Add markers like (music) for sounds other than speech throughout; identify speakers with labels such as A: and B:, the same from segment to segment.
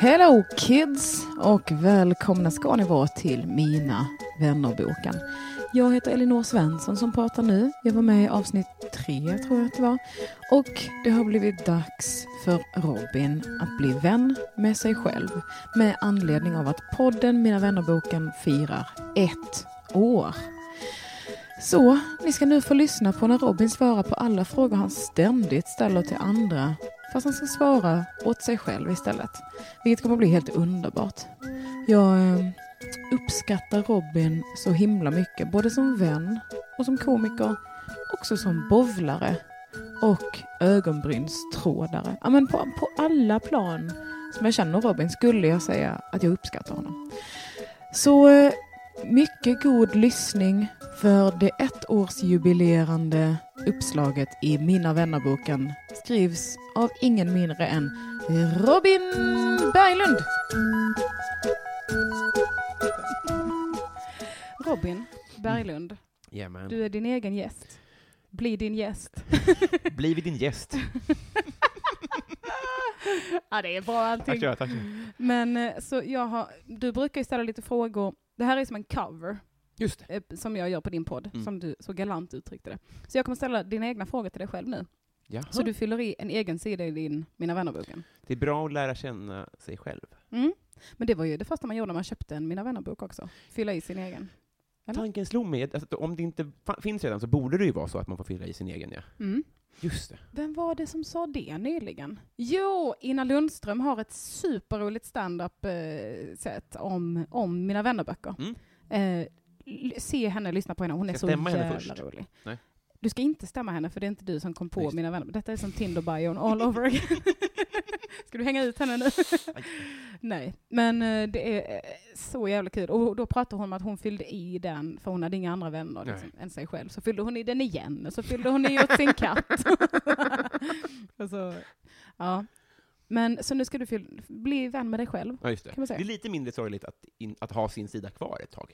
A: Hello kids och välkomna ska ni vara till Mina vännerboken. Jag heter Elinor Svensson som pratar nu. Jag var med i avsnitt tre tror jag att det var. Och det har blivit dags för Robin att bli vän med sig själv med anledning av att podden Mina vännerboken firar ett år. Så, ni ska nu få lyssna på när Robin svarar på alla frågor han ständigt ställer till andra fast han ska svara åt sig själv istället. Vilket kommer att bli helt underbart. Jag eh, uppskattar Robin så himla mycket, både som vän och som komiker, också som bovlare och ögonbrynstrådare. Ja, men på, på alla plan som jag känner Robin skulle jag säga att jag uppskattar honom. Så eh, mycket god lyssning för det ettårsjubilerande uppslaget i Mina vännerboken skrivs av ingen mindre än Robin Berglund.
B: Robin Berglund,
C: Jajamän.
B: du är din egen gäst. Bli din gäst.
C: Blivit din gäst.
B: (laughs) ja, det är bra allting.
C: Tack, ja, tack.
B: Men eh, så jag har, du brukar ju ställa lite frågor. Det här är som en cover
C: Just det.
B: eh, som jag gör på din podd,
C: Mm.
B: som du så galant uttryckte det. Så jag kommer ställa dina egna frågor till dig själv nu.
C: Jaha.
B: Så du fyller i en egen sida i din Mina vännerboken.
C: Det är bra att lära känna sig själv.
B: Mm. Men det var ju det första man gjorde när man köpte en Mina vännerbok också. Fylla i sin egen. Eller?
C: Tanken slog mig, att- alltså, om det inte fa- finns redan så borde det ju vara så att man får fylla i sin egen. Ja.
B: Mm.
C: Just det.
B: Vem var det som sa det nyligen? Jo, Ina Lundström har ett superroligt standup-set om, om Mina vännerböcker.
C: Mm.
B: Eh, l- se henne, lyssna på henne. Hon är
C: Ska
B: så
C: stämma
B: jävla
C: henne först?
B: rolig.
C: Nej.
B: Du ska inte stämma henne, för det är inte du som kom på
C: Just.
B: Mina vänner. Detta är som Tinder-bion all
C: (laughs)
B: over again. ska du hänga ut henne nu? (laughs) Nej, men eh, det är eh, så jävla kul. Och då pratar hon om att hon fyllde i den, för hon hade inga andra vänner
C: Nej.
B: liksom, än sig själv. Så fyllde hon i den igen, och så fyllde hon i åt sin katt. (laughs) och så, ja. Men så nu ska du fyll, bli vän med dig själv.
C: Ja, just det.
B: Kan man säga.
C: det är lite mindre sorgligt att, in, att ha sin sida kvar ett tag.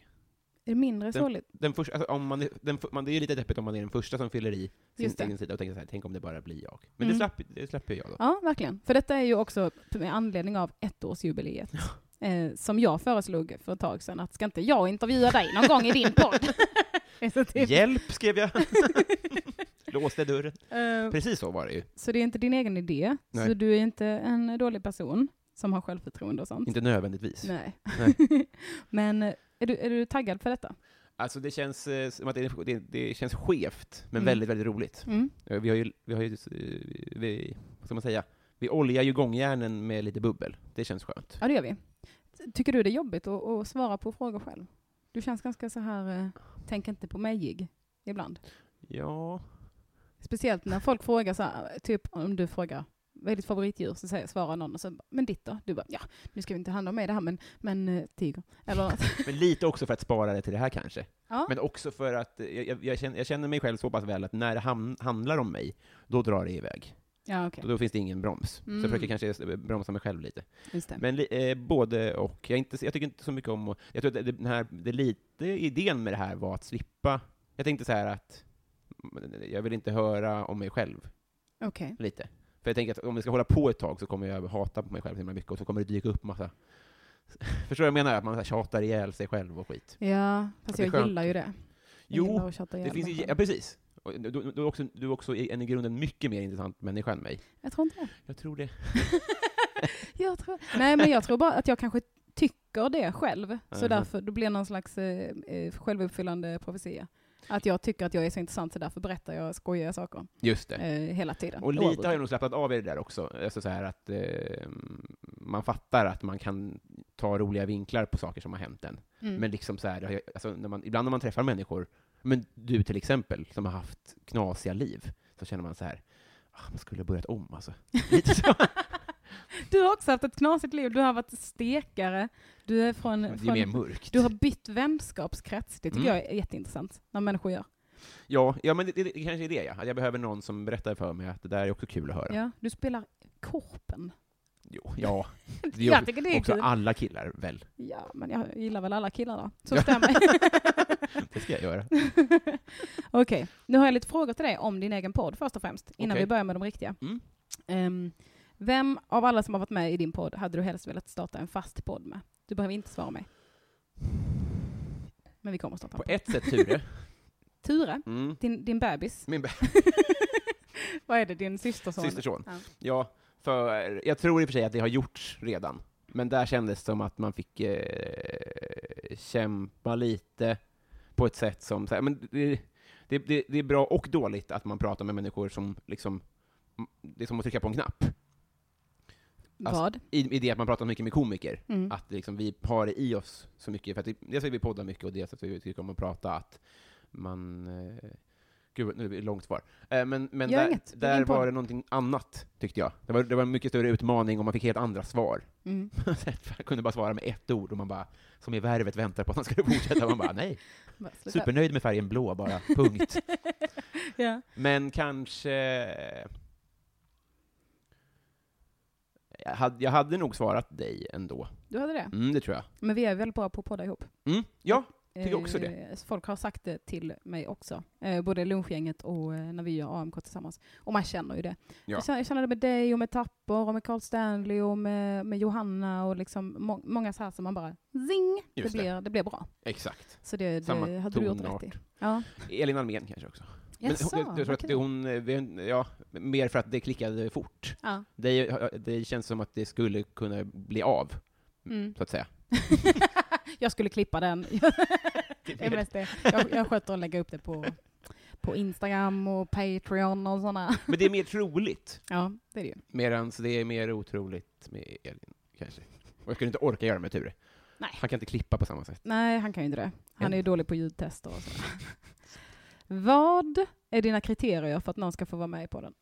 B: Är det mindre
C: Den-
B: sorgligt?
C: Den första, alltså, om man, är- den, f- man, det är ju lite deppigt om man är den första som fyller i sin
B: Just det.
C: egen sida och tänker så här, tänk om det bara blir jag. Men
B: Mm.
C: det, slapp, det släpper jag då.
B: Ja, verkligen. För detta är ju också med anledning av ettårsjubileet. Eh, som jag föreslog för ett tag sedan, att ska inte jag intervjua dig någon gång i din podd? (laughs) Det är så typ.
C: Hjälp, skrev jag. Låste dörren.
B: (laughs) Eh,
C: Precis så var det ju.
B: Så det är inte din egen idé,
C: Nej.
B: så du är inte en dålig person som har självförtroende och sånt.
C: Inte nödvändigtvis.
B: Nej.
C: Nej.
B: (laughs) Men eh, är du, är du taggad för detta?
C: Alltså det känns, eh, som att det, det, det känns skevt, men
B: Mm.
C: väldigt, väldigt roligt.
B: Mm.
C: Eh, Vi har ju, vi har ju eh, vi, vad ska man säga, vi oljar ju gångjärnen med lite bubbel. Det känns skönt.
B: Ja, det gör vi. Tycker du det är jobbigt att, att svara på frågor själv? Du känns ganska så här, eh, tänk inte på mig-ig ibland.
C: Ja,
B: Speciellt när folk frågar så här, typ om du frågar vad är ditt favoritdjur? Så säger, svarar någon och så bara, men ditt då? Du bara, ja, nu ska vi inte handla om mig det här, men, men eh, tiger. Eller
C: (laughs)
B: något.
C: men lite också för att spara det till det här kanske.
B: Ja.
C: Men också för att eh, jag, jag, jag, känner, jag känner mig själv så pass väl att när det ham, handlar om mig, då drar det iväg.
B: Ja, okej.
C: Då, då finns det ingen broms. Så
B: Mm.
C: jag försöker kanske eh, bromsa mig själv lite.
B: Just det.
C: Men li, eh, både och. Jag, är inte, jag tycker inte så mycket om att, Jag tror att det, den här, det lite idén med det här var att slippa... Jag tänkte så här att mm, jag vill inte höra om mig själv,
B: Okej.
C: lite. För jag tänker att om jag ska hålla på ett tag så kommer jag hata på mig själv så himla mycket, och så kommer det dyka upp massa... (laughs) Förstår du vad jag menar? Att man så här tjatar ihjäl sig själv och skit.
B: Ja, fast
C: Det är
B: jag
C: skönt.
B: gillar ju det. Jag
C: Jo,
B: gillar att tjata
C: Det
B: ihjäl
C: finns
B: mig
C: ju, ja,
B: själv.
C: precis. Och Du, du, du, är också, du är också en i grunden mycket mer intressant människa än mig.
B: Jag tror
C: (laughs)
B: inte det.
C: Jag tror det.
B: Jag tror, nej, men jag tror bara att jag kanske tycker det själv. Så
C: Mhm.
B: därför då blir det någon slags eh, eh, självuppfyllande profetia. Att jag tycker att jag är så intressant så därför berättar jag skojiga saker
C: Just det.
B: eh, hela tiden.
C: Och lite har
B: Oavbrutet.
C: jag nog slappnat av i det där också. Alltså så här att eh, man fattar att man kan ta roliga vinklar på saker som har hänt en.
B: Mm.
C: Men liksom så här, det har jag- alltså när man, ibland när man träffar människor, men du till exempel, som har haft knasiga liv, så känner man så här, ah, man skulle ha börjat
B: (laughs)
C: om alltså. Lite så.
B: (laughs) Du har också haft ett knasigt liv. Du har varit stekare. Du är från...
C: Det är
B: från
C: mer mörkt.
B: du har bytt vänskapskrets. Det tycker
C: Mm.
B: jag är jätteintressant, när människor gör.
C: Ja, ja, men det, det, det kanske är det, ja. Att jag behöver någon som berättar för mig att det där är också kul att höra.
B: Ja, du spelar korpen.
C: Jo, ja. Det är
B: Jag tycker (laughs) det är
C: också Ah.
B: kul.
C: alla killar, väl?
B: Ja, men jag gillar väl alla killar då. Så
C: Ja. (laughs)
B: stämmer.
C: Det ska jag göra.
B: Okej, nu har jag lite frågor till dig om din egen podd först och främst, innan
C: Okej.
B: vi börjar med de riktiga. (laughs)
C: Mm.
B: Ehm, vem av alla som har varit med i din podd hade du helst velat starta en fast podd med? Du behöver inte svara mig. Men vi kommer starta en
C: På
B: podd.
C: ett sätt, Ture.
B: Ture,
C: Mm.
B: din, din bebis.
C: Min
B: (laughs) Vad är det, din systerson?
C: systerson.
B: Ja.
C: Ja, för jag tror i och för sig att det har gjorts redan. Men där kändes det som att man fick eh, kämpa lite på ett sätt som... Så här, men det, det, det, det är bra och dåligt att man pratar med människor som liksom... Det är som att trycka på en knapp. Alltså-
B: Vad?
C: I, I det att man pratar mycket med komiker.
B: Mm.
C: Att liksom vi har det i oss så mycket. För att vi, dels att vi poddar mycket och dels att vi tycker om att prata att man... Eh, gud, nu är det långt kvar. Eh, men men
B: Gör
C: där,
B: inget, det är
C: där
B: din podd.
C: var det någonting annat, tyckte jag. Det var, det var en mycket större utmaning och man fick helt andra svar. (laughs)
B: Mm.
C: jag kunde bara svara med ett ord och man bara, som i värvet väntar på att han skulle (laughs) fortsätta. Man bara, nej.
B: Bara sluta.
C: Supernöjd med färgen
B: (laughs)
C: blå bara, punkt.
B: ja.
C: Men kanske... eh, Jag hade, jag hade nog svarat dig ändå.
B: Du hade det?
C: Mm, det tror jag.
B: Men vi är väldigt bra på att podda ihop.
C: Mm, ja, Tycker
B: Eh,
C: också
B: så Folk har sagt det till mig också. Eh, både lunchgänget och eh, när vi gör AMK tillsammans. Och man känner ju det.
C: Ja.
B: Jag, känner, jag känner det med dig och med Tapper och med Carl Stanley och med, med Johanna och liksom må, många så här som man bara zing, det
C: Just det.
B: blir, det. blir bra.
C: exakt.
B: Så det,
C: Samma
B: det hade du gjort rätt
C: tonart.
B: i. Ja.
C: Elin Almén kanske också. Men
B: Jaså,
C: hon, jag tror att
B: okej.
C: det- hon, eh, vi har en- ja, mer för att det klickade fort.
B: Ja.
C: Det, eh, det känns som att det skulle kunna bli av,
B: Mm. (laughs)
C: så att säga.
B: jag skulle klippa
C: (laughs)
B: den. det är mest det. Jag, jag sköter att lägga upp det på, på Instagram och Patreon och sådana.
C: Men det är mer troligt,
B: Ja, det är det ju.
C: medan det är mer otroligt med Elin, kanske. Och jag skulle inte orka göra det med Ture.
B: Nej.
C: Han kan inte klippa på samma sätt.
B: Nej, han kan ju inte det. Han är ju
C: Ändå.
B: dålig på ljudtester och sådär. Vad är dina kriterier för att någon ska få vara med i
C: (laughs)
B: podden?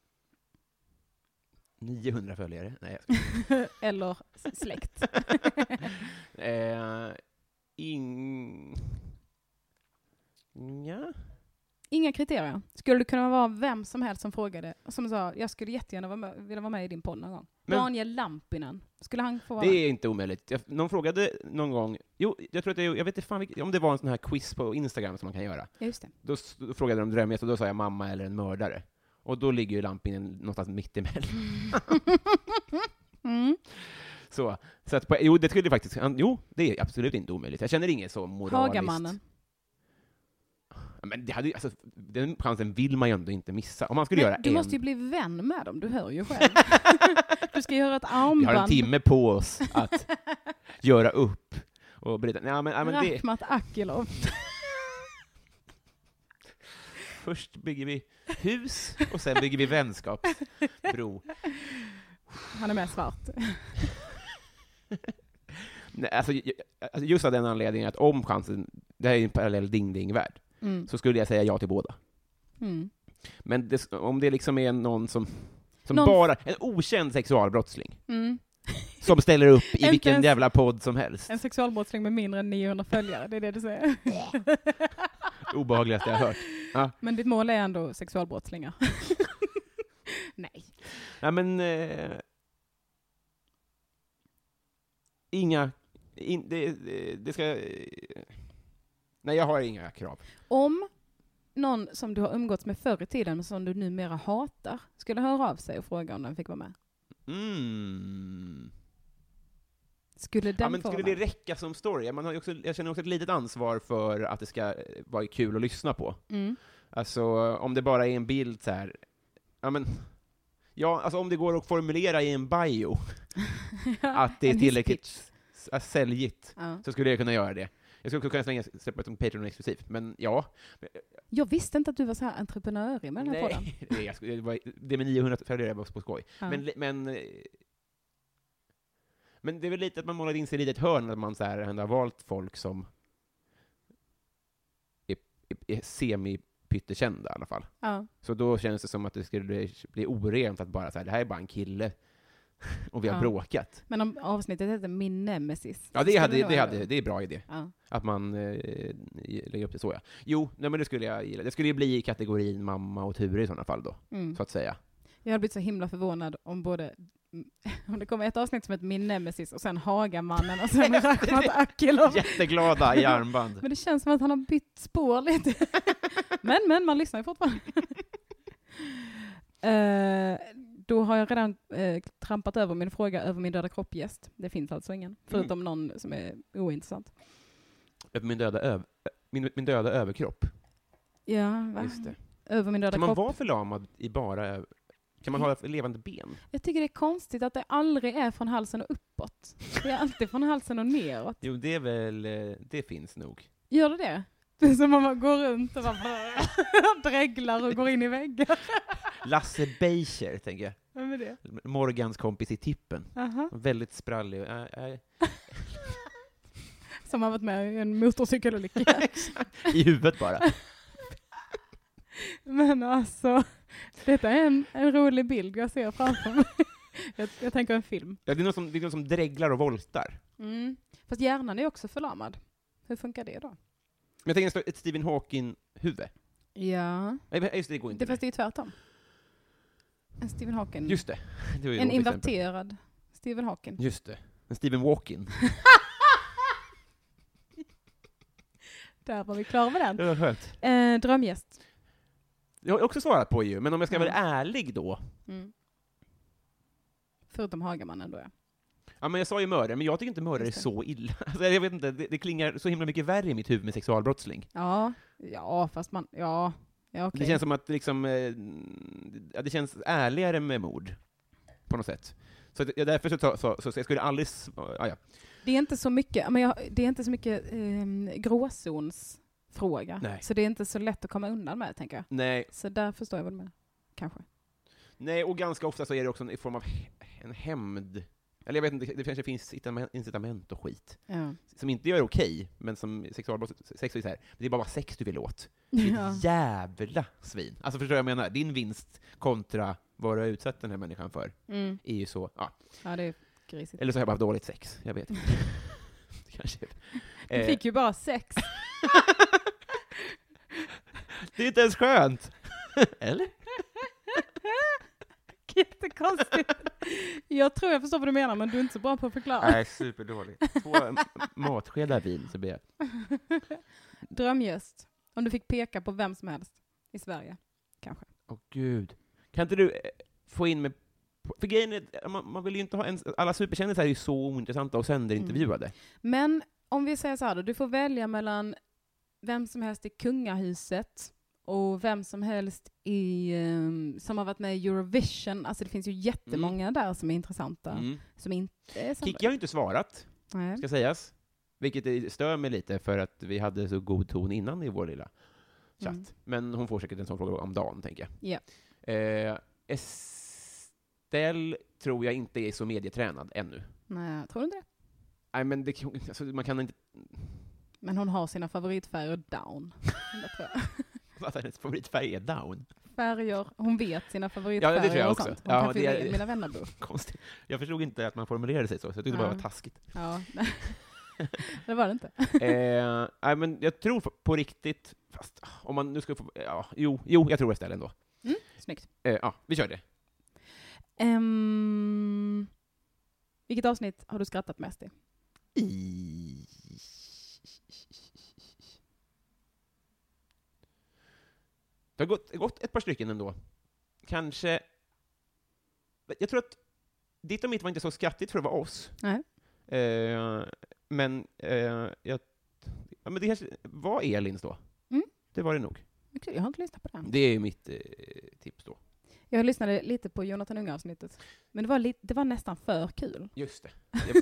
C: 900 följare? Nej, jag
B: Eller släkt? (laughs)
C: Eh, ing... Ja.
B: Inga kriterier. Skulle du kunna vara vem som helst som frågade, som sa jag skulle jättegärna vara med, vilja vara med i din podd någon gång?
C: Men-
B: Daniel Lampinen, skulle han få vara
C: Det
B: med?
C: är inte omöjligt. Jag, någon frågade någon gång, jo, jag tror att det, jag vet inte fan vilk- om det var en sån här quiz på Instagram som man kan göra.
B: Ja,
C: (laughs)
B: just det.
C: Då, s- då frågade de drömgäst och då sa jag mamma eller en mördare. Och då ligger ju Lampinen någonstans mittemellan.
B: Mm.
C: (laughs) Så, så att, på, jo, det skulle faktiskt, han- jo, det är absolut inte omöjligt. Jag känner inget så moraliskt.
B: Hagamannen.
C: Ja, Men det hade, ju- alltså, den chansen vill man ju ändå inte missa. Om man skulle göra
B: Men Du
C: en,
B: måste
C: (laughs)
B: ju (laughs) bli vän med dem, du hör ju själv. du ska göra ett armband.
C: vi har
B: (laughs)
C: en timme på oss att göra upp och bryta. Nej, men, nej, men det,
B: Rakhmat Akilov.
C: (laughs) Först bygger vi hus och sen bygger vi vänskapsbro.
B: Han är med svart.
C: Nej, alltså, ju- alltså just av den anledningen att om chansen, det här är ju en parallell ding-ding-värld,
B: Mm.
C: så skulle jag säga ja till båda.
B: Mm.
C: Men det, om det liksom är någon som, som
B: Någon-
C: bara, en okänd sexualbrottsling,
B: Mm.
C: som ställer upp i
B: Inte
C: vilken
B: ens-
C: jävla podd som helst.
B: En sexualbrottsling med mindre än 900 följare, det är det du (laughs) säger.
C: Obehagligaste jag hört.
B: Men ditt mål är ändå sexualbrottslingar. (laughs) Nej.
C: Nej men... Eh, inga... In, det, det- det ska... eh, Nej, jag har inga krav.
B: Om någon som du har umgåtts med förr i tiden, men som du numera hatar, skulle höra av sig och fråga om den fick vara med.
C: Mm.
B: Skulle den
C: Ja, men skulle
B: formen...
C: det räcka som story? Man har ju också, jag känner också ett litet ansvar för att det ska eh, vara kul att lyssna på.
B: Mm.
C: Alltså, om det bara är en bild så här, ja men, ja, alltså om det går att formulera i en bio (laughs) att det är
B: en
C: tillräckligt
B: hisspitch.
C: s- s- säljigt,
B: Ja.
C: så skulle jag kunna göra det. Jag skulle också kunna slänga, släppa det som Patreon exklusivt, men ja.
B: Jag visste inte att du var så här entreprenörig med den här podden.
C: Nej, (laughs) det, jag, skulle- det, var, det med 900 följare var på skoj.
B: Ja.
C: Men, li- men, eh, men det är väl lite att man målar in sig i ett litet hörn, att man så här ändå har valt folk som är, är, är semi-pyttekända i alla fall.
B: Ja.
C: Så då känns det som att det skulle bli- bli orent att bara så här, det här är bara en kille, (laughs) och vi har
B: Ja.
C: bråkat.
B: Men om avsnittet heter Min Nemesis.
C: Ja, det,
B: skulle
C: hade,
B: nog
C: det,
B: ändå-
C: hade, det är en bra idé,
B: Ja.
C: att man eh, lägger upp det så ja. Jo, nej, men det skulle jag gilla. Det skulle ju bli i kategorin mamma och Ture i sådana fall då,
B: Mm.
C: så att säga.
B: Jag hade blivit så himla förvånad om både om det kommer ett avsnitt som heter Min Nemesis och sen Hagamannen (laughs) och sen Rachmat Akilov.
C: (laughs) Jätteglada i armband.
B: Men det känns som att han har bytt spår (laughs) lite. men, men, man lyssnar ju (laughs) fortfarande. Eh, då har jag redan eh, trampat över min fråga över min döda kropp-gäst. Det finns alltså ingen, förutom någon som är ointressant.
C: Över min döda, öv- min, min döda överkropp.
B: Ja, va?
C: Just det.
B: Över min döda
C: Kan man
B: kropp.
C: vara förlamad i bara över... Kan man ha ett levande ben?
B: Jag tycker det är konstigt att det aldrig är från halsen och uppåt. Det är alltid från halsen och neråt.
C: Jo, det är väl... eh, Det finns nog.
B: Gör det det? Det är som om man går runt och bara (laughs) dreglar och går in i väggar.
C: Lasse Beischer, tänker jag.
B: Vem är det?
C: Morgans kompis i Tippen.
B: Aha.
C: Väldigt sprallig. Äh, äh,
B: Som har varit med i en motorcykelolycka.
C: I huvudet (laughs) bara.
B: Men alltså, detta är en, en rolig bild jag ser framför mig. Jag, jag tänker en film.
C: Ja, det, är någon som, det är någon som dreglar och voltar.
B: Fast hjärnan är också förlamad. Hur funkar det då?
C: Men jag tänker ett Stephen Hawking-huvud.
B: Ja,
C: Nej, men eh, just det, det går inte.
B: det, fast det är ju tvärtom. En Stephen Hawking.
C: Just det. (laughs) det var ju
B: en
C: ett roligt exempel.
B: inverterad Stephen Hawking.
C: Just det. En Stephen (laughs) Walking.
B: (laughs) Där var vi klara med den.
C: Det var skönt.
B: Eh, drömgäst.
C: Jag har jag också svarat på ju, men om jag ska
B: Mm.
C: vara ärlig då.
B: Förutom Hagamannen då ja.
C: Ja, men jag sa ju mördare, men jag tycker inte mördare är
B: Just det.
C: så illa. (laughs) Alltså, jag vet inte, det, det klingar så himla mycket värre i mitt huvud med sexualbrottsling.
B: Ja, ja fast man, ja. Ja, okej.
C: Det känns som att liksom, eh, ja, det känns ärligare med mord, på något sätt. Så att, ja, därför så, så, så, så, jag skulle aldrig... s- Ja, ja.
B: Det är inte så mycket, ja, men jag, det är inte så mycket ehm, gråzonsfråga.
C: Nej.
B: Så det är inte så lätt att komma undan med, tänker jag.
C: Nej,
B: Så där förstår jag väl med. Kanske.
C: Nej, och ganska ofta så är det också en, i form av he- en hämnd. Eller jag vet inte, det kanske finns itama- incitament och skit. Som inte gör okej, men som sexualbrott, sex är så här, det är bara sex du vill åt. Ditt
B: (laughs) Ja.
C: jävla svin. Alltså förstår du vad jag menar? Din vinst kontra vad du har utsatt den här människan för
B: Mm.
C: är ju så, ja.
B: ja, det är grisigt.
C: Eller så har jag bara haft dåligt sex, jag vet inte. (laughs) Det kanske är-
B: Du
C: Eh,
B: fick ju bara sex.
C: (laughs) Det är inte ens skönt! (laughs) Eller?
B: (laughs) Jättekonstigt. Jag tror jag förstår vad du menar, men du är inte så bra på att förklara.
C: Nej, superdåligt. Två m- matskedar vin så blir jag...
B: (laughs) Drömgäst. Om du fick peka på vem som helst i Sverige, kanske.
C: Åh gud. Kan inte du eh, få in mig på- för grejen är, att man, man vill ju inte ha en, alla superkändisar är ju så ointressanta och sönderintervjuade.
B: Men om vi säger så här då, du får välja mellan vem som helst i kungahuset och vem som helst i, eh, som har varit med i Eurovision. Alltså det finns ju jättemånga där som är intressanta,
C: Mm.
B: som inte är samma.
C: Kikki har ju inte svarat.
B: Nej.
C: ska sägas. Vilket är- stör mig lite, för att vi hade så god ton innan i vår lilla chatt.
B: Mm.
C: Men hon får säkert en sån fråga om dagen, tänker jag.
B: Ja.
C: Eh, Estelle tror jag inte är så medietränad ännu.
B: Nej, tror du inte det?
C: Nej, men det, alltså, man kan inte...
B: Men hon har sina favoritfärger
C: (laughs)
B: down. Det tror jag.
C: Alltså, hennes favoritfärg är down. (laughs)
B: Färger, hon vet sina favoritfärger
C: tror jag
B: och
C: också.
B: sånt. Hon
C: Ja,
B: kanske
C: det
B: är
C: är-
B: min- mina vänner bor.
C: Konstigt. Jag förstod inte att man formulerade sig så, så jag tyckte det bara var
B: Ja. (laughs)
C: taskigt.
B: Ja. det var det inte.
C: Eh, nej, men jag tror på riktigt, fast om man nu ska få... Ja, jo, jo, jag tror Estelle ändå.
B: Mm, Snyggt.
C: Eh, ja, vi kör det.
B: Ehm, vilket avsnitt har du skrattat mest i?
C: I... Det har gått, gått ett par stycken ändå. Kanske... Jag tror att ditt och mitt var inte så skrattigt för att vara oss.
B: Nej.
C: Eh, men eh, jag... Ja, men det kanske var Elins då.
B: Mm.
C: Det var det nog.
B: Men kul, Jag har inte lyssnat på den.
C: Det är mitt eh, tips då.
B: Jag lyssnade lite på Jonathan Unge-avsnittet. Men det var, li- det var nästan för kul.
C: Just det.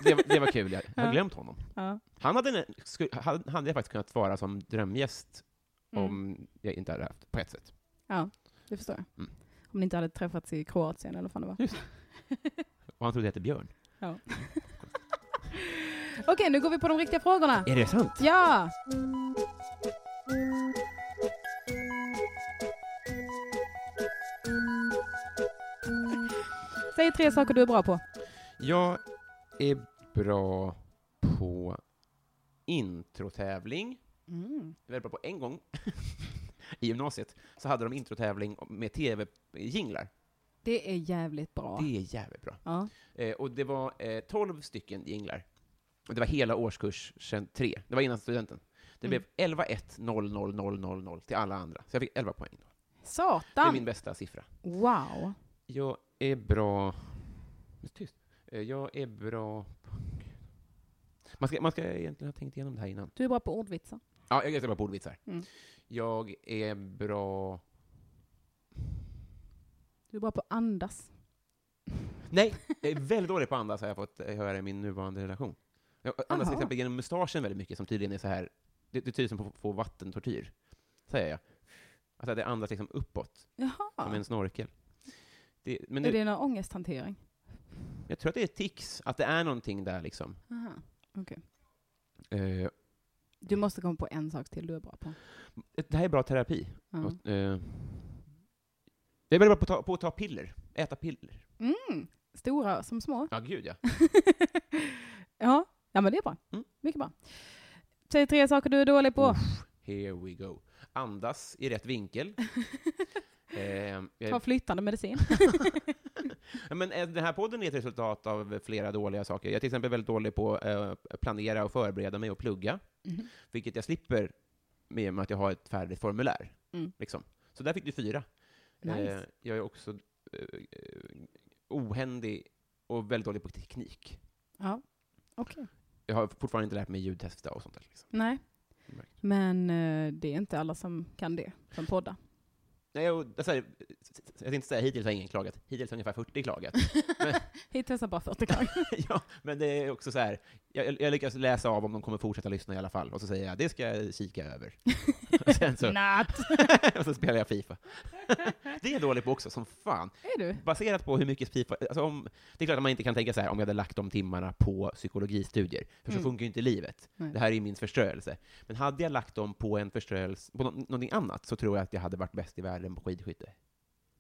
C: Det, det, var kul. Jag har
B: Ja.
C: glömt honom.
B: Ja.
C: Han hade, en- sku- han- hade jag faktiskt kunnat svara som drömgäst
B: Mm.
C: om jag inte hade haft, på ett sätt.
B: Ja, det förstår jag.
C: Mm.
B: Om ni inte hade träffats i Kroatien eller vad fan det var.
C: Och han trodde jag hette Björn.
B: Ja. Okej, nu går vi på de riktiga frågorna.
C: Är det sant?
B: Ja! Säg tre saker du är bra på.
C: Jag är bra på introtävling.
B: Mm,
C: Jag var bra på en gång (laughs) i gymnasiet, så hade de introtävling med tv-jinglar.
B: Det är jävligt bra.
C: Det är jävligt bra.
B: Ja.
C: Eh, och det var eh, 12 stycken jinglar. Och det var hela årskurs sen tre. Det var innan studenten. Det
B: Mm.
C: blev 11 1 0 0 0 0 0 till alla andra. Så jag fick 11 poäng. Då. Det är
B: Satan!
C: min bästa siffra.
B: Wow!
C: Jag är bra... Tyst. Eh, Jag är bra... på- Man ska, man ska egentligen ha tänkt igenom det här innan.
B: Du är bra på ordvitsar.
C: Ja, jag är jättebra på ordvitsar.
B: Mm.
C: Jag är bra...
B: Du är bra på att andas.
C: Nej, jag är väldigt dålig på att andas har jag fått eh, höra i min nuvarande relation. Jag andas till
B: Jaha.
C: exempel genom mustaschen väldigt mycket, som tydligen är så här... Det, det tyder som på att få vattentortyr, säger jag. Alltså, det andas liksom uppåt,
B: Jaha.
C: som en snorkel. Det, men
B: Är
C: nu,
B: det någon ångesthantering?
C: jag tror att det är tics, att det är någonting där liksom.
B: Aha.
C: Eh,
B: Du måste komma på en sak till du är bra på.
C: det här är bra terapi.
B: Ja.
C: Och, eh, jag är väldigt bra på att, ta, på att ta piller. Äta piller.
B: Mm. Stora som små.
C: Ja, gud ja.
B: ja. ja, men det är bra.
C: Mm.
B: Mycket bra. Säg tre saker du är dålig på.
C: Here we go. Andas i rätt vinkel.
B: (laughs)
C: eh,
B: Ta
C: jag,
B: flyttande medicin.
C: Ja, men eh, den här podden är ett resultat av flera dåliga saker. Jag är till exempel väldigt dålig på att eh, planera och förbereda mig och plugga,
B: Mhm.
C: vilket jag slipper med och med att jag har ett färdigt formulär.
B: Mm.
C: Liksom. Så där fick du fyra.
B: Nice.
C: Eh, jag är också eh, eh, ohändig och väldigt dålig på teknik.
B: Ja, okej.
C: Jag har fortfarande inte lärt mig ljudtesta och sånt där. Liksom.
B: Nej.
C: Märkt.
B: Men eh, det är inte alla som kan det, som poddar.
C: Nej, jag, jag, säger- jag tänkte inte säga hittills har ingen klagat. Hittills har ungefär
B: (laughs)
C: 40 klagat.
B: Hittills har bara 40 gånger.
C: ja, men det är också så här, jag, jag lyckas läsa av om de kommer fortsätta lyssna i alla fall, och så säger jag det ska jag kika över. (laughs) och, (laughs) sen så,
B: Natt!
C: och så spelar jag Fifa. (laughs) det är jag dålig på också, som fan.
B: Är du?
C: Baserat på hur mycket Fifa... Alltså om, det är klart att man inte kan tänka så här, om jag hade lagt de timmarna på psykologistudier, för så
B: Mm.
C: funkar ju inte livet.
B: Nej.
C: Det här är min förströelse. Men hade jag lagt dem på en förströelse, på nå- någonting annat, så tror jag att jag hade varit bäst i världen på skidskytte.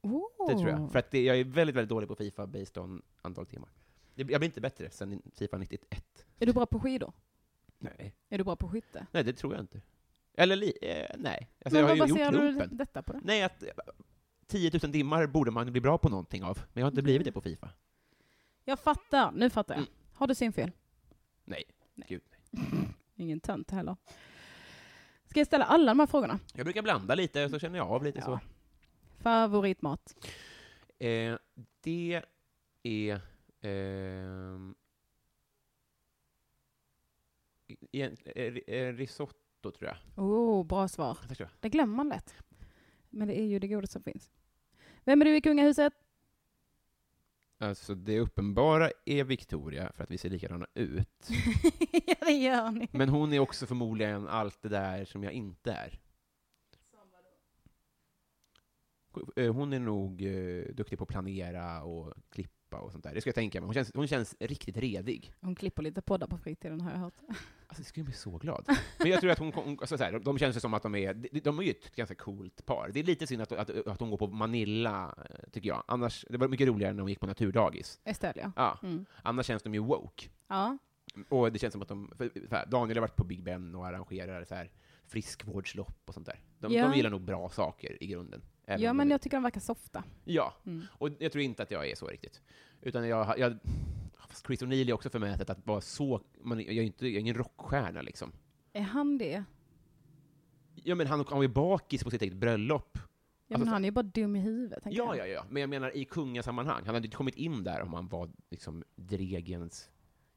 B: Oh.
C: Det tror jag. För att det, jag är väldigt, väldigt dålig på Fifa based on antal timmar. Det- Jag blir inte bättre sen Fifa 91.
B: Är du bra på skidor?
C: Nej.
B: Är du bra på skytte?
C: Nej, det tror jag inte. Eller li, eh, nej. Alltså,
B: men
C: jag har
B: vad
C: ju gjort
B: baserar du
C: lumpen.
B: detta på? Då?
C: Nej, att eh, 10 000 timmar borde man bli bra på någonting av, men jag har inte
B: Mm.
C: blivit det på Fifa.
B: Jag fattar, nu fattar jag.
C: Mm.
B: Har du synfel?
C: Nej. Gud, nej.
B: (laughs) Ingen tönt heller. Ska jag ställa alla de här frågorna?
C: Jag brukar blanda lite, så känner jag av lite så.
B: Favoritmat?
C: Eh, det är... ehm, i- i- eh, eh, risotto, tror jag.
B: Oh, bra svar.
C: Tack så.
B: Det glömmer man lätt. Men det är ju det godaste som finns. Vem är du i kungahuset?
C: Alltså det uppenbara är Victoria, för att vi ser likadana ut.
B: (laughs) ja, det gör ni.
C: Men hon är också förmodligen allt det där som jag inte är. Eh, Hon är nog eh, duktig på att planera och klippa och sånt där. Det ska jag tänka mig. Hon känns, hon känns riktigt redig.
B: Hon klipper lite poddar på fritiden har jag hört.
C: Alltså det skulle jag bli så glad. (laughs) Men jag tror att hon, hon alltså, så här, de känns ju som att de är, de, de är ju ett ganska coolt par. Det är lite synd att, att, att hon går på Manilla, eh, tycker jag. Annars, det var mycket roligare när hon gick på naturdagis.
B: Estelle, ja.
C: Ja,
B: Mm.
C: annars känns de ju woke.
B: Ja,
C: Och det känns som att de, för, så här, Daniel har varit på Big Ben och arrangerar så här, friskvårdslopp och sånt där. De,
B: Ja.
C: de gillar nog bra saker i grunden. Även
B: ja
C: om
B: men
C: de-
B: jag tycker de verkar softa.
C: ja,
B: Mm.
C: och jag tror inte att jag är så riktigt. Utan jag, har- jag fast Chris O'Neill är också förmätet att vara så, man, jag, är inte, jag är ingen rockstjärna liksom.
B: Är han det? Ja,
C: Ja men han han var ju bakis på sitt eget bröllop. Alltså,
B: men han är ju bara dum i huvudet. tänker
C: Ja,
B: jag.
C: ja, ja. Men jag menar i kungasammanhang. Han hade ju inte kommit in där om han var liksom dregens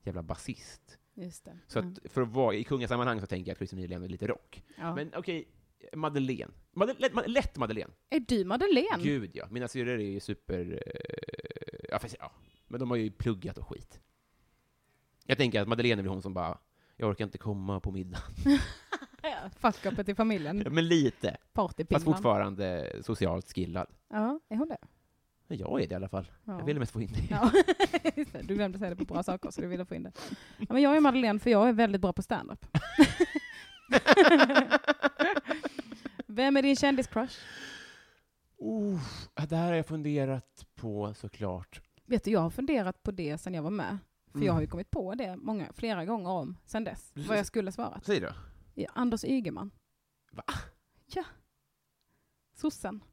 C: jävla basist.
B: Just det.
C: Så
B: Mm.
C: att för att vara i kungasammanhang så tänker jag att Christer Nylander är lite rock.
B: ja.
C: Men okej, Madeleine. Madele- lätt, Madele- lätt Madeleine.
B: Är du Madeleine?
C: Gud ja. Mina syrror är ju super... eh, Ja, fast, ja, men de har ju pluggat och skit. Jag tänker att Madeleine är väl hon som bara, jag orkar inte komma på middag. (laughs)
B: Fackskapet i familjen.
C: Men lite. Fast
B: Partypinnan.
C: fortfarande socialt skillad.
B: Ja, är hon det?
C: Men jag är det i alla fall.
B: Ja.
C: Jag ville mest få in (laughs) det.
B: Ja. (laughs) Just det, du glömde säga det på bra saker, så du ville få in det. Ja, men jag är Madeleine, för jag är väldigt bra på stand-up. Vem är din kändiscrush?
C: Oh, det här har jag funderat på såklart.
B: Vet du, jag har funderat på det sedan jag var med. För
C: Mm.
B: jag har ju kommit på det många, flera gånger om sedan dess, vad jag skulle svara.
C: Säg då.
B: Ja, Anders Ygeman.
C: Va?
B: Ja. Sossen.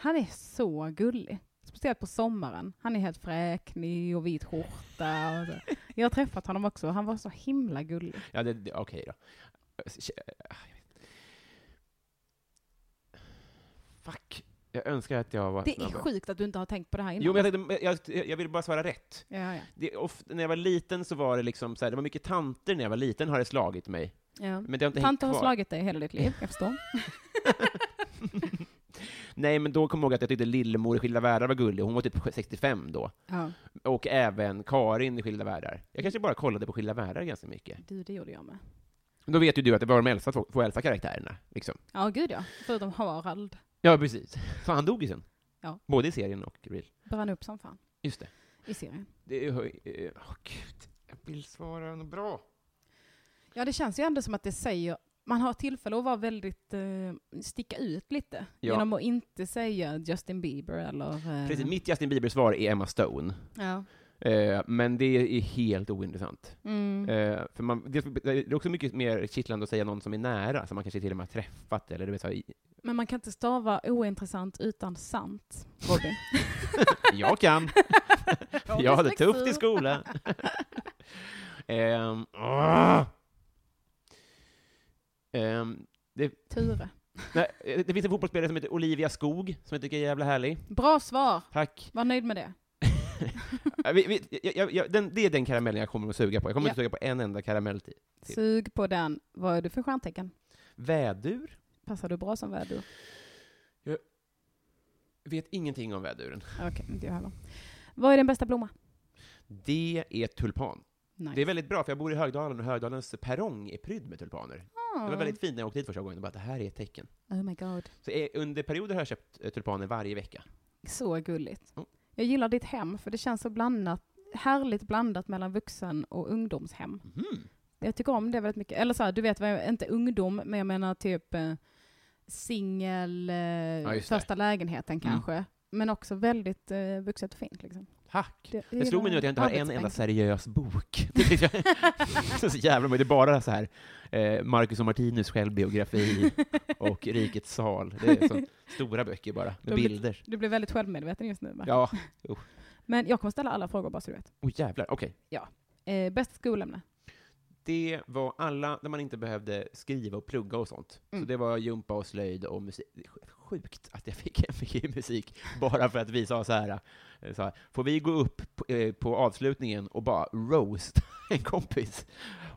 B: Han är så gullig. Speciellt på sommaren. Han är helt fräknig och vit skjorta. Och så. Jag har träffat honom också. Han var så himla gullig.
C: Ja, det, det, okej då. Kä- ah, jag vet. Fuck. Jag önskar att jag var
B: Det är
C: snabbare.
B: sjukt att du inte har tänkt på det här innan.
C: Jo, men jag, tänkte, jag, jag vill bara svara rätt.
B: ja, ja.
C: Det, of, när jag var liten så var det liksom så här, det var mycket tanter när jag var liten har det slagit mig.
B: Ja.
C: Men det har inte hängt
B: Tanter har
C: kvar.
B: slagit dig hela ditt liv, jag förstår.
C: (laughs) Nej, men då kom jag ihåg att jag tyckte Lillemor i Skilda Världar var gullig. Hon var typ 65 då.
B: Ja.
C: Och även Karin i Skilda Världar. Jag kanske bara kollade på Skilda Världar ganska mycket.
B: Du, det gjorde jag med.
C: Men då vet ju du att det var de äldsta två, två äldsta karaktärerna. Liksom.
B: Ja, gud ja. Förutom Harald.
C: Ja, precis. Så han dog ju sen.
B: Ja.
C: Både i serien och i real.
B: Brann upp som fan
C: Just det.
B: i serien.
C: Det är ju... eh, Åh, gud. Jag vill svara något bra.
B: Ja, det känns ju ändå som att det säger... Man har tillfälle att vara väldigt, eh, sticka ut lite.
C: Ja.
B: Genom att inte säga Justin Bieber eller... Eh,
C: Precis, mitt Justin Bieber-svar är Emma Stone.
B: Ja.
C: Eh, men det är helt ointressant.
B: Mm.
C: Eh, för man, det det är också mycket mer kittlande att säga någon som är nära, som man kanske till och med har träffat, eller du vet, så här, i-
B: Men man kan inte stava ointressant utan sant, Robin.
C: (laughs) jag
B: (laughs)
C: kan, jag hade
B: Dyslexi.
C: tufft
B: (laughs)
C: i skolan. Ehm, åh! Ehm,
B: Ture.
C: nej, eh, det finns en fotbollsspelare som heter Olivia Skog som jag tycker är jävla härlig.
B: Bra svar!
C: Tack.
B: Var nöjd med det.
C: Eh, vi, vi, jag, jag, jag, den, det är den karamellen jag kommer att suga på. Jag kommer
B: Ja.
C: inte suga på en enda karamell till. Till.
B: Sug på den. Vad är du för stjärntecken?
C: Vädur?
B: Passar du bra som vädur?
C: Vet ingenting om väduren.
B: Okej, inte jag heller. Vad är din bästa blomma?
C: Det är tulpan.
B: Nice.
C: Det är väldigt bra, för jag bor i Högdalen och Högdalens perrong är prydd med tulpaner.
B: Ah.
C: Det var väldigt fint när jag åkte dit första gången, och bara det här är ett tecken.
B: Oh my god.
C: Så eh, under perioder har jag köpt eh, tulpaner varje vecka.
B: Så gulligt.
C: Mm.
B: Jag gillar ditt hem, för det känns så blandat, härligt blandat mellan vuxen och ungdomshem.
C: Mhm.
B: Jag tycker om det väldigt mycket. Eller så här, du vet, vad jag- inte ungdom, men jag menar typ eh, singel, eh,
C: just det. Mm.
B: första lägenheten kanske. Men också väldigt eh, vuxet och fint. Liksom.
C: Tack!
B: Det,
C: Det slog mig nu att jag inte har en enda
B: arbetsbänk.
C: seriös bok. (laughs) Det tyckte jag- så jävla mycket. Det är bara så här, eh, Marcus och
B: (laughs)
C: Martinus självbiografi och Rikets sal. Det är så stora böcker bara, med
B: De blir-
C: bilder.
B: (laughs) Du blev väldigt självmedveten just nu. Va?
C: Ja,
B: Men jag kommer ställa alla frågor bara så du vet.
C: oh jävlar, okej.
B: Eh, bäst skolämne?
C: Det var alla där man inte behövde skriva och plugga och sånt.
B: Mm.
C: Så det var jumpa och slöjd och musik. Det är Sjukt att jag fick (laughs) jag fick i musik bara för att vi sa så här, eh, så här får vi gå upp på, eh, på avslutningen och bara roast (laughs) en kompis?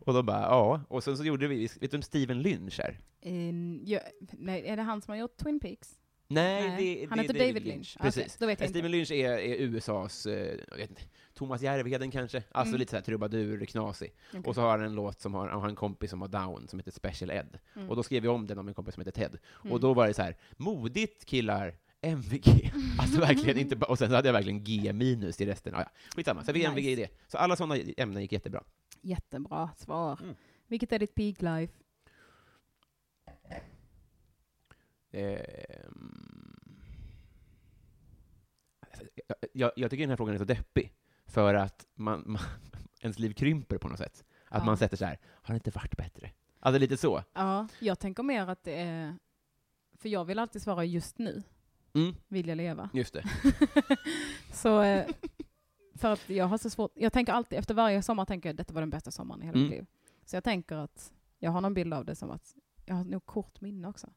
C: Och de bara ja, och sen så gjorde vi, vet du om Steven Lynch är?
B: Eh, jag, nej, är det han som har gjort Twin Peaks?
C: Nej, det,
B: han
C: det, är
B: heter David Lynch. Ah, Okej,
C: Precis.
B: då vet jag inte.
C: Steven Lynch är, är USAs, eh, jag vet inte, Thomas Järvheden kanske? Alltså
B: Mm.
C: lite så här trubadur, knasig.
B: Okej.
C: Och så har han en låt som har, han har en kompis som har down, som heter Special Ed.
B: Mm.
C: Och då skrev jag om den om en kompis som heter Ted.
B: Mm.
C: Och då var det så här, modigt killar,
B: (laughs)
C: MVG. Alltså verkligen inte bara, och sen så hade jag verkligen G minus i resten. Ah, ja. Skitsamma, så jag fick
B: Nice.
C: MVG i det. Så alla sådana ämnen gick jättebra.
B: Jättebra svar.
C: Mm.
B: Vilket är ditt peak life?
C: Ehm. jag, jag tycker den här frågan är så deppig, för att man, man, (laughs) ens liv krymper på något sätt. Att
B: Ja.
C: man sätter så här, har det inte varit bättre? Alltså lite så.
B: Ja, jag tänker mer att det är... För jag vill alltid svara just nu,
C: Mm,
B: vill jag leva.
C: just det.
B: så, eh, för att jag har så svårt... Jag tänker alltid, efter varje sommar tänker jag detta var den bästa sommaren i hela mitt
C: Mm.
B: liv. Så jag tänker att jag har någon bild av det som att jag har nog kort minne
C: (laughs)
B: också.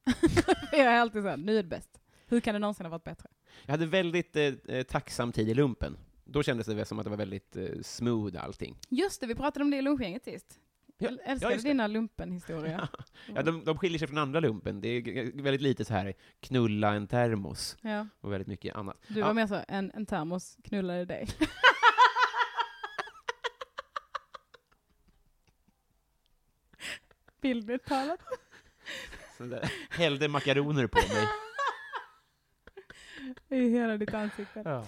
B: jag är alltid såhär, nu är det bäst. Hur kan det någonsin ha varit bättre?
C: Jag hade väldigt eh, eh, tacksam tid i lumpen. Då kändes det väl som att det var väldigt eh, smooth allting.
B: Just det, vi pratade om det i lunchgänget sist.
C: Ja,
B: Jag älskade
C: just det.
B: dina lumpenhistoria.
C: Ja, de, de skiljer sig från andra lumpen. Det är g- väldigt lite så här knulla en termos
B: Ja.
C: och väldigt mycket annat.
B: Du
C: Ja.
B: var mer så, en, en termos knullade dig. (laughs) Bildligt talat.
C: Så där, (laughs) hällde makaroner på mig.
B: I hela ditt ansikte.
C: Ja.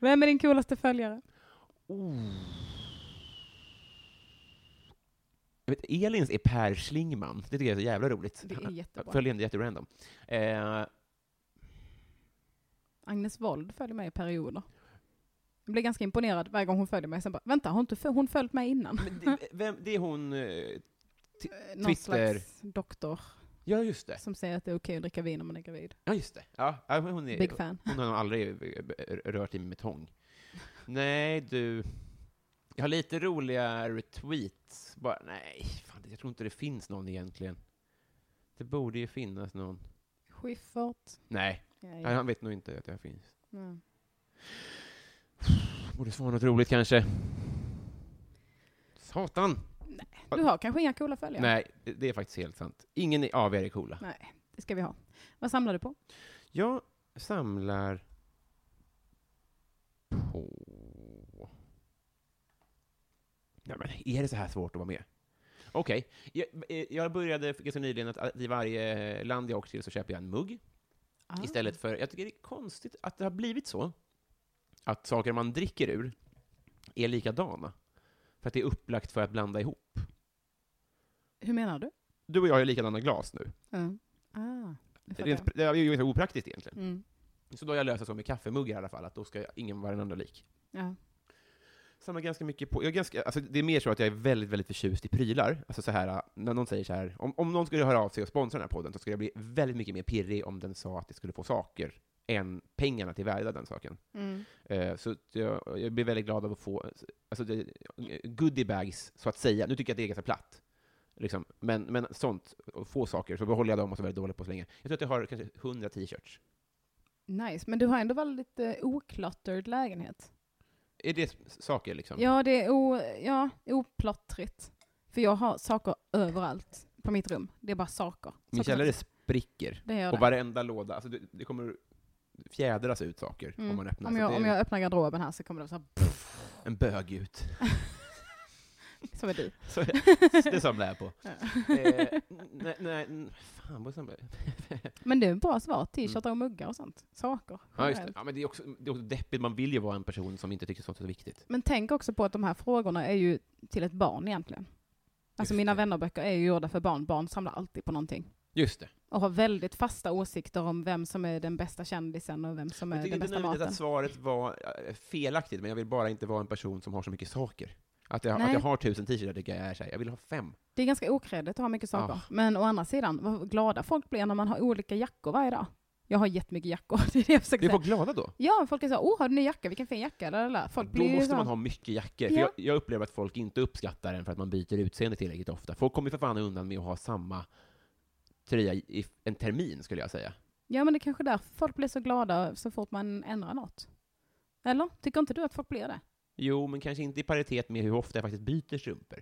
B: Vem är din coolaste följare?
C: Oh. Jag vet, Elins är Per Schlingman. Det tycker jag är så jävla roligt.
B: Det är jättebra.
C: Följande jätterandom. Eh,
B: Agnes Wold följer mig i perioder. Jag blir ganska imponerad varje gång hon följer mig. Sen bara, vänta, har inte föl- hon följt mig innan?
C: men det, vem, det är hon... eh,
B: Eh,
C: Twitter.
B: Någon slags doktor
C: Ja, just det.
B: som säger att det är okej att dricka vin om man är gravid.
C: Ja, just det. Ja, ja, men hon,
B: Big
C: är,
B: fan.
C: hon har nog aldrig eh, b- rört i med tång. Nej, du. Jag har lite roliga retweets. Bara, nej, fan, jag tror inte det finns någon egentligen. Det borde ju finnas någon.
B: Schiffert.
C: Nej,
B: Nej.
C: han vet nog inte att jag finns.
B: Mm.
C: Borde svara något roligt kanske. Satan!
B: Du har kanske inga coola följare?
C: Nej, det- det är faktiskt helt sant. Ingen av er är coola.
B: Det ska vi ha. Vad samlar du på?
C: Jag samlar på... Nej, men är det så här svårt att vara med? Okej. Jag, eh, jag började för ganska nyligen att i varje land jag åker till så köper jag en mugg.
B: Ah.
C: Istället för... Jag tycker det är konstigt att det har blivit så. Att saker man dricker ur är likadana. För att det är upplagt för att blanda ihop.
B: Ah. Hur menar du?
C: Du och jag har ju likadana glas nu.
B: Mm. Ah, nu fattar jag.
C: Rent, det är ju ganska opraktiskt egentligen.
B: Mm.
C: Så då har jag löst det så med kaffemuggar i alla fall, att då ska ingen vara den andra lik.
B: Ja.
C: samlar ganska mycket på, jag är ganska, alltså det är mer så att jag är väldigt, väldigt förtjust i prylar. Alltså så här, när någon säger så här, om, om någon skulle höra av sig och sponsra den här podden så skulle jag bli väldigt mycket mer pirrig om den sa att det skulle få saker än pengarna till värdet av den saken.
B: Mm.
C: Eh, så att jag, jag blir väldigt glad av att få alltså det, goodiebags, så att säga. Nu tycker jag att det är ganska platt. Liksom. Men, men sånt, och få saker, så behåller jag dem och så är jag väldigt dålig på så länge. Jag tror att jag har kanske 100 t-shirts.
B: Nice, men du har ändå väldigt eh, okluttered lägenhet.
C: Är det s- saker liksom?
B: Ja, det är o, ja, oplottrigt. För jag har saker överallt på mitt rum. Det är bara saker.
C: Min
B: Saker,
C: källare
B: saker.
C: spricker.
B: det gör
C: Och
B: det.
C: varenda låda, alltså det, det kommer fjädras ut saker
B: Mm.
C: om man öppnar.
B: Om
C: så
B: jag,
C: det är
B: om jag öppnar garderoben här så kommer
C: (laughs)
B: det så här,
C: En bög ut. (laughs)
B: som är du.
C: Så det samlar jag på.
B: Ja.
C: (laughs) eh, nej, nej, n- fan vad samlar jag?
B: Men det är ett bra svar. T-shirtar och muggar och sånt. Saker.
C: (laughs) Mm. Ja, just det.
B: generellt.
C: Ja, men det är, också, det är också deppigt, man vill ju vara en person som inte tycker sånt är så viktigt.
B: Men tänk också på att de här frågorna är ju till ett barn egentligen. Alltså
C: Just
B: mina
C: det.
B: vännerböcker är ju gjorda för barn. Barn samlar alltid på någonting.
C: Just det.
B: och har väldigt fasta åsikter om vem som är den bästa kändisen och vem som
C: Jag
B: är
C: tycker
B: den
C: inte
B: bästa
C: nödvändigtvis
B: maten.
C: att svaret var eh, felaktigt, men jag vill bara inte vara en person som har så mycket saker. Att jag, att
B: Nej.
C: jag har tusen t-shirtar tycker jag är så här, jag vill ha fem.
B: Det är ganska okreddigt att ha mycket saker.
C: Ah.
B: Men å andra sidan, vad glada folk blir när man har olika jackor varje dag. Jag har jättemycket jackor, (laughs) det är det jag försöker
C: Blir
B: säga.
C: folk glada då?
B: Ja, folk är så här, åh, har du ny jacka? Vilken fin jacka? Eller, eller. Folk
C: Då
B: blir ju så
C: måste
B: här,
C: man ha mycket jackor. För
B: Ja.
C: jag, jag upplever att folk inte uppskattar den för att man byter utseende tillräckligt ofta. Folk kommer ju för fan undan med att ha samma tröja i f- en termin, skulle jag säga.
B: Ja, men det är kanske är därför folk blir så glada så fort man ändrar något. Eller? Tycker inte du att folk blir det?
C: Jo, men kanske inte i paritet med hur ofta jag faktiskt byter strumpor.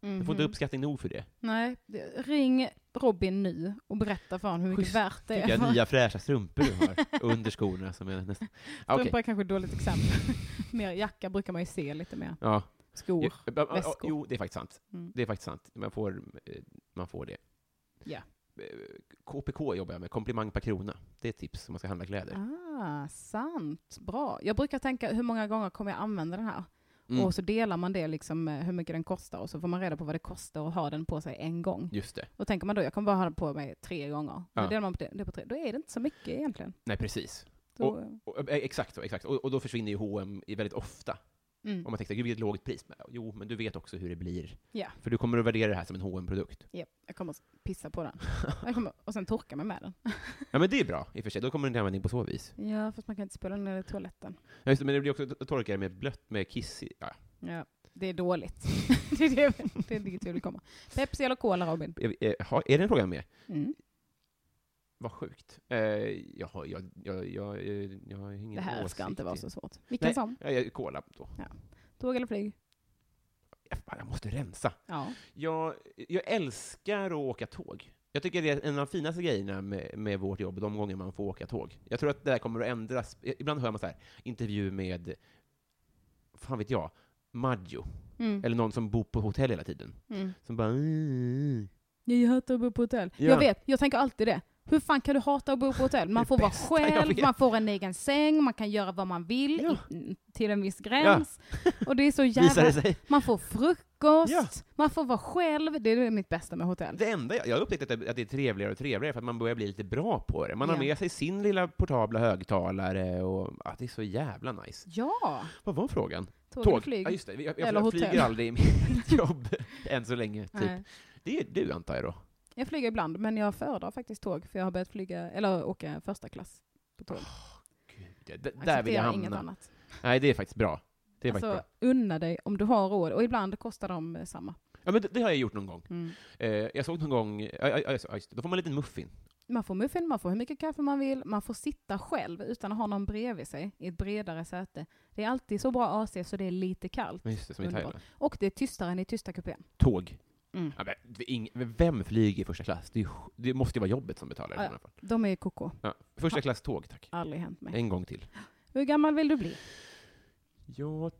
C: Jag får inte
B: Mhm.
C: uppskattning nog för det.
B: Nej, det- ring Robin nu och berätta för honom hur mycket
C: Schysst,
B: värt det
C: Tycker
B: (laughs) är.
C: jag nya fräscha strumpor du
B: (laughs)
C: har under skorna som är nästan... Ah, Okej.
B: Strumpor är kanske ett dåligt exempel. (laughs) mer jacka brukar man ju se lite mer.
C: Ja.
B: Skor.
C: Jo, ja, ja,
B: väskor.
C: Jo, det är faktiskt sant.
B: Mm.
C: Det är faktiskt sant. Man får, eh, man får det.
B: Ja.
C: Eh, KPK jobbar jag med, komplimang per krona. Det är ett tips om man ska handla kläder.
B: Ah, sant. Bra. Jag brukar tänka hur många gånger kommer jag använda den här?
C: Mm,
B: Och så delar man det liksom eh, hur mycket den kostar och så får man reda på vad det kostar att ha den på sig en gång.
C: just det.
B: Och tänker man då, jag kommer bara ha den på mig tre gånger. Då
C: Ja.
B: delar man på det, det på tre. Då är det inte så mycket egentligen.
C: Nej, precis.
B: Då,
C: Och, eh, Exakt så, exakt. Och, och då försvinner ju H&M i väldigt ofta.
B: mm.
C: Om man tänker, gud vilket lågt pris. Men, jo, men du vet också hur det blir.
B: Ja.
C: För du kommer att värdera det här som en hm produkt
B: Japp, jag kommer att pissa på den. Jag kommer, och sen torka mig med den.
C: (laughs) Ja, men det är bra i och för sig. Då kommer den till användning på så vis.
B: Ja, fast man kan inte spela ner i toaletten.
C: Ja, just det, men det blir också att torka det med blött, med kiss i. Ja.
B: Ja, det är dåligt. (laughs) det är det, det är dit vi vill komma. Pepsi eller Cola, Robin?
C: Eh, eh, ha- Är det en fråga med?
B: Mm.
C: Vad sjukt. Eh, jag, har- jag, jag, jag, eh, jag har ingen
B: Det här
C: åsikt
B: ska inte vara
C: i-
B: så svårt. Vilken
C: Nej.
B: som.
C: Jag, jag, kola då.
B: Tåg eller flyg?
C: Ja, fan, Jag måste rensa.
B: Ja.
C: Jag, jag älskar att åka tåg. Jag tycker det är en av de finaste grejerna med, med vårt jobb, de gånger man får åka tåg. Jag tror att det där kommer att ändras. Ibland hör man så här, intervju med, fan vet jag, Maggio.
B: Mm.
C: Eller någon som bor på hotell hela tiden.
B: Mm.
C: Som bara... "Mm,
B: Jag hatar att bo på hotell.
C: Ja.
B: Jag vet, jag tänker alltid det. Hur fan kan du hata att bo på hotell? Man
C: Det
B: får vara
C: bästa jag
B: själv,
C: vet.
B: man får en egen säng, man kan göra vad man vill
C: Ja.
B: i, till en viss gräns. Och det är så
C: (laughs) Visar det
B: jävla...
C: sig?
B: Man får frukost,
C: Ja.
B: man får vara själv. Det är mitt bästa med hotell.
C: Det enda jag, jag har upptäckt att det, att det är trevligare och trevligare för att man börjar bli lite bra på det. Man har
B: Ja.
C: med sig sin lilla portabla högtalare och ja, det är så jävla nice.
B: Ja,
C: Vad var frågan?
B: tåg, eller
C: Tåg?
B: flyg.
C: Ja, just det. Jag,
B: Eller
C: jag
B: hotell.
C: flyger aldrig i mitt (laughs) jobb än så länge. Typ.
B: Nej.
C: Det är du antar jag då?
B: Jag flyger ibland, men jag föredrar faktiskt tåg, för jag har börjat flyga, eller åka första klass på tåg.
C: Gud, d- Oh, där vill jag
B: Accepterar inget
C: hamna.
B: annat.
C: Nej, det är faktiskt bra. Det är
B: Alltså,
C: faktiskt
B: unna dig om du har råd, och ibland kostar de eh, samma.
C: bra. Ja, men det, det har jag gjort någon gång.
B: Mm.
C: Eh, jag såg någon gång, ja, ja, ja, just det. då får man en liten muffin.
B: Man får muffin, man får hur mycket kaffe man vill, man får sitta själv utan att ha någon bredvid sig i ett bredare säte. Det är alltid så bra AC så det är lite kallt.
C: Men Just det, som i
B: Underbart.
C: Thailand.
B: Och det är tystare än i tysta kupén.
C: Tåg.
B: Mm.
C: Ja, men, det är ing- men vem flyger i första klass? Det, är ju, det måste ju vara jobbet som betalar.
B: Ja,
C: i
B: ja.
C: alla fall.
B: De är koko.
C: Ja. Första klass tåg, tack.
B: Aldrig hänt mig.
C: En gång till.
B: Hur gammal vill du bli?
C: Jag...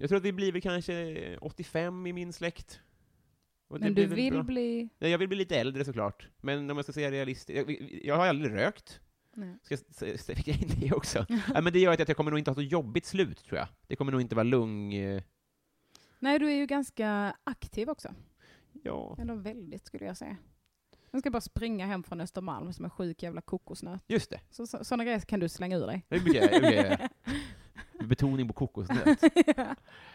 C: jag tror att vi blir väl kanske 85 i min släkt. Och det
B: Men
C: blir
B: du
C: väl
B: vill
C: bra.
B: bli...
C: Nej, jag vill bli lite äldre såklart. Men om jag ska säga realistiskt, jag, jag har aldrig rökt.
B: Nej.
C: Ska jag s- s- sticka in det också? Nej, men det gör att jag kommer nog inte ha så jobbigt slut, tror jag. Det kommer nog inte vara lugn... eh,
B: Nej, du är ju ganska aktiv också.
C: Ja.
B: Eller väldigt skulle jag säga. Jag ska bara springa hem från Östermalm som är sjuk jävla kokosnöt.
C: Just det.
B: Så, så, sådana grejer kan du slänga ur dig.
C: Det brukar jag, det brukar jag göra.
B: (laughs)
C: Med betoning på kokosnöt.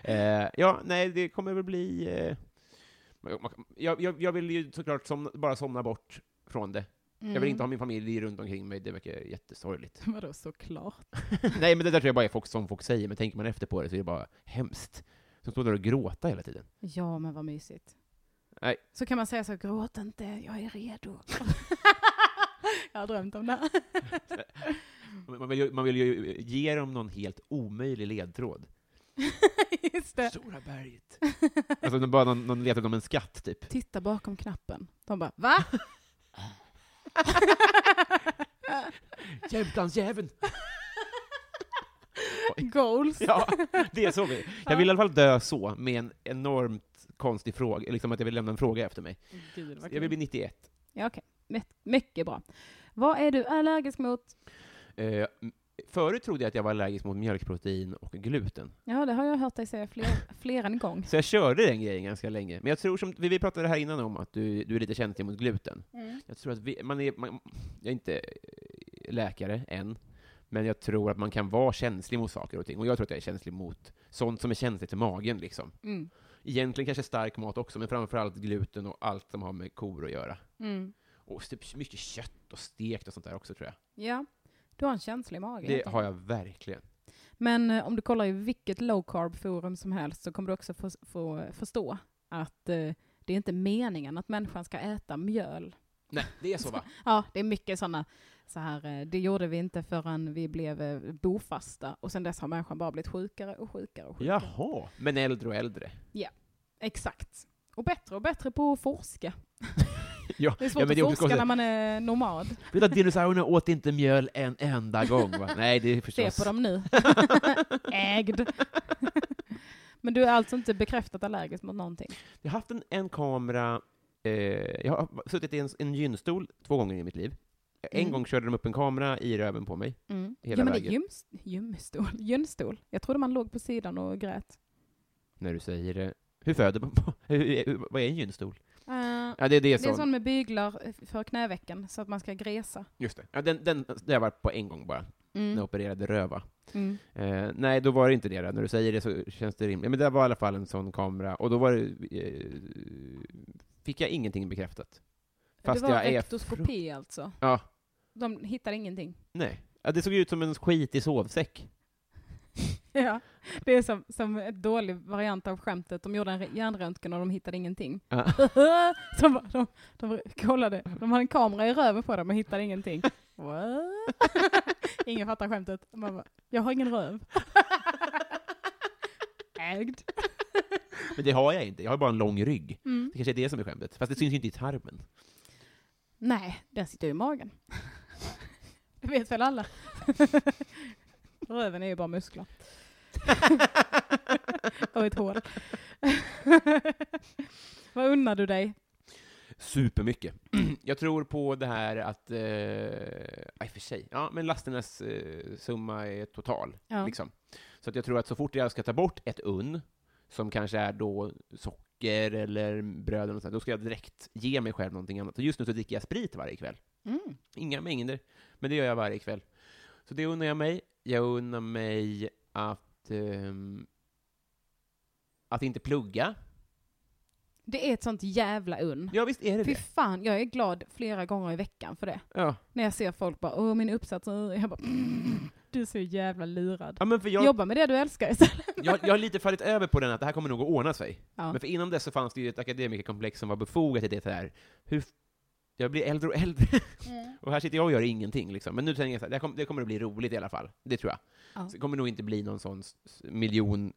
C: eh, ja, nej, det kommer väl bli... Eh, man- man- jag, jag, jag vill ju såklart somna, bara somna bort från det. Jag
B: Mm.
C: vill inte ha min familj runt omkring mig, det verkar jättesorgligt.
B: (laughs)
C: (laughs)
B: Vadå såklart?
C: nej, men det där tror jag bara är folk som folk säger, men tänker man efter på det så är det bara hemskt. Som står där och gråta hela tiden.
B: Ja, men vad mysigt.
C: Nej.
B: Så kan man säga så, gråt inte, jag är
C: (laughs)
B: redo. jag har drömt om det.
C: Man man vill, ju, man vill ju ge dem någon helt omöjlig ledtråd.
B: Just det.
C: Stora berget. (laughs) Alltså de bara någon, någon letar om en skatt, typ.
B: Titta bakom knappen. De bara, va?
C: Jämtlandsjäveln!
B: Goals.
C: Ja, (laughs) det är så vi. Jag vill i alla fall dö så, med en enormt konstig fråga, liksom att jag vill lämna en fråga efter mig.
B: Gud, vad
C: Jag
B: kul.
C: vill bli 91.
B: Ja, okej. My- mycket bra. Vad är du allergisk mot?
C: Eh, m- förut trodde jag att jag var allergisk mot mjölkprotein och gluten,
B: Ja, det har jag hört dig säga fler, fler än en gång.
C: så jag körde den grejen ganska länge. Men jag tror, som vi vi pratade här innan om, att du, du är lite känslig mot gluten.
B: Mm.
C: Jag tror att vi, man är, man, jag är inte eh, läkare än, men jag tror att man kan vara känslig mot saker och ting. Och jag tror att jag är känslig mot sånt som är känsligt i magen, liksom.
B: Mm.
C: Egentligen kanske stark mat också, men framförallt gluten och allt som har med kor att göra.
B: Mm.
C: Och typ mycket kött och stekt och sånt där också, tror jag.
B: Ja, du har en känslig mage. helt
C: Det har
B: enkelt.
C: jag verkligen.
B: Men eh, om du kollar i vilket low carb forum som helst så kommer du också få, få förstå att eh, det är inte meningen att människan ska äta mjöl.
C: Nej, det är så
B: (laughs)
C: va?
B: Ja, det är mycket sådana, så här, eh, det gjorde vi inte förrän vi blev eh, bofasta och sen dess har människan bara blivit sjukare och sjukare och sjukare.
C: Jaha. Men äldre och äldre.
B: Exakt. Och bättre och bättre på att forska.
C: Ja,
B: Det är svårt
C: men det är
B: att
C: också
B: forska
C: konstigt.
B: när man är nomad.
C: Vet du, dinosaurierna åt inte mjöl en enda gång, va? Nej, det
B: (laughs)
C: är
B: Se
C: förstås.
B: på dem nu. Ägd. (laughs) Men du är alltså inte bekräftat allergisk mot någonting?
C: (laughs) Jag har haft en, en kamera, eh, jag har suttit i en, en gynstol två gånger i mitt liv. En
B: Mm.
C: gång körde de upp en kamera i röven på mig.
B: Mm.
C: Hela
B: ja, men det är
C: vägen.
B: gyms, gymstol, gynstol. Jag trodde man låg på sidan och grät.
C: När du säger det. Hur föder man? (laughs) Hur, hur, vad är en gynstol?
B: Eh,
C: Ja, det, det är
B: det är
C: sån.
B: sån med byglar eh, för knävecken, så att man ska gresa.
C: Just det. Ja, den, den, det var på en gång bara, när jag
B: Mm.
C: opererade röva.
B: Mm.
C: Eh, nej, då var det inte det. Då. När du säger det så känns det rimligt. Men det var i alla fall en sån kamera, och då var det, eh, fick jag ingenting bekräftat. Fast
B: det var
C: jag är
B: rektoskopi alltså.
C: Ja,
B: De hittade ingenting.
C: nej. Ja, det såg ut som en skitig sovsäck.
B: (laughs) Ja, det är som, som en dålig variant av skämtet. De gjorde en re- hjärnröntgen och de hittade ingenting. (laughs)
C: Ja.
B: de, bara- de, de kollade, de hade en kamera i röven på dem och hittade (laughs) ingenting. What? Ingen fattar skämtet. Man bara, jag har ingen (laughs) röv. Ägd. (laughs)
C: Men det har jag inte, jag har bara en lång rygg.
B: Mm.
C: Det kanske är det som är skämtet. Fast det syns ju inte i tarmen.
B: Nej, den sitter ju i magen. Det vet väl alla. (laughs) Röven är ju bara muskler. Och ett hål. (laughs) Vad unnar du dig?
C: Supermycket. (clears throat) jag tror på det här att... Eh, ja, i och för sig. Ja, men lasternas eh, summa är total.
B: Ja.
C: Liksom. Så att jag tror att så fort jag ska ta bort ett unn, som kanske är då socker eller bröd eller något sånt, då ska jag direkt ge mig själv någonting annat. Och just nu så dricker jag sprit varje kväll.
B: Mm.
C: Inga mängder, men det gör jag varje kväll. Så det unnar jag mig. Jag unnar mig att, ehm, att inte plugga.
B: Det är ett sånt jävla unn.
C: Ja, visst är det
B: Fy
C: det.
B: fan, jag är glad flera gånger i veckan för det.
C: Ja.
B: När jag ser folk bara åh min uppsats, åh", jag bara "Mm, du är så jävla lurad.
C: Ja, men för jag, jag...
B: Jobba med det du älskar istället.
C: (laughs) Jag, har lite fallit över på den att det här kommer nog att ordna sig.
B: Ja.
C: Men för innan dess så fanns det ju ett akademikerkomplex som var befogat i det här. Hur, f- jag blir äldre och äldre.
B: Mm.
C: (laughs) Och här sitter jag och gör ingenting. Liksom. Men nu tänker jag så här, det, här kom, det kommer att bli roligt i alla fall. Det tror jag.
B: Ja.
C: Så det kommer nog inte bli någon sån s- s- miljon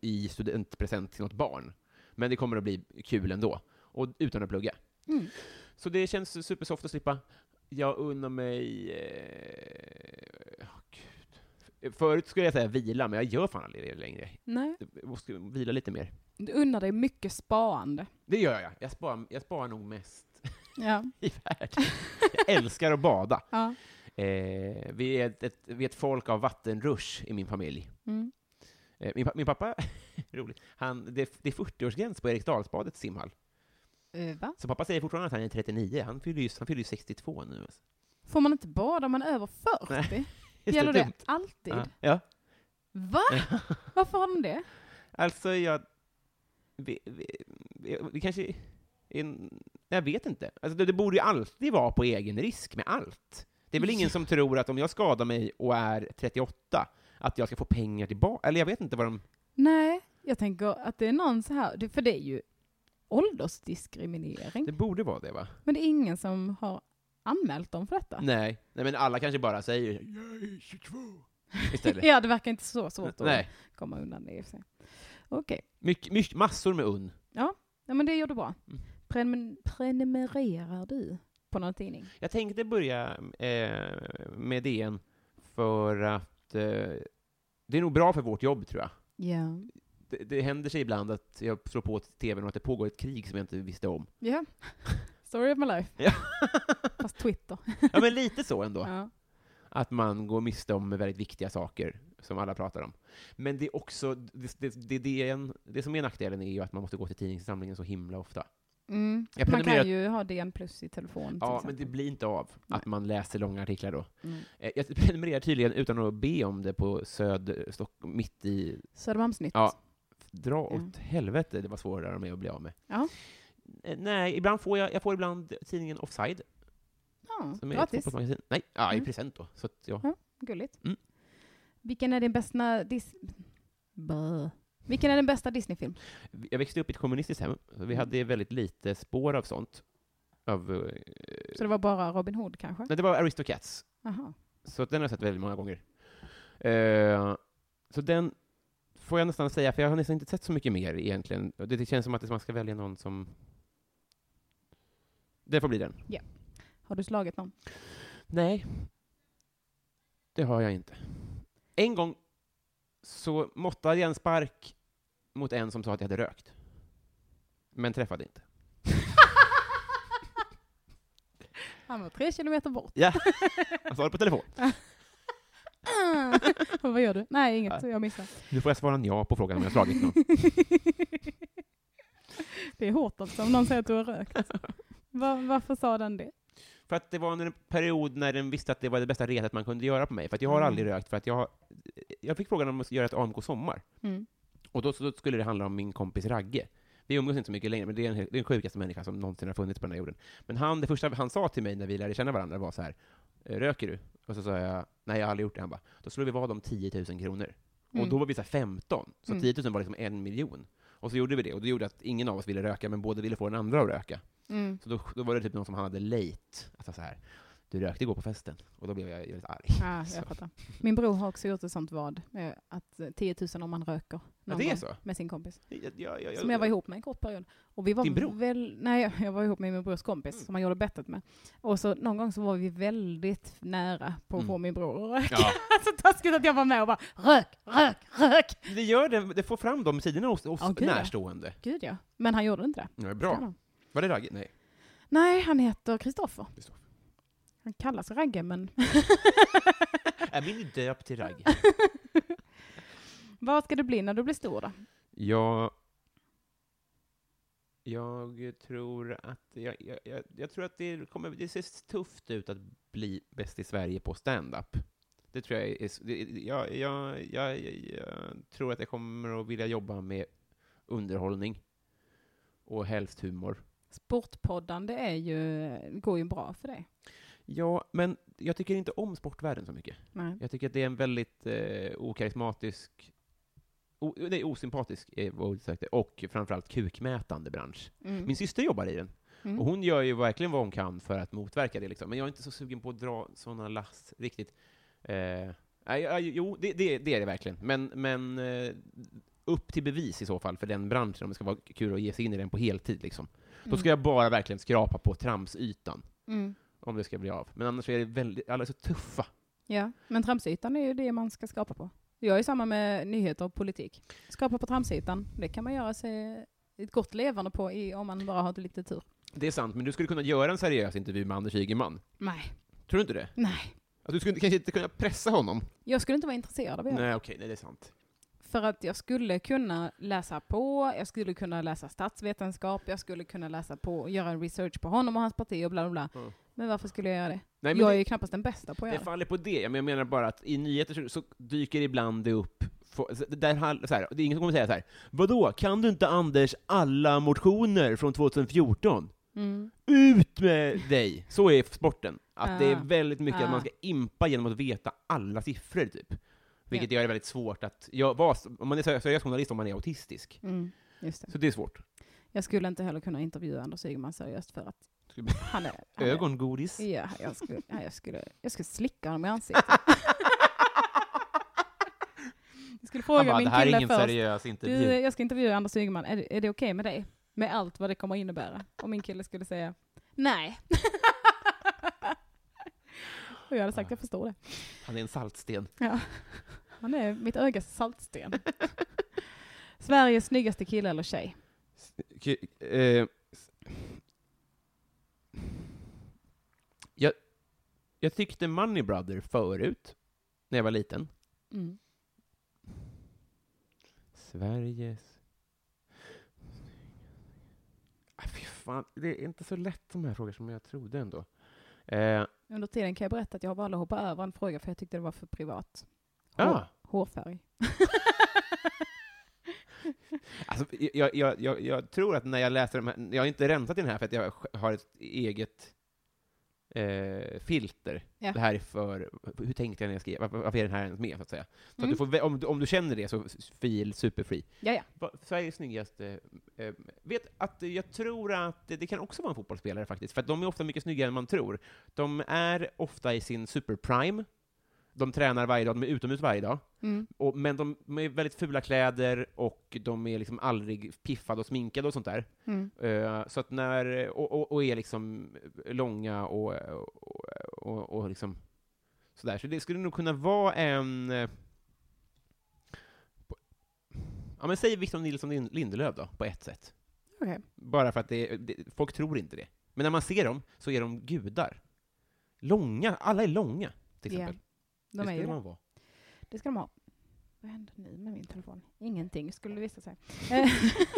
C: i studentpresent till något barn. Men det kommer att bli kul ändå. Och utan att plugga.
B: Mm.
C: Så det känns supersoft att slippa. Jag unnar mig... Eh, åh, gud. Förut skulle jag säga vila, men jag gör fan aldrig det längre.
B: Nej.
C: Jag måste vila lite mer.
B: Du unnar dig mycket spaande.
C: Det gör jag. Jag sparar, jag sparar nog mest (laughs)
B: Ja.
C: i
B: (laughs)
C: världen. Jag älskar att bada.
B: ja.
C: Eh, vi, är ett, ett, vi är ett folk av vattenrush i min familj.
B: Mm.
C: Eh, min, pa- min pappa, (laughs) roligt, han, det, är- det är 40-årsgräns på Eriksdalsbadets simhall.
B: Eh, Va?
C: Så pappa säger fortfarande att han är 39. Han fyller ju, han fyller ju 62 nu. alltså.
B: Får man inte bada om man är över 40?
C: (laughs) Visst är
B: Gäller det
C: dumt?
B: alltid?
C: typ- Ja. ja.
B: Va? (laughs) Varför har de det?
C: Alltså, jag... Vi, vi, vi, vi kanske... En, jag vet inte. Alltså, det, det borde ju alltid vara på egen risk med allt. Det är väl ingen som tror att om jag skadar mig och är 38, att jag ska få pengar tillbaka. Eller jag vet inte vad de...
B: Nej, jag tänker att det är någon så här, det- för det är ju åldersdiskriminering.
C: Det borde vara det, va?
B: Men det är ingen som har anmält dem för detta.
C: Nej. Nej, men alla kanske bara säger ”Jag är 22”
B: (laughs)
C: istället.
B: Ja, det verkar inte så svårt att
C: Nej.
B: komma undan det i och för sig. Okej,
C: Mycket, mycket, massor med unn.
B: ja, men det gör du bra.
C: Mm.
B: Prenum- prenumererar du på någon tidning?
C: Jag tänkte börja eh, med DN för att eh, det är nog bra för vårt jobb, tror jag.
B: Ja.
C: det, det händer sig ibland att jag slår på tvn och att det pågår ett krig som jag inte
B: (laughs)
C: visste om.
B: Ja. Story of my life.
C: Ja.
B: (laughs) Fast Twitter.
C: Ja, men lite så ändå.
B: Ja.
C: Att man går miste om väldigt viktiga saker som alla pratar om. Men det är också, det, det, det, det, är en, det som är nackdelen är ju att man måste gå till tidningssamlingen så himla ofta.
B: Mm.
C: Jag
B: Man
C: prenumererar-
B: kan ju ha DN plus i telefon till
C: Ja, men det
B: exempel.
C: blir inte av
B: Nej.
C: att man läser långa artiklar då.
B: Mm.
C: Eh, Jag prenumererar tydligen utan att be om det på Söd, Stock, mitt i...
B: Södermalmsnytt.
C: Ja. Dra åt
B: Ja.
C: helvete, det var svårare de är att bli av med.
B: Ja.
C: Eh, Nej, ibland får jag, jag får ibland tidningen Offside
B: Ja,
C: Som är ett
B: gratis.
C: fotbollsmagasin. Nej, ja, i
B: Mm.
C: present då. Så att, ja.
B: Ja. Gulligt.
C: Mm.
B: Vilken är din bästa dis... Bö. Vilken är den bästa Disney-film?
C: Jag växte upp i ett kommunistiskt hem, så
B: Mm.
C: vi hade väldigt lite spår av sånt. Av, eh,
B: Så det var bara Robin Hood kanske?
C: nej, det var Aristocats,
B: Jaha.
C: så att den har jag sett väldigt många gånger. Eh, så den får jag nästan säga, för jag har nästan inte sett så mycket mer egentligen. Och Det, det känns som att man ska välja någon som... Det får bli den.
B: Har du slagit
C: (laughs)
B: någon?
C: Nej, det har jag inte. En gång så måttade jag en spark mot en som sa att jag hade rökt. Men träffade inte.
B: Han var tre kilometer
C: (laughs)
B: bort.
C: Ja, han sa det på telefon.
B: Och vad gör du? Nej, inget. Jag missar.
C: Nu får jag svara ja på frågan om jag slagit någon.
B: (laughs) det är hårt också om någon säger att du har rökt. alltså.
C: (laughs)
B: Va- varför sa den det?
C: (laughs) För att det var under en period när den visste att det var det bästa retet man kunde göra på mig. För att jag har
B: Mm.
C: aldrig rökt, för att jag, har- jag fick frågan om att göra ett AMK Sommar.
B: Mm.
C: Och då, då skulle det handla om min kompis Ragge. Vi umgås inte så mycket längre, men det är, en, det är den sjukaste människa som någonsin har funnits på den här jorden. Men han, det första han sa till mig när vi lärde känna varandra var så här, "Eh, röker du? Och så sa jag, nej jag har aldrig gjort det. Han bara, då slår vi vad om 10 000 kronor. Och
B: Mm.
C: då var vi så här 15, så
B: Mm.
C: 10 000 var liksom en miljon. Och så gjorde vi det, och det gjorde att ingen av oss ville röka, men båda ville få den andra att röka. (laughs)
B: Mm.
C: Så då, då var det typ någon som han hade lejt, alltså så här, du rökte igår på festen. Och då blev jag väldigt arg.
B: Ja,
C: Så.
B: Ah, jag fattar. Min bror har också gjort ett sånt vad, eh, att eh, 10 000 om man röker.
C: Ja,
B: någon
C: det är
B: gång
C: så?
B: Med sin kompis.
C: Jag, jag, jag,
B: Som jag var ihop med en kort period. Och vi var
C: Din bror?
B: Väl, nej, (laughs) jag var ihop med min brors kompis
C: Mm.
B: som han gjorde bettet med. Och så någon gång så var vi väldigt nära på att
C: Mm.
B: få min bror (laughs) att röka.
C: Ja.
B: så taskigt att jag var med och bara rök, rök, rök.
C: Det gör det, det får fram de sidorna hos, hos
B: Ja, gud, ja.
C: närstående.
B: Gud ja. Men han gjorde inte det.
C: Ja, bra. Var det raggigt? Nej.
B: Nej, han heter Kristoffer.
C: Kristoffer.
B: Han kallas Ragge, men... (laughs)
C: Äh, Är min döpt till ragg?
B: Vad ska du bli när du blir stor då?
C: Jag... Jag tror att... Jag, jag, jag, jag tror att det kommer... Det ser tufft ut att bli bäst i Sverige på stand-up. Det tror jag är... s- Det, jag, jag, jag, jag, jag tror att jag kommer att vilja jobba med underhållning. Och helst humor.
B: Sportpoddande är ju, går ju bra för dig.
C: Ja, men jag tycker inte om sportvärlden så mycket.
B: Nej.
C: Jag tycker att det är en väldigt eh, okarismatisk, o, nej, osympatisk, eh, vad jag sökte, och framförallt kukmätande bransch.
B: Mm.
C: Min syster jobbar i den,
B: Mm.
C: och hon gör ju verkligen vad hon kan för att motverka det, liksom. men jag är inte så sugen på att dra sådana lass riktigt. Eh, nej, ja, jo, det, det, det är det verkligen, men, men eh, upp till bevis i så fall för den branschen, om det ska vara kul att ge sig in i den på heltid. Liksom. Då ska jag bara verkligen skrapa på tramsytan,
B: Mm.
C: om det ska bli av. Men annars är det väldigt, alla är så tuffa.
B: Ja, men tramsytan är ju det man ska skapa på. Jag är samma med nyheter och politik. Skapa på tramsytan, det kan man göra sig ett gott levande på i, om man bara har lite tur.
C: Det är sant, men du skulle kunna göra en seriös intervju med Anders Ygeman.
B: Nej,
C: Tror du inte det?
B: nej.
C: Att du skulle kanske inte kunna pressa honom?
B: Jag skulle inte vara intresserad av det.
C: Nej, okej, nej, det är sant.
B: För att jag skulle kunna läsa på, jag skulle kunna läsa statsvetenskap, jag skulle kunna läsa på och göra en research på honom och hans parti och bla bla bla.
C: Mm.
B: Men varför skulle jag göra det?
C: Nej, men
B: jag är
C: det,
B: ju knappast den bästa på att
C: det
B: göra det.
C: faller på det. Jag menar bara att i nyheter så, så dyker ibland det upp få- så- det där, hal- så här, det är ingen som kommer säga så här. Vadå, kan du inte Anders alla motioner från 2014?
B: Mm.
C: Ut med dig! Så är sporten. Att det är
B: Ah.
C: väldigt mycket att man
B: Ah.
C: ska impa genom att veta alla siffror, typ. Vilket gör det väldigt svårt att... Jag, vad, om man är seriös seriös journalist om man är autistisk.
B: Mm. Just det.
C: Så det är svårt.
B: Jag skulle inte heller kunna intervjua Anders Ygeman seriöst för att
C: Skulle-
B: han är... Han är (laughs)
C: Ögongodis. (laughs)
B: Ja, jag skulle, ja, jag skulle, jag skulle slicka honom i ansiktet. Jag skulle fråga
C: Han bara,
B: min
C: det här är
B: kille
C: ingen
B: först.
C: seriös intervju.
B: Du, jag ska intervjua Anders Ygeman, är, det- är det okej med dig? Med allt vad det kommer innebära. Och min kille skulle säga, nej. (laughs) Och jag hade sagt, jag förstår det.
C: Han är en saltsten.
B: Ja. Han är mitt ögas saltsten. (laughs) Sveriges snyggaste kille eller tjej?
C: jag, jag tyckte Money Brother förut, när jag var liten.
B: Mm.
C: Sveriges... Ah, fy fan, det är inte så lätt de här frågorna som jag trodde ändå. Eh,
B: Under tiden kan jag berätta att jag valde att hoppa över en fråga för jag tyckte det var för privat.
C: ah,
B: Hårfärg. (laughs)
C: alltså, jag, jag, jag, jag tror att när jag läser de här, jag har inte rensat i den här för att jag har ett eget eh, filter.
B: Ja.
C: Det här är för, hur tänkte jag när jag skrev, varför, varför är den här ens med? Så att säga. Så
B: Mm.
C: att du får, vä- om, du, om du känner det så s- feel superfri.
B: Ja, ja.
C: Va- Sveriges snyggaste... Eh, vet att eh, jag tror att det, det kan också vara en fotbollsspelare faktiskt, för att de är ofta mycket snyggare än man tror. De är ofta i sin superprime, de tränar varje dag, de är utomhus varje dag,
B: Mm.
C: och, men de, de är väldigt fula kläder och de är liksom aldrig piffade och sminkade och sånt där.
B: Mm.
C: Eh, så att när, och, och, och är liksom långa och, och, och, och liksom sådär. Så det skulle nog kunna vara en... eh, på- Ja men säg Victor Nilsson Lin- Lindelöf då, på ett sätt.
B: Okej.
C: Bara för att det, det, folk tror inte det. Men när man ser dem så är de gudar. Långa, alla är långa, till
B: Ja,
C: exempel.
B: De
C: det
B: är
C: skulle
B: ju det.
C: man vara.
B: Det ska de ha. Vad händer nu med min telefon? Ingenting, skulle det
C: (laughs)
B: visa sig. (laughs)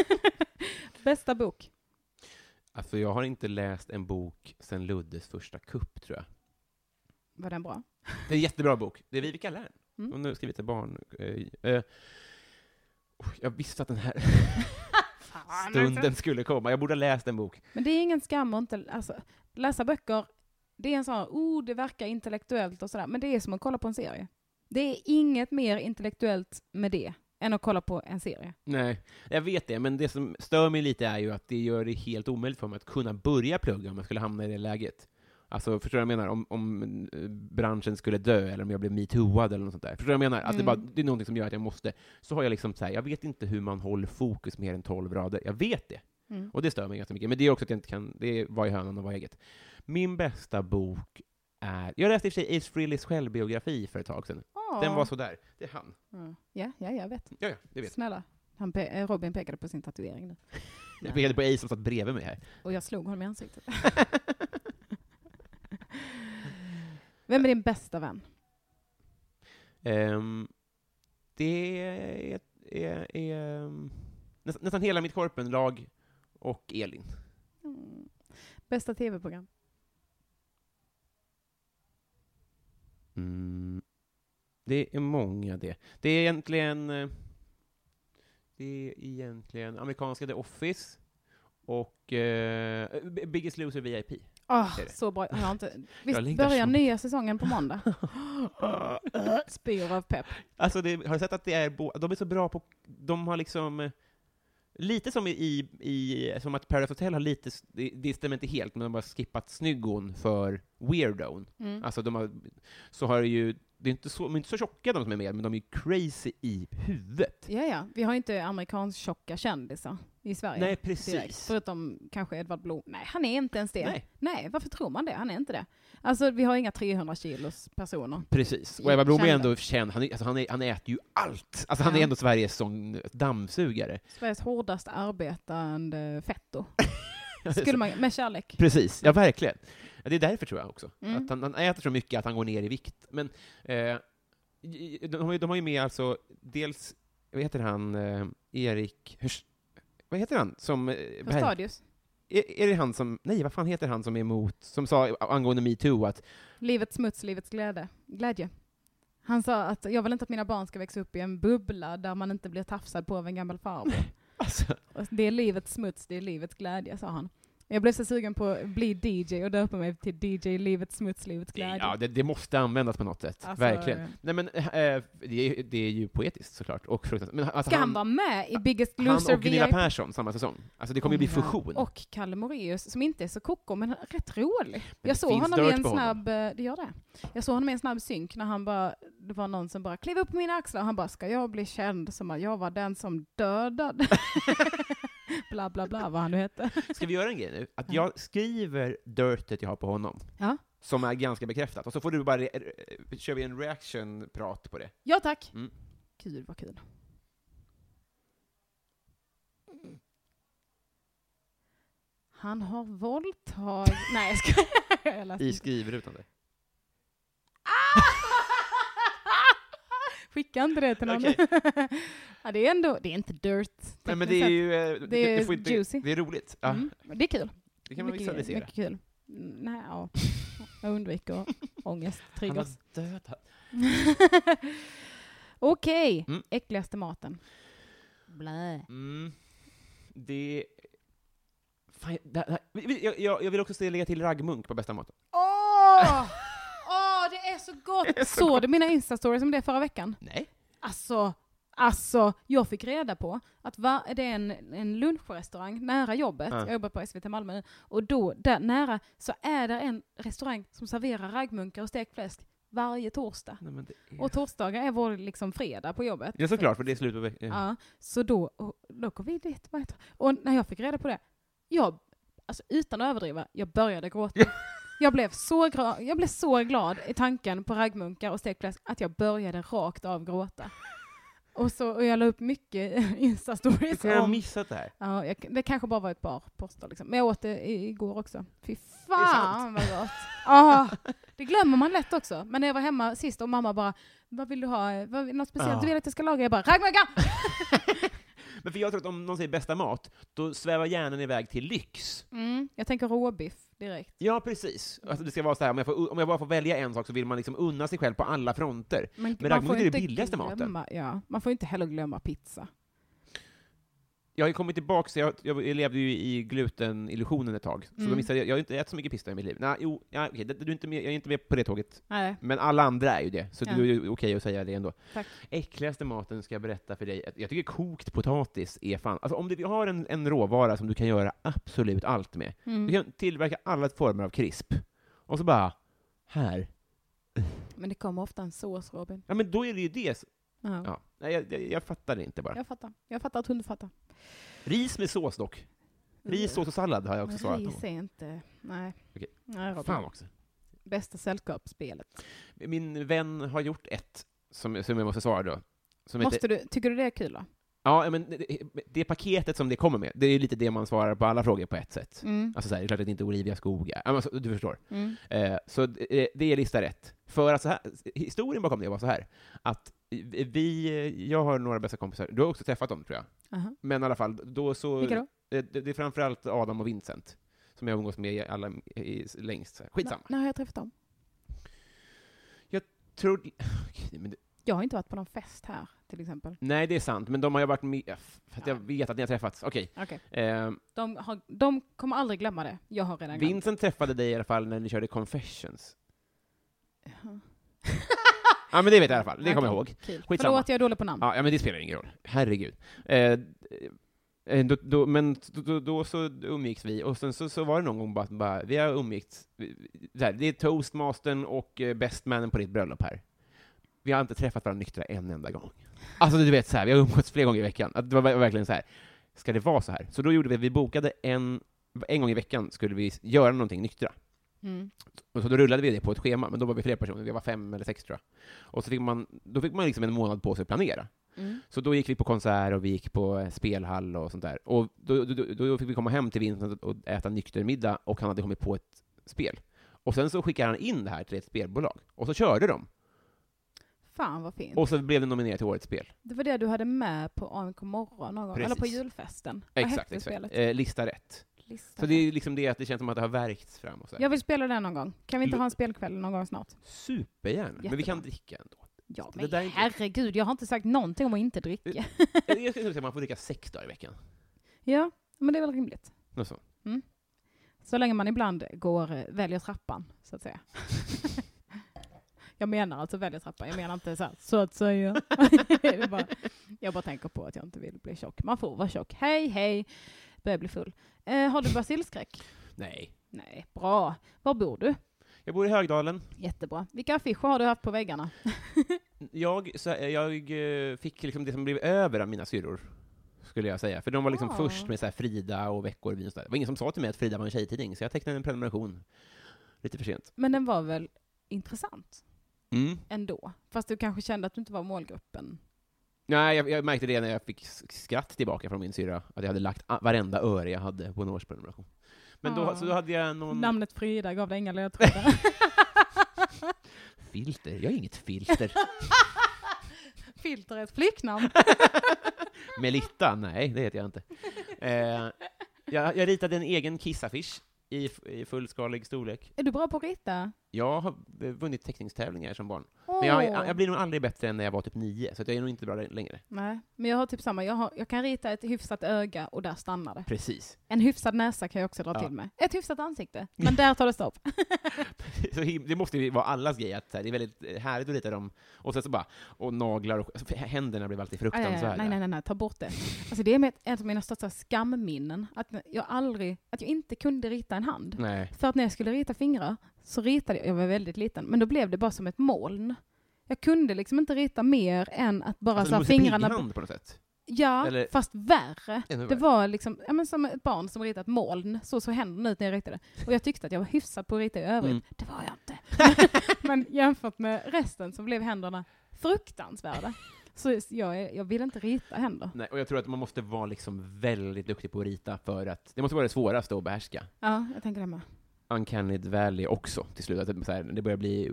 B: Bästa bok?
C: Alltså jag har inte läst en bok sen Luddes första kupp, tror jag.
B: Var den bra?
C: Det är en jättebra bok. Det är Vivica Lärn.
B: Mm.
C: Hon har skrivit till barn. Eh, eh, oh, jag visste att den här stunden skulle komma. Jag borde ha läst en bok.
B: alltså. Men det är ingen skam att inte... Alltså, läsa böcker, det är en sån här, oh, det verkar intellektuellt och sådär, men det är som att kolla på en serie. Det är inget mer intellektuellt med det än att kolla på en serie.
C: Nej, jag vet det, men det som stör mig lite är ju att det gör det helt omöjligt för mig att kunna börja plugga om jag skulle hamna i det läget. Alltså, förstår du vad jag menar? Om, om eh, branschen skulle dö, eller om jag blev metooad eller något sånt där. Förstår du vad jag menar? Att det, bara,
B: Mm.
C: det är någonting som gör att jag måste. Så har jag liksom så här, jag vet inte hur man håller fokus mer än 12 rader. Jag vet det.
B: Mm.
C: Och det stör mig ganska mycket. Men det är också att jag inte kan, det är vad i hönan och vad i ägget. Min bästa bok är, jag läste i och för sig Ace Frehleys självbiografi för ett tag sedan. Den var sådär. Det är han.
B: Ja, Ah. Mm. ja, ja jag vet.
C: Ja, ja, det vet
B: Snälla. Han pe- eh, Robin pekade på sin tatuering nu.
C: jag. Jag pekade på Ace som satt bredvid mig här.
B: Och jag slog honom i
C: (laughs)
B: ansiktet. Vem är din bästa vän?
C: Ehm, det är, är, är ehm, nästan, nästan hela mitt korpenlag och Elin.
B: Mm. Bästa tv-program?
C: Mm. Det är många det. Det är egentligen eh, Det är egentligen amerikanska The Office och eh, B- Biggest Loser VIP.
B: Åh,
C: Är
B: Ah,
C: det?
B: så bra. Jag har inte... Visst
C: längtar
B: börjar
C: så-
B: nya säsongen på
C: (laughs)
B: måndag? Spyr av pepp.
C: Alltså, det, har du sett att det är bo- de är så bra på... De har liksom... eh, Lite som i, i, i som att Paradise Hotel har lite, s- det, det stämmer inte helt, men de har skippat snyggon för weirdown.
B: Mm.
C: Alltså de har, så har det ju, det är inte så, de är inte så tjocka de som är med, men de är ju crazy i huvudet.
B: Ja, ja. Vi har ju inte amerikansk tjocka kändisar i Sverige.
C: Nej,
B: direkt.
C: precis.
B: Förutom kanske Edvard Blom. Nej, han är inte ens det.
C: Nej.
B: Nej, varför tror man det? Han är inte det. Alltså, vi har inga 300 kilos personer.
C: Precis. Och Eva Blom är
B: Kända.
C: ändå känd, han, är- alltså, han, är, han äter ju allt! Alltså han
B: Ja.
C: är ändå Sveriges sån dammsugare.
B: Sveriges hårdast arbetande fetto. Skulle man, med kärlek.
C: (laughs) Precis, ja verkligen. Ja, Det är därför tror jag också.
B: Mm.
C: Att han, han äter så mycket att han går ner i vikt. Men eh, i- i- de, har ju, de har ju med alltså dels, vad heter han, eh, Erik, Hörs- vad heter han som... eh, Berg-
B: Stadius.
C: Är, är det han som, nej vad fan heter han som är emot, som sa angående metoo att
B: Livets smuts, livets glädje. glädje. Han sa att jag vill inte att mina barn ska växa upp i en bubbla där man inte blir tafsad på av en gammal
C: (laughs)
B: farbror.
C: alltså,
B: Och Det är livets smuts, det är livets glädje, sa han. Jag blev så sugen på att bli DJ och döpa mig till DJ Livets smuts, livets glädje.
C: ja, det, det måste användas på något sätt,
B: Alltså,
C: verkligen. Nej men, eh, det, är, det är ju poetiskt såklart, och fruktansvärt. Men, alltså,
B: Ska han, vara med i Biggest Loser
C: han och Gunilla
B: VIP?
C: Persson samma säsong. Alltså det kommer ju bli fusion.
B: Oh eh, Och Kalle Moraeus, som inte är så koko, men rätt rolig.
C: det
B: jag såg
C: finns
B: honom i
C: dirt
B: en
C: på honom.
B: snabb, eh, det gör det. Jag såg honom i en snabb synk när han bara, det var någon som bara klev upp på mina axlar och han bara, ska jag bli känd som att jag var den som dödade? (laughs) bla bla bla vad han nu hette.
C: Ska vi göra en grej nu? Att jag skriver dirtet jag har på honom,
B: Ja.
C: som är ganska bekräftat, och så får du bara, re- re- eh, kör vi en reaction-prat på det.
B: Ja tack.
C: Mm.
B: Kul vad kul. Han har våldtagit... Nej jag skojar. (laughs) Jag läste
C: I
B: inte.
C: skrivrutan där.
B: (laughs) Skicka inte det till någon.
C: Okej.
B: (laughs) ja, det är ändå, det är inte dirt.
C: Nej men
B: tekniskt
C: det är
B: sett.
C: ju, eh, det, det,
B: är
C: får inte,
B: juicy.
C: det är roligt. Ja,
B: Mm, det är kul.
C: Det kan man
B: mycket,
C: visualisera.
B: mycket kul. Mm, Nej, ja. Jag undviker (laughs) ångest,
C: Han har
B: triggers.
C: dödat
B: (laughs) Okej,
C: Mm.
B: äckligaste maten. Blä.
C: Mm. Det... Fan, jag- det, det, vi- jag, jag, jag vill också lägga till raggmunk på bästa maten.
B: Åh! Åh, det är så gott!
C: Det är så
B: Såg
C: gott.
B: du mina instastories om det förra veckan?
C: (laughs) Nej.
B: Alltså, alltså, jag fick reda på att va, det är en, en lunchrestaurang nära jobbet,
C: Ja.
B: jag jobbar på SVT Malmö nu, och då där nära så är det en restaurang som serverar raggmunkar och stekt fläsk varje torsdag.
C: Nej men det är...
B: Och torsdagar är vår liksom fredag på jobbet.
C: ja, såklart, för det är slut på veckan.
B: Ja, så då, och då går vi dit. vad heter- Och när jag fick reda på det, jag, alltså utan att överdriva, jag började
C: (laughs)
B: gråta. Jag blev, så gra- jag blev så glad i tanken på raggmunkar och stekt fläsk att jag började rakt av gråta. Och, så, och jag la upp mycket (laughs)
C: Hur
B: instastories
C: kan jag ha
B: om...
C: missat det här?
B: Ja, jag, det kanske bara var ett par poster liksom. Men jag åt det i, igår också. Fy fan
C: sant?
B: vad
C: (laughs)
B: gott! Ah, det glömmer man lätt också. Men när jag var hemma sist och mamma bara, vad vill du ha? Vad, något speciellt
C: Ja.
B: du vill att jag ska laga? Jag bara, raggmunkar!
C: Men för jag tror att om någon säger bästa mat, då svävar hjärnan iväg till lyx.
B: Mm, jag tänker råbiff direkt.
C: Ja, precis. Alltså, det ska vara så här, om jag, får, om jag bara får välja en sak så vill man liksom unna sig själv på alla fronter.
B: Men,
C: raggmunk är det billigaste maten.
B: glömma, Ja, man får inte heller glömma pizza.
C: jag har ju kommit tillbaka, så jag, jag levde ju i glutenillusionen ett tag, så då
B: Mm.
C: missade jag, jag har ju inte ätit så mycket pista i mitt liv. Nej, jo, ja, okej, det- du är inte med, jag är inte med på det tåget,
B: Nej.
C: men alla andra är ju det, så
B: Ja.
C: du är ju okej att säga det ändå.
B: Tack.
C: Äckligaste maten ska jag berätta för dig, jag tycker kokt potatis är fan, alltså om du vi har en, en råvara som du kan göra absolut allt med, du
B: Mm.
C: kan tillverka alla former av krisp, och så bara, här.
B: Men det kommer ofta en sås, Robin.
C: Ja, men då är det ju det.
B: Ja.
C: Ja. Nej, jag, jag, jag fattar det inte bara.
B: Jag fattar. Jag fattar att hon inte fattar.
C: Ris med sås dock. Ris, sås och sallad har jag också svarat
B: Ris
C: på.
B: är inte... Nej.
C: Okej.
B: Nej, Robin.
C: Fan också.
B: Bästa sällskapsspelet.
C: Min vän har gjort ett, som, som jag måste svara då. Som heter,
B: Måste du, tycker du det är kul då?
C: ja, men det, det paketet som det kommer med, det är lite det man svarar på alla frågor på ett sätt.
B: Mm.
C: Alltså så här, det är klart att det inte är Olivia Skog är. Ja, men så- du förstår.
B: Mm.
C: Eh, så det, det är lista rätt. För att så här, historien bakom det var så här, att vi, jag har några bästa kompisar, du har också träffat dem tror jag,
B: Aha.
C: men i alla fall, då så...
B: Vilka då?
C: Det, det, det är framförallt Adam och Vincent, som jag umgås med i alla, i, i, längst. så här. Skitsamma.
B: När har jag träffat dem?
C: Tror, Okej, men det,
B: Jag har inte varit på någon fest här, till exempel.
C: nej, det är sant, men de har jag varit med... För att jag
B: Ja.
C: vet att ni har träffats. Okej.
B: Okej.
C: Eh,
B: De, har, de kommer aldrig glömma det. Jag har redan glömt.
C: Vincent träffade dig i alla fall när ni körde Confessions.
B: Jaha.
C: Ja, men det vet jag i alla fall. Det kommer jag
B: Okej,
C: ihåg.
B: Kul.
C: Skitsamma.
B: Förlåt, jag är dålig på namn.
C: Ja, ja, men det spelar ingen roll. Herregud. Eh, eh, då, då, men då, då, då så umgicks vi, och sen så, så var det någon gång bara, att bara vi har umgicts, det, här, det är toastmastern och eh, bestmannen på ditt bröllop här. Vi har inte träffat varandra nyktra en enda gång. Alltså du vet så här, vi har umgåtts flera gånger i veckan. Att det var ver- verkligen så här, ska det vara så här? Så då gjorde vi, vi bokade en, en gång i veckan skulle vi göra någonting nyktra.
B: Mm.
C: Och så då rullade vi det på ett schema, men då var vi fler personer, vi var fem eller sex tror jag. Och så fick man, då fick man liksom en månad på sig att planera.
B: Mm.
C: Så då gick vi på konsert och vi gick på eh, spelhall och sånt där. Och då, då, då, då fick vi komma hem till Vincent och äta nykter middag och han hade kommit på ett spel. Och sen så skickade han in det här till ett spelbolag och så körde de.
B: Fan vad fint.
C: Och så blev det nominerat till årets spel.
B: Det var det du hade med på AMK morgon någon gång,
C: Precis.
B: eller på julfesten. Vad
C: Exakt,
B: hette
C: exakt.
B: spelet?
C: Eh, lista rätt.
B: Lista.
C: Så det är liksom det att det känns som att det har värkts fram och så här.
B: Jag vill spela det någon gång. Kan vi inte
C: Lo-
B: ha en spelkväll någon gång snart?
C: Supergärna. Men vi
B: Jättebra.
C: kan dricka ändå.
B: Ja,
C: Det
B: men
C: där är inte-
B: herregud, jag har inte sagt någonting om att inte dricka.
C: Jag jag skulle nog säga att man får dricka sex dagar i veckan.
B: (laughs) ja, men det är väl rimligt.
C: Något sånt.
B: Så länge man ibland går, eh, väljer trappan, så att säga. (laughs) jag menar alltså väljer trappan, jag menar inte så, här, så att säga. (laughs) Det är bara, jag bara tänker på att jag inte vill bli tjock. Man får vara tjock. Hej, hej. Börjar bli full. Eh, har du basilskräck?
C: Nej.
B: Nej, bra. Var bor du?
C: Jag bor i Högdalen.
B: Jättebra. Vilka affischer har du haft på väggarna?
C: Jag, så, jag eh, fick liksom det som blev över av mina syrror, skulle jag säga. För de var liksom
B: Ah.
C: först med så här Frida och Veckorevyn och sådär. Det var ingen som sa till mig att Frida var en tjejtidning, så jag tecknade en prenumeration. Lite för sent.
B: Men den var väl intressant
C: Mm.
B: ändå? Fast du kanske kände att du inte var målgruppen?
C: Nej, jag, jag märkte det när jag fick s- skratt tillbaka från min syrra, att jag hade lagt a- varenda öre jag hade på en årsprenumeration. Men då,
B: Ah.
C: så då hade jag någon...
B: Namnet Frida gav dig inga ledtrådar.
C: Filter? Jag är
B: (laughs)
C: inget filter.
B: Filter är ett flicknamn.
C: (laughs) Melitta? Nej, det heter jag inte. Eh, jag, jag ritade en egen kissafisch i, f- i fullskalig storlek.
B: Är du bra på att rita?
C: Jag har eh, vunnit teckningstävlingar som barn.
B: Åh.
C: Men jag, jag blir nog aldrig bättre än när jag var typ nio, så att jag är nog inte bra längre.
B: Nej, men jag har typ samma. Jag, har, jag kan rita ett hyfsat öga och där stannar det.
C: Precis.
B: En hyfsad näsa kan jag också dra
C: Ja.
B: till med. Ett hyfsat ansikte, men där tar det stopp.
C: (laughs) Så him- det måste ju vara allas grej, att så här, det är väldigt eh, härligt att rita dem, och sen så bara, och naglar och alltså, händerna blev alltid
B: Aj, aj, aj.
C: fruktansvärda.
B: nej, nej, nej, nej, ta bort det. Alltså det är mitt- ett av mina största skamminnen, att jag aldrig, att jag inte kunde rita en hand.
C: Nej.
B: För att när jag skulle rita fingrar så ritade jag, jag var väldigt liten, men då blev det bara som ett moln. Jag kunde liksom inte rita mer än att bara
C: Alltså,
B: så här,
C: Musse
B: fingrarna...
C: Pigg-hand på något sätt.
B: Ja,
C: Eller-
B: fast värre.
C: Ännu
B: Det
C: värre.
B: var liksom, ja men som ett barn som ritat moln, så såg händerna ut när jag ritade. Och jag tyckte att jag var hyfsad på att rita i övrigt.
C: Mm.
B: Det var (laughs) jag inte.
C: (laughs)
B: men jämfört med resten så blev händerna fruktansvärda. Så jag, är- jag vill inte rita händer.
C: Nej, och jag tror att man måste vara liksom väldigt duktig på att rita för att, det måste vara det svåraste att behärska.
B: Ja, jag tänker det med.
C: Uncanny Valley också, till slut. Att det, så här, det börjar bli...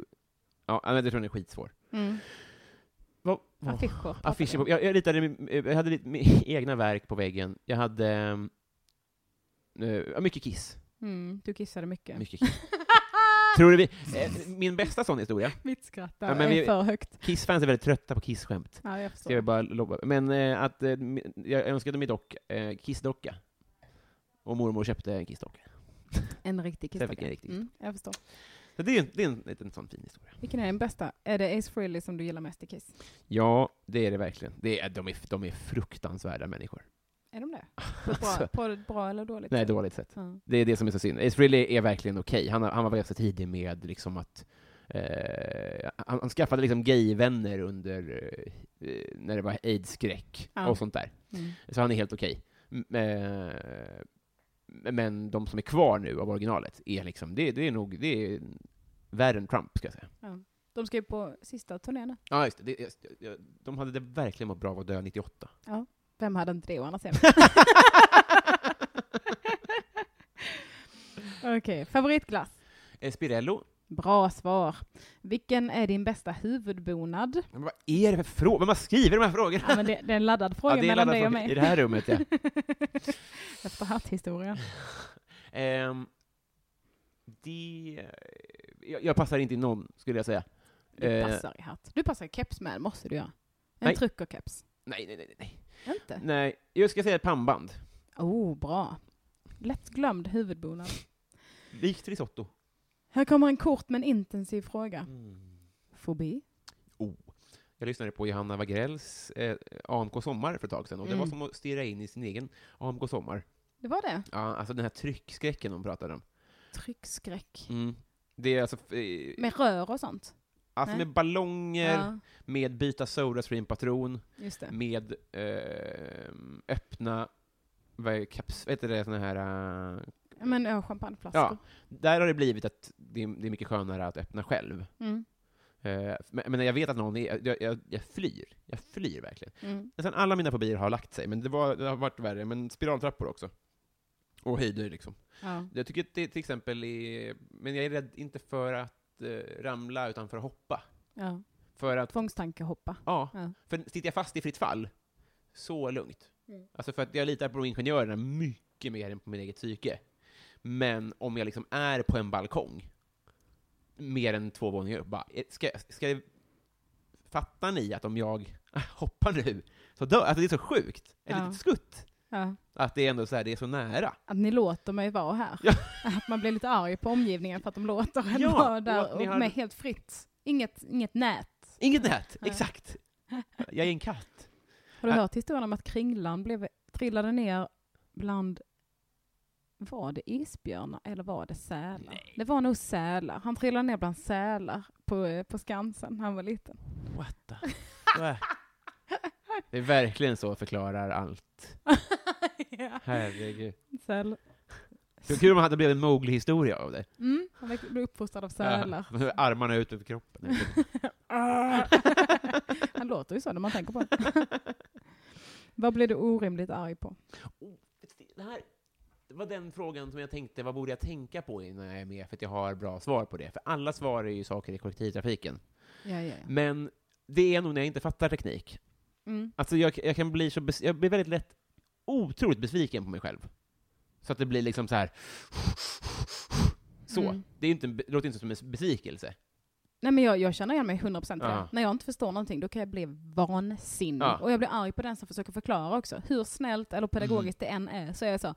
C: Ja, men jag tror den är skitsvår.
B: Mm.
C: Vad- vad-
B: Oh. Affischer. pratade
C: Affischer
B: vi om.
C: på, jag, jag ritade, min- (laughs) jag hade lite mi- egna verk på väggen. Jag hade... ehm, eh, ja, mycket kiss.
B: Mm, du kissade mycket. (laughs)
C: Mycket kiss. Tror du vi, eh, min bästa sån historia,
B: Mitt skratt där
C: Ja, men
B: är
C: vi-
B: för högt.
C: Kiss-fans är väldigt trötta på Kiss-skämt.
B: Ja, jag
C: Ska
B: förstår.
C: jag bara lobba. Men eh, att, eh, mi- jag önskade mig dock eh, Kiss-docka. Och mormor köpte en Kiss-docka.
B: En riktig
C: Sen fick jag
B: kissdocka.
C: en riktig
B: Mm, jag förstår.
C: Så det är, en- det är en liten sån fin historia.
B: Vilken är den bästa? Är det Ace Frehley som du gillar mest i Kiss?
C: Ja, det är det verkligen. Det är, de, är, de är fruktansvärda människor.
B: Är
C: (laughs)
B: de det? På ett bra, på ett bra eller dåligt
C: Alltså. Nej,
B: sätt?
C: dåligt sätt.
B: Ja.
C: Det är det som är så synd. Ace Frehley är verkligen okej. Han, har- han var ganska tidig med liksom att eh, han, han skaffade liksom gayvänner under eh, när det var aids-skräck
B: Ja.
C: och sånt där.
B: Mm.
C: Så han är helt okej. M- Eh, men de som är kvar nu av originalet är liksom, det, det är nog, det är värre än Trump, ska jag säga.
B: De ska ju på sista turnén. nu.
C: Ja, just det. det. just det. De hade det verkligen mått bra av att dö 98.
B: Vem hade inte det å andra sidan? (laughs) Okej, favoritglass.
C: (laughs) Eh, Spirello.
B: Bra svar. Vilken är din bästa huvudbonad?
C: Men vad är det för fråga? Vem har skrivit de här frågorna?
B: Ja, men det, det är en laddad fråga
C: Ja, det är
B: mellan
C: laddad
B: dig och
C: fråga
B: mig.
C: I det här
B: (laughs)
C: rummet, ja.
B: Efter hatthistorien.
C: Ehm, det... Jag, jag passar inte i någon, skulle jag säga.
B: Du
C: Eh.
B: passar i hatt. Du passar i keps med, måste du göra. En
C: Nej. Mm.
B: truckerkeps.
C: Nej, nej, nej. Nej,
B: Inte?
C: nej jag ska säga ett pannband.
B: Oh, bra. Lätt glömd huvudbonad.
C: Likt risotto.
B: Här kommer en kort men intensiv fråga. Fobi?
C: Jag lyssnade på Johanna Wagrells eh, AMK Sommar för ett tag sedan, och det
B: Mm.
C: var som att stirra in i sin egen AMK Sommar.
B: Det var det.
C: Ja, alltså den här tryckskräcken hon pratade om. Mm.
B: Tryckskräck.
C: Det är alltså... eh,
B: Med rör och sånt.
C: alltså
B: nej.
C: med ballonger, med byta Sodastream-patron,
B: just det.
C: med eh, öppna... Vad är, kaps, vad heter det? Såna här... eh,
B: Men ja, champagneflaskor.
C: Där har det blivit att det är, det är mycket skönare att öppna själv.
B: Mm,
C: Eh, men, men jag vet att någon är, jag, jag, jag flyr. Jag flyr verkligen.
B: mm.
C: Nästan alla mina fobier har lagt sig, men det, var, det har varit värre. Men spiraltrappor också. Och höjder liksom.
B: Ja.
C: Jag tycker att det till exempel är, men jag är rädd inte för att eh, ramla, utan för att hoppa.
B: Ja.
C: För att,
B: Tvångstankehoppa.
C: ja.
B: Ja.
C: För sitter jag fast i fritt fall, så lugnt.
B: Mm.
C: Alltså för att jag litar på de ingenjörerna mycket mer än på min eget psyke. Men om jag liksom är på en balkong, mer än två våningar upp, bara, eh, ska, ska, fattar ni att om jag (laughs) hoppar nu, så dör Alltså det är så sjukt. Ett
B: Ja.
C: litet skutt.
B: Ja.
C: Att det är ändå så här, det är så nära.
B: Att ni låter mig vara här.
C: Ja.
B: Att man blir lite arg på omgivningen för att de låter en
C: Ja,
B: vara
C: och
B: där
C: att
B: och
C: ni har-
B: med helt fritt. Inget, inget nät.
C: Inget nät,
B: Nej.
C: exakt. Jag är en katt.
B: Har du
C: Ja.
B: hört historien om att kringlan blev, trillade ner bland var det isbjörnar eller var det sälar? Det var nog sälar. Han trillade ner bland sälar på, eh, på Skansen när han var liten.
C: What (laughs) the... Det är verkligen så förklarar allt.
B: (laughs) ja.
C: Herregud.
B: Säl.
C: Det är kul om man hade blivit en Mowgli-historia av det.
B: Mm, han växte- blev uppfostrad av sälar.
C: Ja, (laughs) med armarna ut över kroppen.
B: Ah. (laughs) han låter ju så när man tänker på det. (laughs) Vad blev du orimligt arg på?
C: (laughs) det, här, det var den frågan som jag tänkte, vad borde jag tänka på innan jag är med? För att jag har bra svar på det. För alla svar är ju saker i kollektivtrafiken.
B: Ja, ja,
C: Men det är nog när jag inte fattar teknik.
B: Mm.
C: Alltså jag, jag kan bli så bes- jag blir väldigt lätt otroligt besviken på mig själv. Så att det blir liksom så här... Så.
B: Mm.
C: Det, är inte, en be- det låter inte som en besvikelse.
B: Nej, men jag, jag känner igen mig 100% procent.
C: Ja.
B: När jag inte förstår någonting, då kan jag bli vansinnig.
C: Ja.
B: Och jag blir arg på den som försöker förklara också. Hur snällt eller pedagogiskt det än är, så är jag så,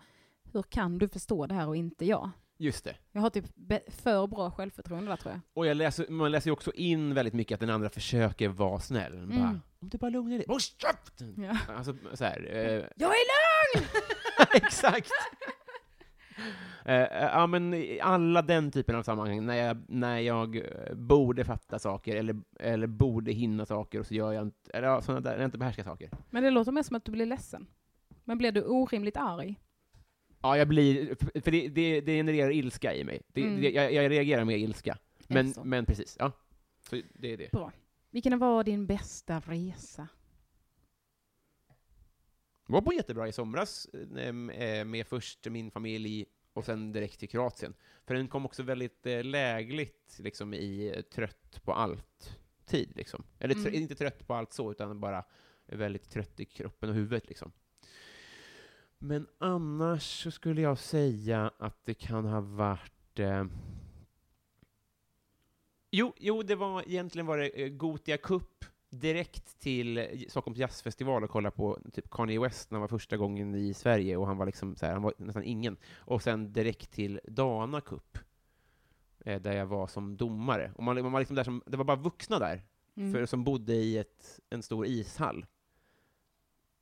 B: hur kan du förstå det här och inte jag?
C: Just det.
B: Jag har typ be- för bra självförtroende där, tror jag.
C: Och jag läser, man läser ju också in väldigt mycket att den andra försöker vara snäll. Bara,
B: Mm.
C: om du bara lugnar dig. Håll käften!
B: Ja.
C: Alltså, så här, eh, (laughs)
B: Jag är lugn!
C: Exakt! Eh, eh, ja, men i alla den typen av sammanhang, när jag, när jag eh, borde fatta saker, eller, eller borde hinna saker, och så gör jag inte, eller ja, sådana där, när jag inte behärskar saker.
B: Men det låter mer som att du blir ledsen. Men blir du orimligt arg?
C: Ja, jag blir, för- för det, det, det genererar ilska i mig. Det,
B: Mm.
C: det, jag, jag reagerar med ilska. Men,
B: Alltså.
C: men precis, ja. Så det är det.
B: Vilken var din bästa resa?
C: var på jättebra i somras eh, eh, med först min familj och sen direkt till Kroatien. För den kom också väldigt eh, lägligt liksom, i eh, trött på allt-tid. Liksom. Eller tr-
B: Mm.
C: inte trött på allt så, utan bara väldigt trött i kroppen och huvudet. Liksom. Men annars så skulle jag säga att det kan ha varit... Eh, Jo, jo det var, egentligen var det eh, Gotia Cup direkt till eh, Stockholms jazzfestival och kolla på typ Kanye West när han var första gången i Sverige och han var liksom så här, han var nästan ingen. Och sen direkt till Dana Cup, eh, där jag var som domare. Och man, man var liksom där som, det var bara vuxna där,
B: Mm.
C: för, som bodde i ett, en stor ishall.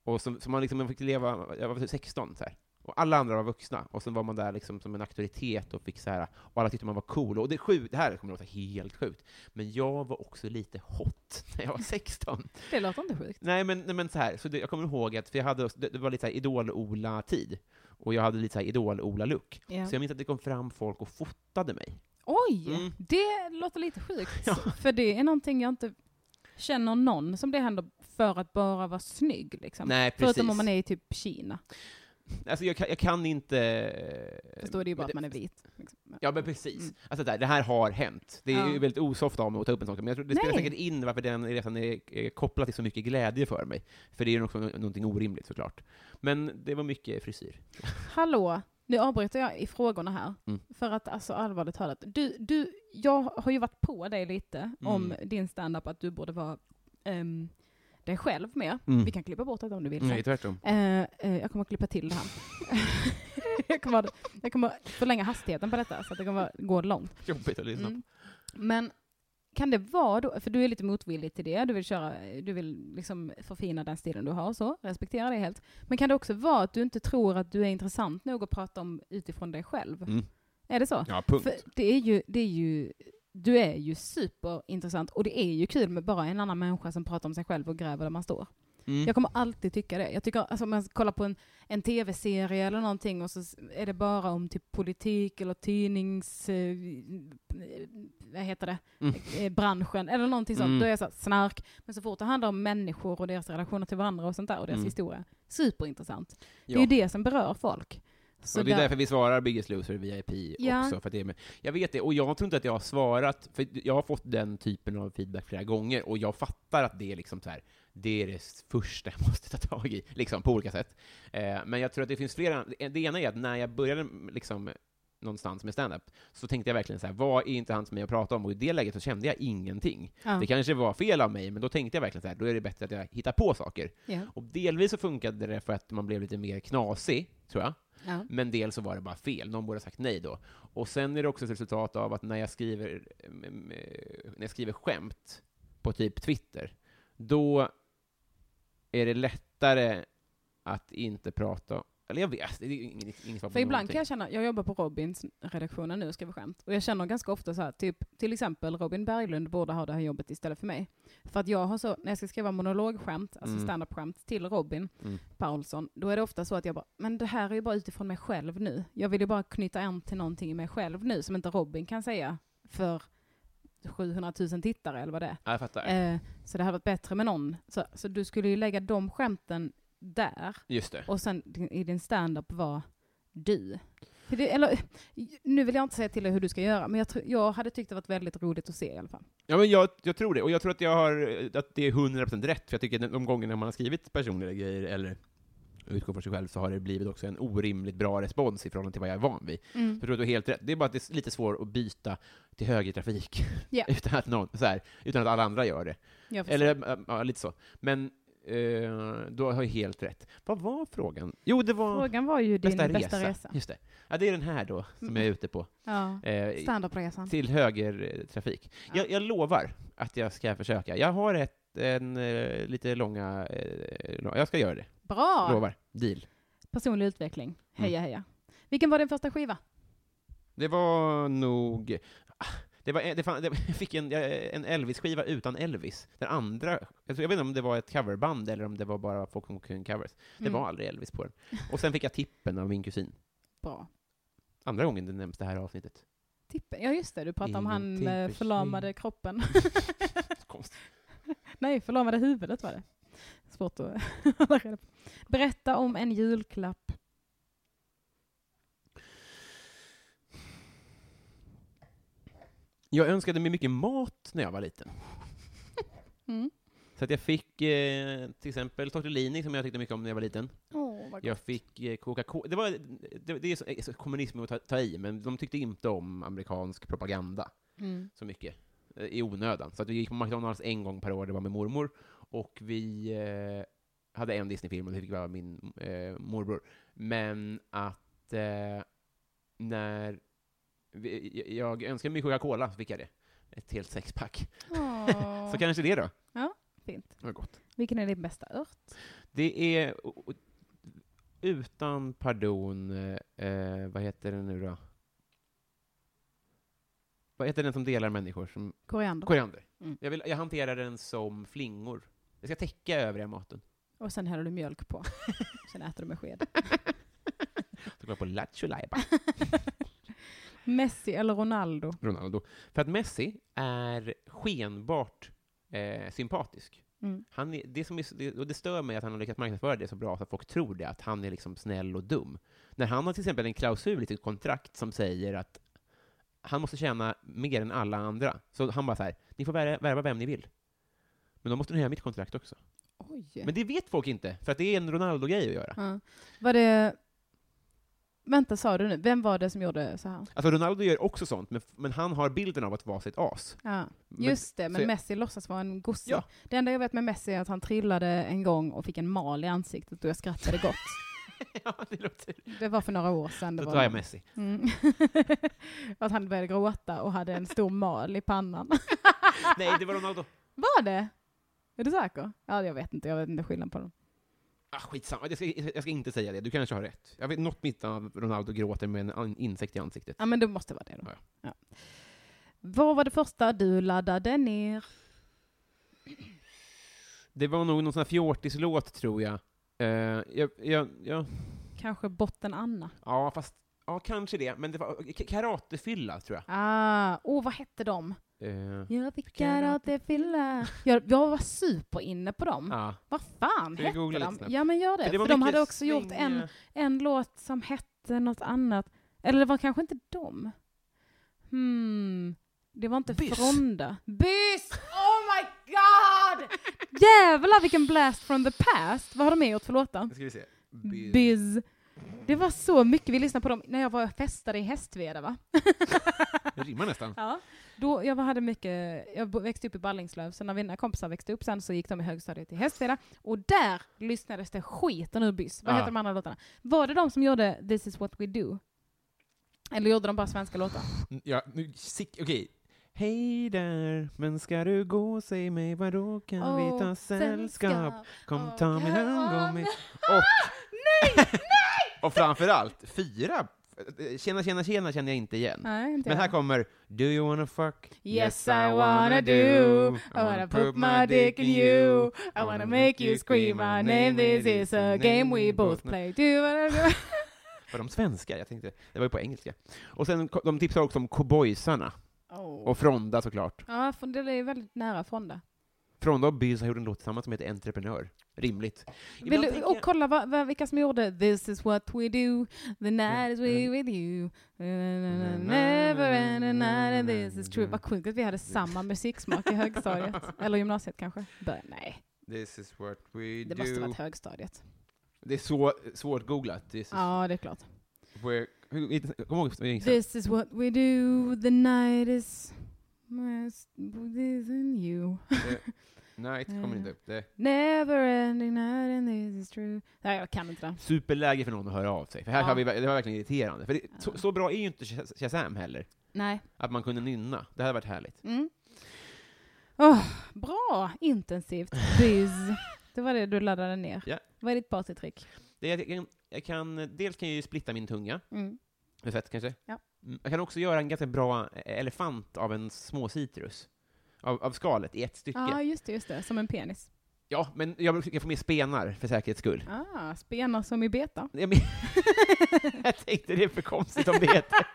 C: Och som, som man liksom man fick leva, jag var typ 16 så här. Och alla andra var vuxna, och sen var man där liksom som en auktoritet och fick så här, och alla tyckte man var cool. Och det, är sjukt- det här kommer att låta helt sjukt, men jag var också lite hot (laughs) när jag var 16.
B: Det låter inte sjukt.
C: nej, men, nej, men så här, så det, jag kommer ihåg att för jag hade, det, det var lite så här Idol-Ola-tid, och jag hade lite så här Idol-Ola-look. Så jag minns att det kom fram folk och fotade mig.
B: Oj!
C: Mm.
B: Det låter lite sjukt.
C: Ja.
B: För det är någonting jag inte känner någon som det händer för att bara vara snygg. Liksom.
C: Nej,
B: Förutom om
C: precis.
B: man är i typ Kina.
C: Alltså, jag, kan- jag kan inte...
B: Fast då är det ju bara
C: men
B: att man är vit. Liksom.
C: Ja, men precis.
B: Mm.
C: Alltså, det, här, det här har hänt. Det är
B: Ja.
C: ju väldigt osoft av mig att ta upp en sån sak, men jag tror det spelar
B: Nej.
C: säkert in varför den resan är, är kopplad till så mycket glädje för mig. För det är ju också nå- någonting orimligt såklart. Men det var mycket frisyr.
B: Hallå, nu avbryter jag i frågorna här.
C: Mm.
B: För att alltså allvarligt talat, du, du, jag har ju varit på dig lite
C: Mm.
B: om din standup att du borde vara ehm, dig själv med.
C: Mm.
B: Vi kan klippa bort det om du vill. sen.
C: Nej, tvärtom.
B: Eh, eh, jag kommer att klippa till det
C: (laughs)
B: här. jag, kommer, jag kommer förlänga hastigheten på detta så att det kommer gå långt.
C: Jobbigt att lyssna på.
B: Mm. Men kan det vara då, för du är lite motvillig till det, du vill köra, du vill liksom förfina den stilen du har och så, respektera det helt. Men kan det också vara att du inte tror att du är intressant nog att prata om utifrån dig själv?
C: Mm.
B: Är det så?
C: Ja, punkt.
B: För det är ju, det är ju, du är ju superintressant och det är ju kul med bara en annan människa som pratar om sig själv och gräver där man står.
C: Mm.
B: Jag kommer alltid tycka det. Jag tycker, alltså, om jag kollar på en, en tv-serie eller någonting och så s- är det bara om typ politik eller tidnings... Eh, vad heter det?
C: Mm.
B: Eh, branschen eller någonting sånt.
C: Mm.
B: Då är jag så här, snark. Men så fort det handlar om människor och deras relationer till varandra och sånt där och deras
C: Mm.
B: historia. Superintressant. Det
C: Ja.
B: är ju det som berör folk. Så
C: och det är
B: där-
C: därför vi svarar Biggest Loser VIP
B: Ja.
C: också. För att det är med. Jag vet det, och jag tror inte att jag har svarat, för jag har fått den typen av feedback flera gånger, och jag fattar att det är liksom så här, det är det första jag (laughs) måste ta tag i, liksom, på olika sätt. Eh, men jag tror att det finns flera, det ena är att när jag började liksom någonstans med stand-up så tänkte jag verkligen så här, vad är inte han som mig att prata om? Och i det läget så kände jag ingenting.
B: ja.
C: Det kanske var fel av mig, men då tänkte jag verkligen så här, då är det bättre att jag hittar på saker.
B: Ja.
C: Och delvis så funkade det för att man blev lite mer knasig, tror jag.
B: Ja.
C: Men dels så var det bara fel, någon borde ha sagt nej då. Och sen är det också ett resultat av att när jag skriver, mm, mm, eh, när jag skriver skämt på typ Twitter, då är det lättare att inte prata, eller jag vet, det är inget, inget svar på
B: För ibland
C: någonting.
B: kan jag känna, jag jobbar på Robins redaktionen nu och skriver skämt. Och jag känner ganska ofta så här, typ, till exempel Robin Berglund borde ha det här jobbet istället för mig. För att jag har så, när jag ska skriva monologskämt, alltså
C: Mm.
B: standup-skämt till Robin
C: Mm.
B: Paulsson, då är det ofta så att jag bara, men det här är ju bara utifrån mig själv nu. Jag vill ju bara knyta an till någonting i mig själv nu som inte Robin kan säga för 700 000 tittare eller vad det är.
C: Ja, jag fattar.
B: Eh, så det hade varit bättre med någon. Så, så du skulle ju lägga de skämten där
C: Just det.
B: och sen din- i din stand-up var du. För det, eller, nu vill jag inte säga till dig hur du ska göra, men jag, tror- jag hade tyckt det varit väldigt roligt att se i alla fall.
C: Ja, men jag, jag tror det, och jag tror att, jag har, att det är 100% rätt, för jag tycker att de gångerna man har skrivit personliga grejer, eller utgår från sig själv, så har det blivit också en orimligt bra respons i förhållande till vad jag är van vid. Så jag tror att du har helt rätt. Det är bara att det är lite svårt att byta till (laughs) högertrafik
B: Ja.
C: utan, att någon, så här, utan att alla andra gör det.
B: Jag förstår.
C: Eller äh, ja, lite så. Men eh, du har ju helt rätt. Vad var frågan? Jo, det var
B: Frågan var ju din
C: bästa,
B: bästa
C: resa.
B: resa.
C: Just det. Ja, det är den här då, som jag är ute på.
B: Ja.
C: Eh,
B: Standup-resan.
C: till högertrafik. Jag, jag lovar att jag ska försöka. Jag har ett, en eh, lite långa... Eh, lång- jag ska göra det.
B: Bra!
C: Lovar. Deal.
B: Personlig utveckling.
C: Mm.
B: Heja, heja. Vilken var din första skiva?
C: Det var nog... ah, Det var, det (laughs) fan, det, jag fick en, jag- en Elvis-skiva utan Elvis. Den andra, jag, tror, jag vet inte om det var ett coverband eller om det var bara folk som kunde covers. Det
B: Mm.
C: var aldrig Elvis på den. Och sen fick jag tippen av min kusin.
B: Bra.
C: Andra gången det nämns det här avsnittet.
B: Tippen. Ja, just det. Du pratade om han
C: Ingenting
B: eh,
C: försvinner.
B: förlamade
C: (laughs)
B: kroppen. (laughs)
C: Konstigt.
B: Nej, förlamade huvudet var det. Svårt att (laughs) hålla reda på. Berätta om en julklapp.
C: Jag önskade mig mycket mat när jag var liten.
B: Mm.
C: Så att jag fick eh, till exempel tortellini som jag tyckte mycket om när jag var liten.
B: Åh, vad
C: Jag fick eh, Coca-Cola. Det, var, det, det är så, eh, så kommunism att ta, ta i, men de tyckte inte om amerikansk propaganda
D: Hmm.
B: Mm.
C: så mycket. eh, i onödan. Så att vi gick på McDonalds en gång per år, det var med mormor. Och vi eh, hade en Disney-film och det fick vara min eh, morbror. Men att eh, när vi, jag önskade mig Coca-Cola så fick jag det. Ett helt sexpack.
B: Åh,
C: Så kanske det då.
B: fint.
C: Det var gott.
B: Vilken är din bästa ört?
C: Det är o- o- utan pardon, eh, vad heter den nu då? Vad heter den som delar människor? Som,
B: Koriander.
C: koriander.
B: Mm.
C: Jag, vill, jag hanterar den som flingor. Jag ska täcka övriga maten.
B: och sen häller du mjölk
C: (laughs)
B: på. sen äter du med sked.
C: Jag kollar på Lattjo Lajban.
B: Messi eller Ronaldo?
C: Ronaldo. För att Messi är skenbart eh, sympatisk.
B: Mm.
C: Han är, det, som är, det, och det stör mig att han har lyckats marknadsföra det så bra så att folk tror det, att han är liksom snäll och dum. När han har till exempel en klausul i sitt kontrakt som säger att han måste tjäna mer än alla andra. Så han bara så här, ni får värva, värva vem ni vill. Men då måste ni höja mitt kontrakt också.
B: Oj.
C: Men det vet folk inte, för att det är en Ronaldo-grej att göra.
B: Ja. Var det... Vänta, sa du nu? Vem var det som gjorde så här?
C: Alltså Ronaldo gör också sånt, men, men han har bilden av att vara sitt as.
B: Ja.
C: Men-
B: Just det,
C: så
B: men
C: jag-
B: Messi låtsas vara en gosse.
C: Ja.
B: Det enda jag vet med Messi är att han trillade en gång och fick en mal i ansiktet och jag skrattade gott.
C: (laughs) ja, det låter...
B: Det var för några år sedan. Det
C: Då
B: var
C: tar jag Messi.
B: Mm. (laughs) att han började gråta och hade en stor mal i pannan.
C: (laughs) Nej, det var Ronaldo.
B: Var det? Är du säker? Ja, jag vet inte. Jag vet inte skillnaden på dem.
C: Ah, skitsamma, jag ska, jag ska inte säga det. Du kanske har rätt. Jag vet något mitt av Ronaldo gråter med en an- insekt i ansiktet.
B: Ja, men det måste vara det då.
C: Ja,
B: Ja. Vad var det första du laddade ner?
C: Det var nog någon sån här fjortislåt, tror jag. Eh, jag, jag, jag
B: Kanske Botten Anna?
C: ja, fast... Ja, kanske det. Men det var eh, k- karatefylla, tror jag.
B: Ah, åh, vad hette de?
C: Eh,
B: Jag fick karatefylla. Jag, jag var superinne på dem.
C: ja.
B: Vad fan
C: Ska vi
B: hette
C: googla lite
B: de?
C: snabbt?
B: Mm. Ja, men gör det.
C: För
B: För,
C: det var
B: de
C: mycket eh,
B: hade också gjort
C: svängiga-
B: en, en låt som hette något annat. Eller det var kanske inte dem. Hmm. Det var inte
C: Byss.
B: Fronda. Byss! Oh my god! (laughs) Jävlar vilken blast from the past. Vad har de med gjort för låtar?
C: Nu ska vi se.
B: Mm.
C: Biz.
B: Biz. Det var så mycket vi lyssnade på dem när jag var och festade i Hästveda (laughs) va?
C: Det rimmar nästan.
B: Ja. Då, jag hade mycket, jag bo- växte upp i Ballingslöv, så när mina kompisar växte upp sen så gick de i högstadiet till Hästveda, och där lyssnades det skiten ur byss. Vad
C: Ja.
B: heter de andra låtarna? Var det de som gjorde This is what we do? Eller gjorde de bara svenska låtar?
C: Ja, nu, sick, okej. Hej där, men ska du gå, säg mig var då kan vi ta sällskap? Kom, ta min hand, gå med... Och...
B: Ah, Nej!
C: Och framförallt, fyra... Tjena, tjena, tjena känner jag inte igen.
B: Nej, inte
C: Men
B: jag.
C: här kommer Do you wanna fuck?
B: Yes I wanna do, I wanna put my dick in you, I wanna make you scream my name, this is a game we both play. Do (laughs) whatever-
C: Var de svenska? Jag tänkte, det var ju på engelska. Och sen, ko- de tipsar också om cowboysarna.
B: Oh.
C: Och Fronda såklart.
B: Ja, för det är väldigt nära från det.
C: Fronda och Bys har gjort en låt tillsammans som heter Entreprenör. Rimligt.
B: Vill
C: Ibland
B: du,
C: tänker
B: och
C: jag-
B: kolla vad, vad, vilka som gjorde This is what we do, the night is we
C: Mm.
B: with you, never end a night and this is true. Vad sjukt att vi hade samma musiksmak i
C: (laughs)
B: högstadiet. Eller gymnasiet kanske? Bör, nej,
C: This is what we
B: det
C: do.
B: måste varit högstadiet.
C: Det är så svårt googlat. This is
B: Ja, det är klart.
C: where... hur- Kom ihåg stavningen.
B: This is what we do, the night is... This and you.
C: Nej, det
B: Mm.
C: kommer inte upp. Det.
B: Never ending night and this is true. Nej, jag kan inte det.
C: Superläge för någon att höra av sig. För här
B: Ja.
C: har vi, det var verkligen irriterande. För det, så,
B: Ja.
C: så bra är ju inte Shaz- Shazam heller.
B: Nej.
C: Att man kunde nynna. Det hade varit härligt.
B: Mm. Åh, bra! Intensivt.
C: (laughs)
B: Buzz. Det var det du laddade ner.
C: Ja.
B: Vad är ditt partytrick?
C: Det, jag, kan, jag kan, dels kan jag ju splitta min tunga,
B: Mm.
C: med fett kanske.
B: Ja.
C: Mm, Jag kan också göra en ganska bra eh, elefant av en små citrus. Av, av skalet i ett stycke.
B: Ja, just det, just det. Som en penis.
C: Ja, men jag brukar försöka få med spenar för säkerhets skull.
B: Ah, spenar som i beta.
C: Jag, men, (laughs) jag tänkte det är för konstigt om det heter.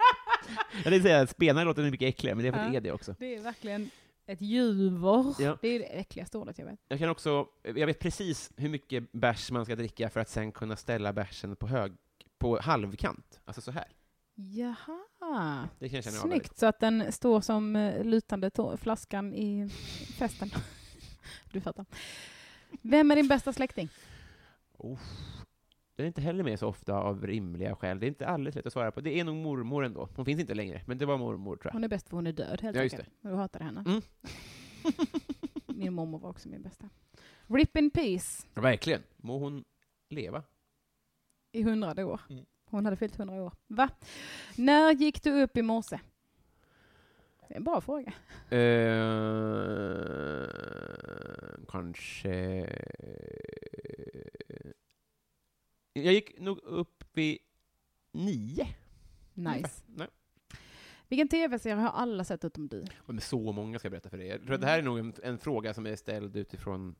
C: Jag tänkte säga att spenar låter mycket äckligare, men det är för att
B: Ja.
C: det är det också.
B: Det är verkligen ett juver.
C: Ja.
B: Det är det äckligaste ordet jag vet.
C: Jag kan också, jag vet precis hur mycket bärs man ska dricka för att sen kunna ställa bärsen på hög, på halvkant. Alltså så här.
B: Jaha.
C: Det kan jag känna av väldigt.
B: Snyggt, så att den står som eh, lutande tå- flaskan i festen. (laughs) du fattar. Vem är din bästa släkting?
C: Den är inte heller med så ofta av rimliga skäl. Det är inte alldeles lätt att svara på. Det är nog mormor ändå. Hon finns inte längre, men det var mormor tror jag.
B: Hon är bäst för hon är död helt
C: Ja, just
B: enkelt. Och du hatade henne.
C: Mm.
B: Min mormor var också min bästa. Rip in peace
C: (laughs) Ja, Verkligen. Må hon leva.
B: i hundrade år.
C: Mm.
B: Hon hade fyllt hundra år. Va? När gick du upp i morse? Det är en bra fråga.
C: Eh, kanske... Jag gick nog upp vid nio.
B: Nice.
C: Nej. Mm.
B: Vilken tv-serie har alla sett utom du?
C: Och med så många ska jag berätta för dig. Jag tror att det här är nog en, en fråga som är ställd utifrån...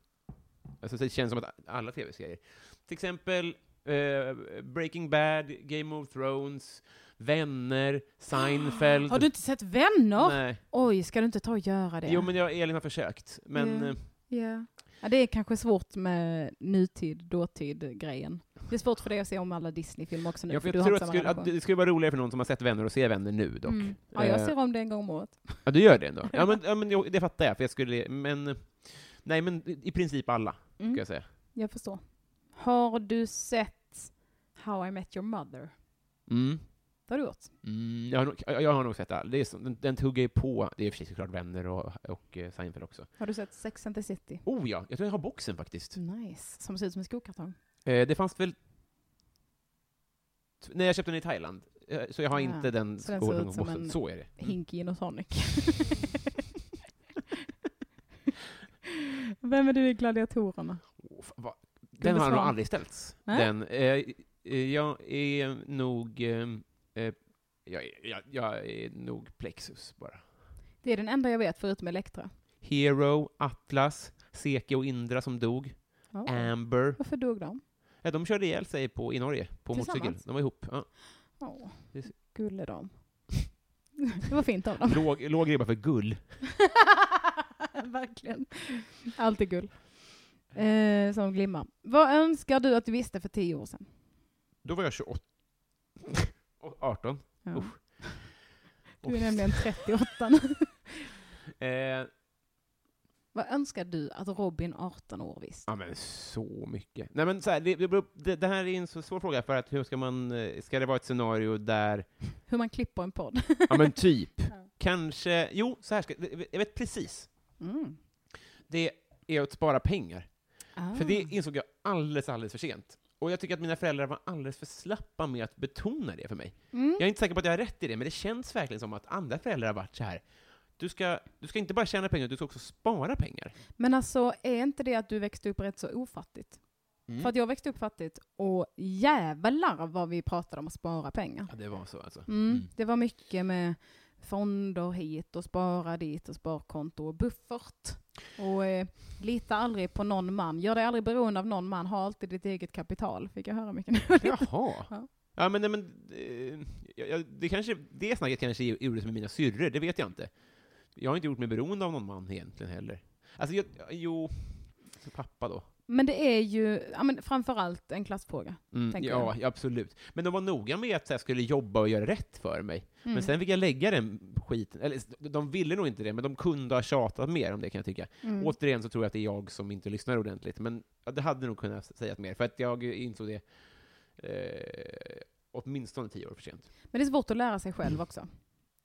C: Alltså det känns som att alla tv-serier. Till exempel eh, Breaking Bad, Game of Thrones, Vänner, Seinfeld.
B: Har du inte sett Vänner?
C: Nej.
B: Oj, ska du inte ta och göra det?
C: Jo, men jag, Elin har försökt. Men
B: Mm.
C: eh,
B: Ja. Ja, det är kanske svårt med nutid, dåtid-grejen. Det är svårt för dig att se om alla Disney-filmer också nu,
C: jag,
B: för
C: jag
B: du har
C: tror att,
B: inte samma
C: det skulle, att
B: relation.
C: det skulle vara roligare för någon som har sett Vänner och ser Vänner nu dock.
B: Mm. Ja, jag
C: Eh,
B: ser om det en gång om året.
C: Ja, du gör det ändå?
B: (laughs)
C: Ja, men, ja, men jo, det fattar jag, för jag skulle... Men... Nej, men i princip alla, ska
B: Mm.
C: jag säga.
B: Jag förstår. Har du sett How I Met Your Mother?
C: Mm.
B: Det har du gjort.
C: Mm, jag, har nog, jag jag har nog sett all. Det är, så- den, den tuggar ju på. Det är i och för sig såklart Vänner och, och eh, Seinfeld också.
B: Har du sett Sex and the City?
C: Oh ja, jag tror jag har boxen faktiskt.
B: Mm. Nice. Mm. Som ser ut som en skokartong.
C: Eh, det fanns väl... t- Nej, jag köpte den i Thailand. Eh, Så jag har
B: Ja,
C: inte den
B: så den ser
C: skålen
B: ut
C: och
B: som
C: boxen.
B: en-
C: Så är det. Mm.
B: Hink gin och tonic. (laughs) Vem är du i Gladiatorerna?
C: Åh, fan, vad- Den har
B: besvara.
C: nog aldrig ställts.
B: Nej.
C: Den, eh, eh, jag är nog... Eh, eh, jag, är- jag, jag är nog Plexus bara.
B: Det är den enda jag vet förutom Elektra.
C: Hero, Atlas, Seke och Indra som dog.
B: Ja.
C: Amber.
B: Varför dog de?
C: Ja, de körde ihjäl sig på, i Norge, på motorcykel.
B: Tillsammans?
C: De var ihop. Ja.
B: Åh,
C: Det är-
B: gulle de. Det var fint av dem.
C: Låg, låg ribba för gull.
B: (laughs) Verkligen. Allt är guld. Eh, som glimmar. Vad önskar du att du visste för tio år sedan?
C: Då var jag 28. (laughs) Och 18.
B: Ja.
C: Usch.
B: Du är nämligen 38 nu.
C: (laughs) Eh,
B: Vad önskar du att Robin, 18 år, visste?
C: ja, men så mycket. Nej, men så här, det, det beror- det, det här är en så svår fråga, för att hur ska man... eh, Ska det vara ett
B: (laughs)
C: scenario där...
B: Hur man klipper en podd?
C: Ja, men typ.
B: Ja.
C: Kanske... Jo, så här ska... Jag vet precis.
B: Mm.
C: Det är att spara pengar.
B: Ah.
C: För det insåg jag alldeles, alldeles för sent. Och jag tycker att mina föräldrar var alldeles för slappa med att betona det för mig.
B: Mm.
C: Jag är inte säker på att jag har rätt i det, men det känns verkligen som att andra föräldrar har varit så här. Du ska, du ska inte bara tjäna pengar, du ska också spara pengar.
B: Men alltså, är inte det att du växte upp rätt så ofattigt?
C: Mm.
B: För att jag växte upp fattigt, och jävlar vad vi pratade om att spara pengar.
C: Ja, det var så alltså.
B: Mm.
C: Mm.
B: Det var mycket med fonder hit och spara dit och sparkonto och buffert. Och eh, lita aldrig på någon man, gör dig aldrig beroende av någon man, ha alltid ditt eget kapital, fick jag höra mycket när jag var liten.
C: Jaha.
B: (laughs) Ja.
C: Ja, men, nej, men eh, jag- jag- det, kanske, det snacket kanske gjordes med mina syrror, det vet jag inte. Jag har inte gjort mig beroende av någon man egentligen heller. Alltså, jag, jo, så pappa då.
B: Men det är ju ja, men framförallt en klassfråga.
C: Mm,
B: tänker
C: ja, ja, absolut. Men de var noga med att jag skulle jobba och göra rätt för mig.
B: Mm.
C: Men sen fick jag lägga den skiten, eller s- de ville nog inte det, men de kunde ha tjatat mer om det kan jag tycka.
B: Mm.
C: Återigen så tror jag att det är jag som inte lyssnar ordentligt, men ja, det hade nog kunnat s- sägas mer, för att jag insåg det eh, åtminstone tio år för sent.
B: Men det är svårt att lära sig själv också.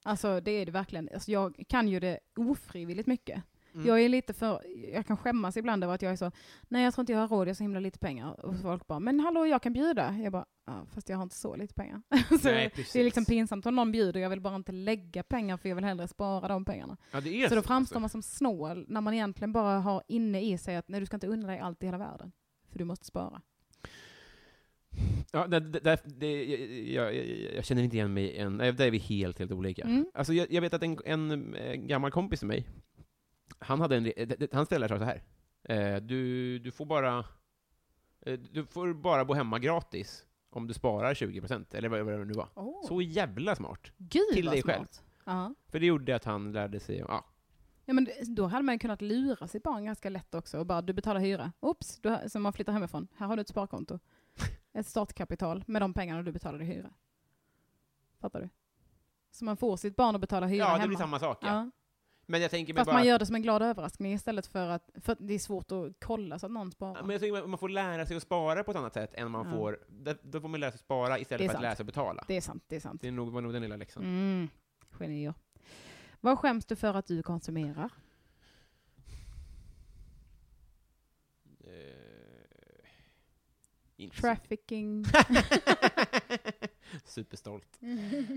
B: Alltså det är det verkligen. Alltså, jag kan ju det ofrivilligt mycket.
C: Mm.
B: Jag är lite för, jag kan skämmas ibland över att jag är så, nej jag tror inte jag har råd, jag har så himla lite pengar. Och folk bara, men hallå jag kan bjuda. Jag bara, ja, fast jag har inte så lite pengar. (laughs) så
C: Nej, precis.
B: det är liksom pinsamt om någon bjuder, jag vill bara inte lägga pengar för jag vill hellre spara de pengarna.
C: Ja, det är
B: Så då
C: alltså.
B: framstår man som snål när man egentligen bara har inne i sig att nej du ska inte unna dig allt i hela världen. För du måste spara.
C: Ja, det, det, det, det, jag, jag, jag, jag känner inte igen mig än. Nej, Där är vi helt, helt olika.
B: Mm.
C: Alltså, jag, jag vet att en, en eh, gammal kompis till mig, han, hade en, re- det- det- han ställde sig så här. Eh, Du, du, får bara, eh, du får bara bo hemma gratis om du sparar 20%, eller vad, vad det nu var. Så jävla smart.
B: Gud
C: till
B: vad
C: dig
B: smart.
C: själv.
B: Ja.
C: För det gjorde att han lärde sig, ja,
B: Ja, men det- då hade man ju kunnat lura sitt barn ganska lätt också och bara du betalar hyra. Oops, du har, som man flyttar hemifrån. Här har du ett sparkonto.
C: (laughs)
B: Ett startkapital med de pengarna du betalade i hyra. Fattar du? Så man får sitt barn att betala hyra
C: ja det
B: hemma.
C: blir samma sak. Ja.
B: Ja.
C: Men jag tänker mig
B: Fast
C: bara...
B: man gör det som en glad överraskning istället för att, för att det är svårt att kolla så att någon sparar.
C: men jag tänker att man får lära sig att spara på ett annat sätt än man
B: Ja.
C: får... Där, då får man lära sig att spara
B: Det
C: istället
B: är
C: för att
B: sant.
C: lära sig att betala.
B: Det är sant, det är sant.
C: Det är nog, var nog den lilla läxan.
B: Mm. Genier. Vad skäms du för att du konsumerar?
C: Alltså- Eh, inte så-
B: Trafficking?
C: (laughs) Superstolt.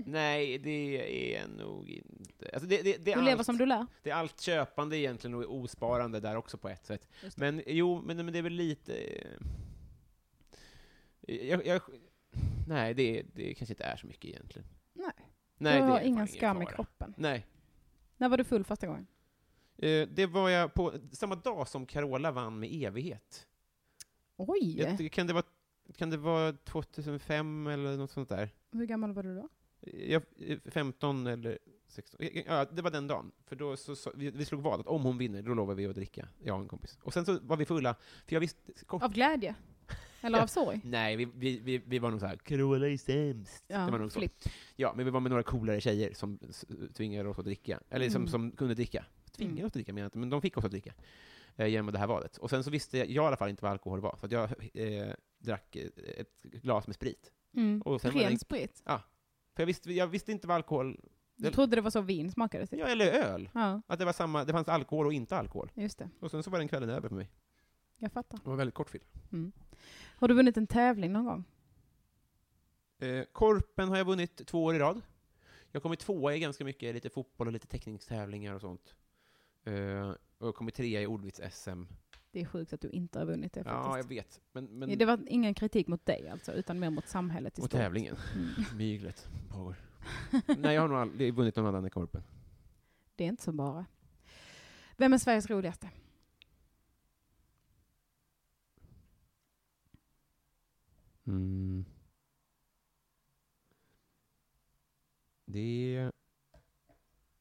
C: Nej, det är nog inte... Alltså det, det, det, är
B: Du lever
C: allt,
B: som du lär.
C: det är allt köpande egentligen och osparande där också på ett sätt.
B: Just
C: Men jo, men, men det är väl lite... eh, Jag, jag, nej, det, det kanske inte är så mycket egentligen.
B: Nej.
C: Nej,
B: du har
C: är
B: ingen
C: fan
B: skam i
C: fara.
B: kroppen.
C: Nej.
B: När var du full första gången?
C: Eh, det var jag på samma dag som Carola vann med evighet.
B: Oj!
C: Jag, tycker- kan, det vara, kan det vara 2005 eller något sånt där?
B: Hur gammal var du då?
C: Jag, eh, 15 eller 16. Eh, Ja, det var den dagen. För då så, så, vi, vi slog vad att om hon vinner, då lovar vi att dricka, jag och en kompis. Och sen så var vi fulla, för jag visste... Kort,
B: Av glädje? Eller av sorg?
C: Nej, vi, vi, vi, vi var nog såhär, Carola är sämst.
B: Ja,
C: det var nog så.
B: flipp.
C: Ja, men vi var med några coolare tjejer som s- tvingade oss att dricka. Eller som,
B: Mm.
C: som kunde dricka. Tvingade
B: Mm.
C: oss att dricka menar jag inte, men de fick oss att dricka. Eh, genom det här valet. Och sen så visste jag, jag i alla fall inte vad alkohol var, så att jag eh, drack eh, ett glas med sprit.
B: Mm.
C: Och sen var det
B: Ren
C: en-
B: sprit?
C: För jag visste, jag visste inte vad alkohol,
B: Du trodde det var så vin smakade? Typ.
C: ja, eller öl.
B: Ja,
C: Att det var samma, det fanns alkohol och inte alkohol.
B: just det.
C: Och sen så var den kvällen över för mig.
B: Jag fattar.
C: Det var väldigt kort film.
B: Har du vunnit en tävling någon gång?
C: Eh, korpen har jag vunnit två år i rad. Jag har kommit tvåa i ganska mycket, lite fotboll och lite teckningstävlingar och sånt. Eh, och jag har kommit trea i ordvits-SM.
B: Det är sjukt att du inte har vunnit det
C: Ja, jag
B: faktiskt.
C: vet. Men, men...
B: Det var ingen kritik mot dig alltså, utan mer mot samhället i
C: och
B: stort. (laughs)
C: tävlingen.
B: Mm.
C: Myglet pågår. Nej, jag har nog aldrig vunnit någon annan än Korpen.
B: Det är inte så bara. Vem är Sveriges roligaste?
C: Mm. Det är...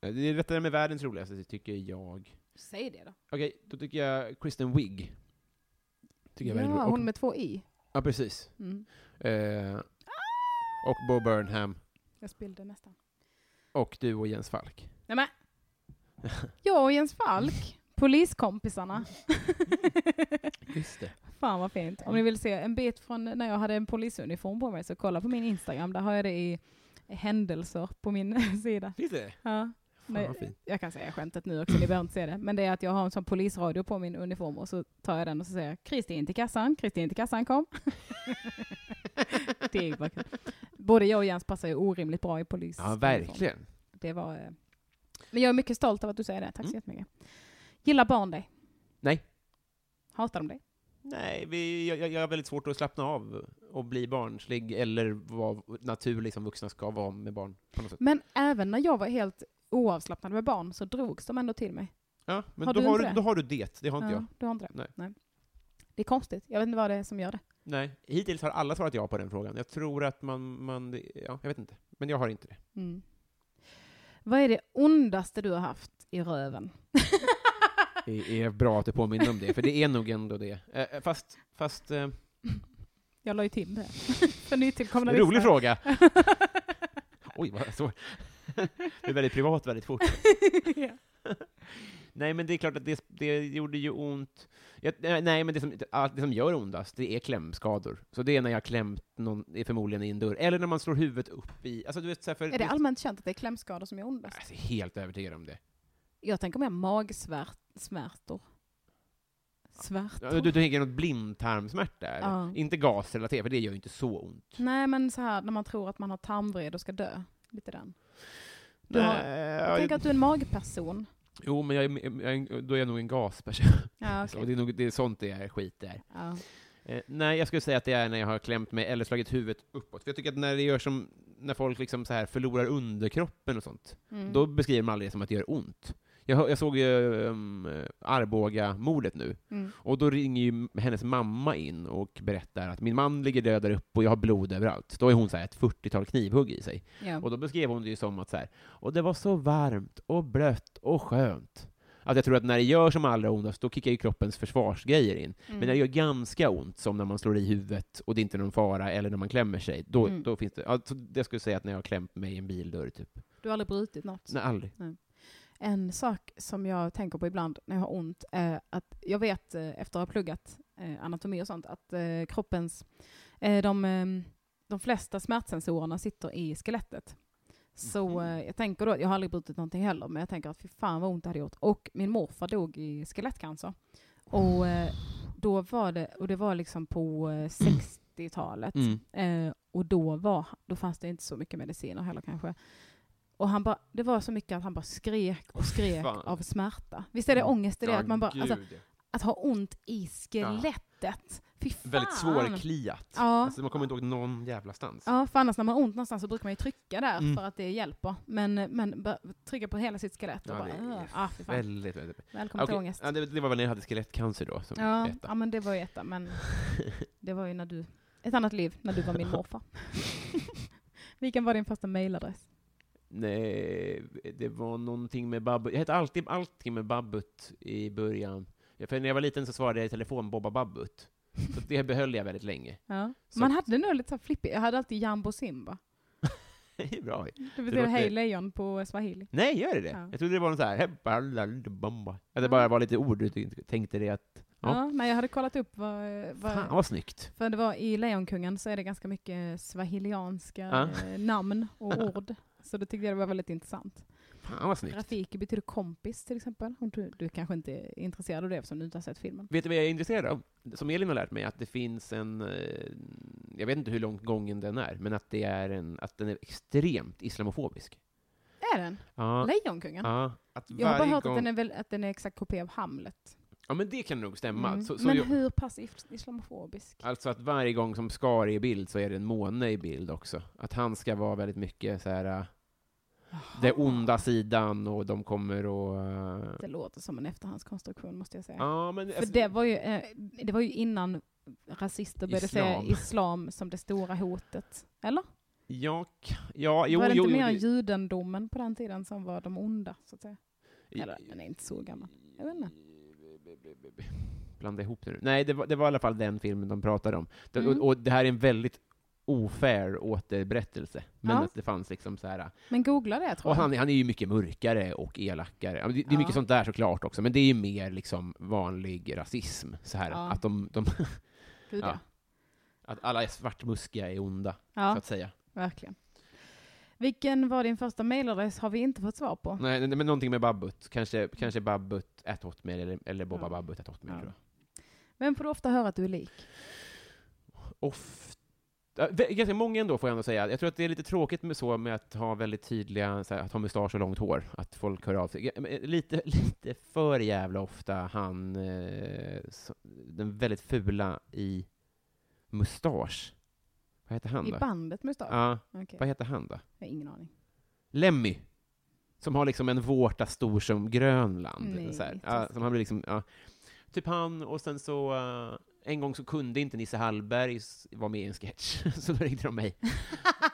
C: Ja, Det är rättare med världens roligaste, tycker jag.
B: Säg det då.
C: Okej, då tycker jag Kristen Wiig. Tycker jag är väldigt
B: ja,
C: rolig.
B: hon
C: Och-
B: med två i.
C: Ja, precis.
B: Mm.
C: Eh, och Bo Burnham.
B: Jag spillde nästan.
C: Och du och Jens Falk.
B: Nej, men. (laughs) Jag och Jens Falk,
C: (laughs)
B: poliskompisarna.
C: Just det.
B: Fan vad fint. Om ni vill se en bit från när jag hade en polisuniform på mig så kolla på min Instagram. Där har jag det i händelser på min (laughs) sida.
C: Finns det?
B: Ja.
C: Fan,
B: Nej.
C: vad fint.
B: Jag kan säga skämtet nu också, ni behöver inte se det. Men det är att jag har en sån polisradio på min uniform och så tar jag den och så säger jag Kristin till kassan, Kristin till kassan kom. det är bara kul. Både jag och Jens passar ju orimligt bra i polis.
C: Ja, verkligen.
B: Det var, eh, men jag är mycket stolt över att du säger
C: Mm.
B: det, tack så jättemycket. Gillar barn dig?
C: Nej.
B: Hatar de dig?
C: Nej, vi, jag, jag jag har väldigt svårt att slappna av och bli barnslig eller vara naturlig som vuxna ska vara med barn på något sätt.
B: Men även när jag var helt oavslappnad med barn så drogs de ändå till mig.
C: Ja, men
B: Har
C: då,
B: du
C: har
B: inte
C: du,
B: det?
C: då har du det, det har inte jag.
B: Du har inte det?
C: Nej.
B: Det är konstigt, jag vet inte vad det är som gör det.
C: Nej, hittills har alla svarat ja på den frågan. Jag tror att man, man ja, jag vet inte. Men jag har inte det.
B: Mm. Vad är det ondaste du har haft i röven?
C: (laughs) Det är bra att du påminner om det, för det är nog ändå det. Eh, fast, fast, eh,
B: Jag la ju till det. (laughs) För nytillkomna
C: rolig fråga.
B: (laughs)
C: Oj, vad så. Det är väldigt privat väldigt fort.
B: (laughs) Ja.
C: Nej, men det är klart att det, det gjorde ju ont. Jag, nej, men det som, allt det som gör ondast, det är klämskador. Så det är när jag har klämt någon, det är förmodligen i en dörr, eller när man slår huvudet upp i... Alltså, du vet, så här för,
B: Är det allmänt känt att det är klämskador som är ondast?
C: Alltså, jag är helt övertygad om det.
B: Jag tänker mer magsmärtor. Svärtor?
C: Ja, Du, du tänker något blindtarmsmärta? eller?
B: Ja.
C: Inte gasrelaterat, för det gör ju inte så ont.
B: Nej men så här när man tror att man har tarmvred och ska dö. Lite den. Du har-
C: Nej,
B: Jag
C: jag
B: tänker att du är en magperson.
C: Jo, men jag, är- jag, är- då är jag nog en gasperson.
B: Ja,
C: Och
B: okej.
C: det är, nog, det är sånt det är skit där.
B: ja.
C: Eh, nej, jag skulle säga att det är när jag har klämt mig eller slagit huvudet uppåt. För jag tycker att när det gör som, när folk liksom så här förlorar underkroppen och sånt,
B: Mm.
C: då beskriver man aldrig det som att det gör ont. Jag, hör- jag såg ju um, Arboga-mordet nu,
B: Mm.
C: och då ringer ju hennes mamma in och berättar att min man ligger död där uppe och jag har blod överallt. Då är hon så här ett 40-tal knivhugg i sig.
B: Ja.
C: Och då beskrev hon det ju som att så här, och det var så varmt och blött och skönt. Att jag tror att när det gör som allra ondast, då kickar ju kroppens försvarsgrejer in.
B: Mm.
C: Men när det gör ganska ont, som när man slår i huvudet och det är inte är någon fara, eller när man klämmer sig, då,
B: Mm.
C: då finns det... Alltså, jag skulle säga att när jag har klämt mig i en bildörr, typ.
B: Du har aldrig brutit något?
C: Nej, aldrig.
B: En sak som jag tänker på ibland när jag har ont är att jag vet eh, efter att ha pluggat eh, anatomi och sånt att eh, kroppens, eh, de, eh, de flesta smärtsensorerna sitter i skelettet. Så
C: Mhm.
B: eh, jag tänker då, jag har aldrig brutit någonting heller, men jag tänker att fy fan vad ont det hade gjort. Och min morfar dog i skelettcancer. Och eh, då var det, och det var liksom på eh, 60-talet.
C: Mm.
B: Eh, och då, var, då fanns det inte så mycket mediciner heller kanske. Och han bara, det var så mycket att han bara skrek och
C: Åh, fy
B: skrek
C: fan. Mm.
B: av smärta. Visst är det ångest i det?
C: Ja,
B: att, man bara,
C: gud.
B: alltså, att ha ont i skelettet. Fy fan!
C: Väldigt svårkliat.
B: Ja.
C: Alltså, man kommer inte ihåg någon jävla stans.
B: Ja, för annars när man har ont någonstans så brukar man ju trycka där
C: Mm.
B: för att det hjälper. Men, men bara trycka på hela sitt skelett och
C: Ja,
B: bara,
C: det är
B: "Ugh, ah, fy fan.
C: Väldigt, väldigt.
B: Välkommen till
C: Okej,
B: ångest.
C: Ja, det, det var väl när jag hade skelettcancer då, som
B: Ja,
C: etta.
B: ja, men det var ju etta, men det var ju när du, ett annat liv, när du var min morfar. (laughs) Vilken var din första mailadress?
C: (laughs) Nej, det var någonting med Babbut. Jag hette alltid allting med Babbut i början. Ja, För när jag var liten så svarade jag i telefon Bobba Babbut. Så det behöll jag väldigt länge. (laughs)
B: Ja.
C: Så-
B: Man hade nog lite så här flippigt, jag hade alltid Jambo Simba.
C: Det är bra.
B: Det betyder
C: låter-
B: hej lejon på swahili.
C: Nej, gör det det?
B: Ja.
C: Jag trodde det var någon så här... "Hebbalalidbomba." Att det bara var lite ord du tyckte- tänkte det att... Ja.
B: Ja. nej jag hade kollat upp vad, vad
C: Fan, vad snyggt.
B: för det var i Lejonkungen så är det ganska mycket swahilianska
C: Ja.
B: eh, namn och ord. Så det tyckte jag det var väldigt intressant.
C: Fan, vad snyggt.
B: Rafiki betyder kompis till exempel. Om du, du kanske inte är intresserad av det eftersom du inte har sett filmen.
C: Vet du vad jag är intresserad av? Som Elin har lärt mig, att det finns en... eh, Jag vet inte hur långt gången den är, men att, det är en, att den är extremt islamofobisk.
B: Är den?
C: Ja.
B: Lejonkungen?
C: Ja, att
B: Jag har bara
C: varje
B: hört
C: gång...
B: att den, är väl, att den är exakt kopia av Hamlet.
C: Ja, men det kan nog stämma.
B: Mm.
C: Så, så
B: Men
C: ju-
B: hur pass is- islamofobisk?
C: Alltså att varje gång som Skar är i bild så är det en måne i bild också. Att han ska vara väldigt mycket så här, äh, den onda sidan och de kommer och... äh,
B: Det låter som en efterhandskonstruktion måste jag säga.
C: Ja, men...
B: För
C: alltså-
B: det var ju, eh, det var ju innan rasister började
C: Islam.
B: se islam som det stora hotet. Eller?
C: Ja, k- ja, jo,
B: var det
C: jo,
B: inte
C: jo,
B: mer
C: det-
B: judendomen på den tiden som var de onda? Så att säga?
C: i-
B: Eller, den är inte så gammal. Jag vet inte.
C: Blanda ihop det nu. Nej, det var, det var i alla fall den filmen de pratade om. Det,
B: Mm.
C: och, och det här är en väldigt ofair återberättelse. Men
B: Ja.
C: att det fanns liksom så här...
B: Men googla det tror
C: Och
B: jag.
C: han, han är ju mycket mörkare och elakare. Ja, men Det, det är mycket
B: Ja.
C: sånt där såklart också, men det är ju mer liksom vanlig rasism. Så här,
B: Ja.
C: att, de, de,
B: Gud,
C: ja.
B: ja.
C: att alla är svartmuskiga är onda, så
B: ja,
C: att säga.
B: verkligen. Vilken var din första mailadress har vi inte fått svar på.
C: Nej, nej, men någonting med Babbut. Kanske, kanske Babbut at Hotmail eller, eller Bobba
B: Ja.
C: Babbut at Hotmail,
B: Ja.
C: tror
B: Vem får du ofta höra att du är lik?
C: jag. Ofta, ja, vä- ganska många ändå, får jag ändå säga. Jag tror att det är lite tråkigt med så med att ha väldigt tydliga, så här, att ha mustasch och långt hår, att folk hör av sig. Ja, men, eh, Lite, (laughs) lite för jävla ofta han, eh, så- den väldigt fula i mustasch. Vad heter han
B: I
C: då?
B: bandet Mustasch?
C: Ja,
B: Okej,
C: vad heter han då?
B: jag har ingen aning.
C: Lemmy. Som har liksom en vårta stor som Grönland.
B: Nej,
C: så här. Ja,
B: taskigt.
C: som han blir liksom, ja. Typ han, och sen så... eh, en gång så kunde inte Nisse Hallberg s- vara med i en sketch, (laughs) så då ringde
B: (laughs)
C: de mig.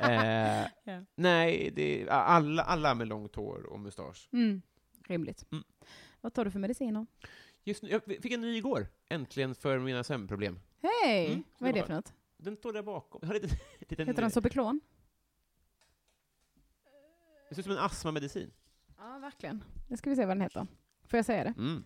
C: eh,
B: Ja.
C: Nej, det, ja, alla, alla med långt hår och mustasch.
B: Mm. Rimligt.
C: Mm.
B: Vad tar du för mediciner?
C: Just nu, jag fick en ny igår, äntligen, för mina sömnproblem.
B: Hej!
C: Mm, så
B: Vad är
C: det
B: det
C: var-
B: för något?
C: Den står där bakom. Jag har lite, (laughs) liten,
B: Heter den Sobeklon?
C: Det ser ut som en astmamedicin.
B: Ja, verkligen. Nu ska vi se vad den heter. Får jag säga det?
C: Mm.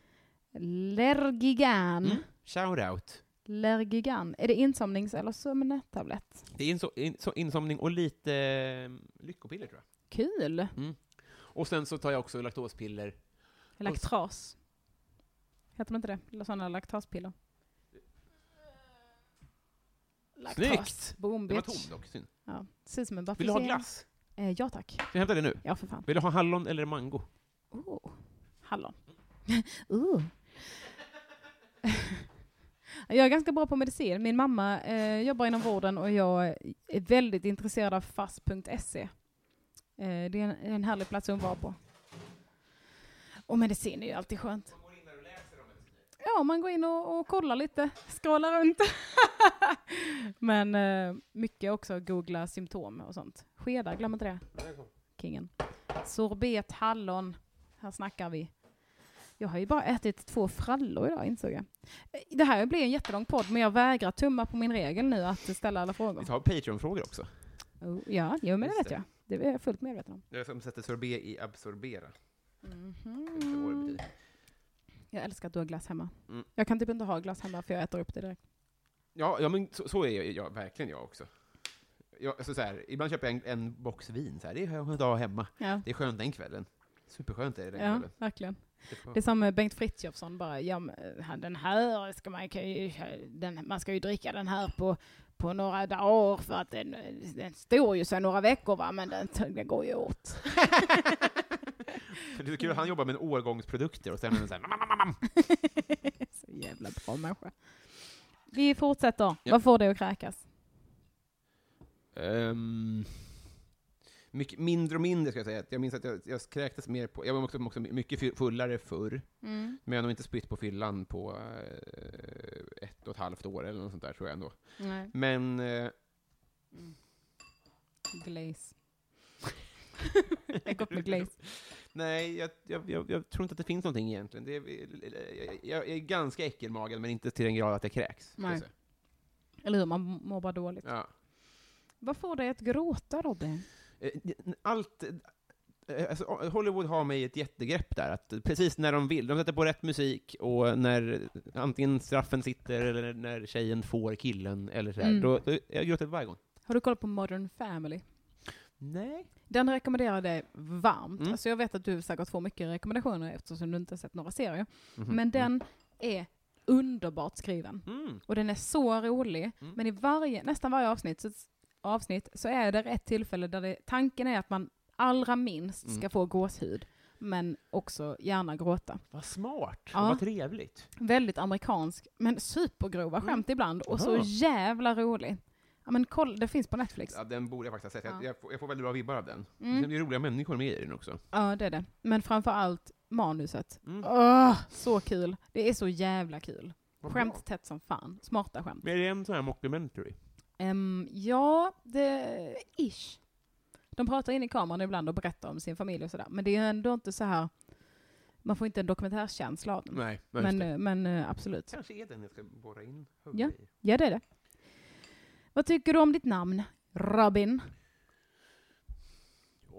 B: Lergigan.
C: Mm. Shout out.
B: Lergigan. Är det insomnings eller sömntablett?
C: Det är inso, in, så insomning och lite eh, lyckopiller, tror jag.
B: Kul!
C: Mm. Och sen så tar jag också laktospiller.
B: Laktras. Heter de inte det? Eller sådana laktaspiller. Laktas.
C: Snyggt!
B: Boom,
C: Den var
B: bitch.
C: tom dock, synd.
B: Ja, ser ut som en
C: Vill du ha
B: apelsin.
C: glass?
B: Eh, ja tack.
C: Ska jag hämta det nu?
B: Ja, för fan.
C: Vill du ha hallon eller mango?
B: Oh, hallon. Uh. Jag är ganska bra på medicin. Min mamma eh, jobbar inom vården och jag är väldigt intresserad av fast.se. Eh, det är en, en härlig plats att vara på. Och medicin är ju alltid skönt. Ja, man går in och, och kollar lite, scrollar runt. (laughs) Men eh, mycket också googla symptom och sånt. Skedar, glöm inte det. Kingen. Sorbet, hallon. Här snackar vi. Jag har ju bara ätit två frallor idag insåg jag. Eh, Det här blir en jättelång podd men jag vägrar tumma på min regel nu att ställa alla
C: Vi
B: frågor.
C: tar Patreon-frågor också.
B: Oh, ja, jo men det
C: Just
B: vet jag. Det är jag fullt medveten om.
C: Jag som sätter sorbet i absorbera. Jag
B: Mm.
C: förstår vad det betyder.
B: Jag älskar att du har glass hemma.
C: Mm.
B: Jag kan typ inte ha glass hemma för jag äter upp det direkt.
C: Ja, ja men så, så är jag, jag, verkligen jag också. Jag, alltså så här, ibland köper jag en, en box vin, så här, det är en dag hemma.
B: Ja,
C: Det är skönt den kvällen. Superskönt är det den
B: ja
C: kvällen.
B: verkligen.
C: Det får-
B: Det är som med Bengt Frithiofsson bara, ja, men, eh, den här ska man, kan ju, den, man ska ju dricka den här på, på några dagar för att den, den står ju sig några veckor va, men den, den går ju åt.
C: (laughs)
B: (laughs)
C: Det är så kul, han jobbar med en årgångsprodukter och sen är den så här, "Mamamamam."
B: Så jävla bra människa. Vi fortsätter.
C: Ja.
B: Vad får dig att kräkas?
C: Ehm, mycket mindre och mindre ska jag säga. Jag minns att jag, jag kräktes mer på, jag var också, också mycket fy- fullare förr, men jag har nog inte spytt på fyllan på eh, ett och ett halvt år eller något sånt där tror jag ändå.
B: Nej.
C: Men eh, (laughs)
B: Glaze. det är gott med glaze.
C: Nej, jag, jag, jag, jag tror inte att det finns någonting egentligen. Det är, eh, jag, jag är ganska äckelmagad, men inte till den grad att jag kräks. ska jag
B: Nej.
C: säga.
B: Eller hur, man mår bara dåligt.
C: Ja.
B: Vad får dig att gråta Robin?
C: Eh, Allt... eh, Alltså, Hollywood har mig i ett jättegrepp där, att precis när de vill. De sätter på rätt musik, och när antingen straffen sitter, eller när tjejen får killen, eller sådär.
B: Mm.
C: Då, då, jag gråter varje gång.
B: Har du kollat på Modern Family?
C: Nej.
B: Den rekommenderar jag dig varmt.
C: Mm.
B: Alltså jag vet att du säkert får mycket rekommendationer eftersom du inte har sett några serier.
C: Mhm.
B: Men den är underbart skriven.
C: Mm.
B: Och den är så rolig.
C: Mm.
B: Men i varje, nästan varje avsnitt så, avsnitt så är det ett tillfälle där det, tanken är att man allra minst ska
C: Mm.
B: få gåshud. Men också gärna gråta.
C: Vad smart,
B: Ja.
C: och vad trevligt.
B: Väldigt amerikansk, men supergrova skämt ibland. Och så
C: Mm. Aha.
B: jävla rolig. Ja men koll, det finns på Netflix.
C: Ja, den borde jag faktiskt ha sett. Jag,
B: Ja.
C: jag, får, jag får väldigt bra vibbar av den.
B: Mm.
C: Det är roliga människor med i den också.
B: Ja det är det. Men framför allt manuset.
C: Mm.
B: Åh, så kul. Det är så jävla kul.
C: Vad bra.
B: Skämt tätt som fan. Smarta skämt.
C: Men är det en sån här mockumentary?
B: Ehm, ja, det... Ish. De pratar in i kameran ibland och berättar om sin familj och sådär. Men det är ändå inte så här... Man får inte en dokumentärkänsla av den.
C: Nej, men,
B: men, eh, men eh, absolut.
C: kanske är den jag ska borra in
B: Ja. Ja, det är det. Vad tycker du om ditt namn? Robin.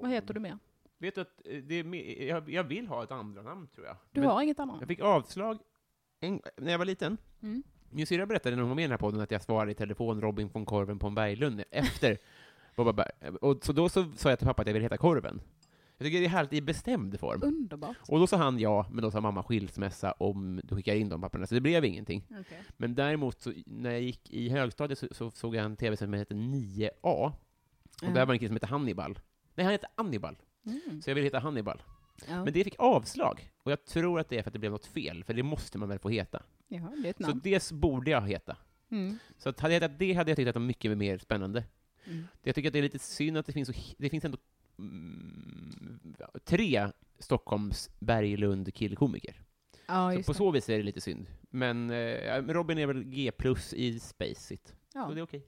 B: Vad heter du mer?
C: Vet du att eh, det är, me- jag, jag vill ha ett andra namn tror jag.
B: Du
C: Men
B: har inget annat?
C: Jag fick avslag en, när jag var liten.
B: Mm.
C: Min syrra berättade när hon var med i den här podden att jag svarade i telefon Robin von Korven på en Berglund
B: (laughs)
C: efter Bobba Berg. Och så då så sa jag till pappa att jag ville heta Korven. Jag tycker det är härligt i bestämd form.
B: Underbart.
C: Och då sa han ja, men då sa mamma skilsmässa om du skickar in de papperna, så det blev ingenting. Men däremot, så, när jag gick i högstadiet så, så såg jag en tv som hette 9A, och där var en kille som hette Hannibal. Nej, han hette Hannibal.
B: Mm.
C: Så jag ville heta Hannibal.
B: Ja.
C: Men det fick avslag. Och jag tror att det är för att det blev något fel, för det måste man väl få heta.
B: Jaha, det är ett
C: Så
B: namn.
C: det borde jag heta.
B: Mm.
C: Så att hade jag hetat det hade jag tyckt att det var mycket mer spännande.
B: Mm.
C: Jag tycker att det är lite synd att det finns, så, hi- det finns ändå mm, tre Stockholms Berglund killkomiker.
B: Ja,
C: så
B: just
C: på
B: det.
C: så vis är det lite synd. Men eh, ja, men Robin är väl G plus i spacet.
B: Ja.
C: Så det är okej.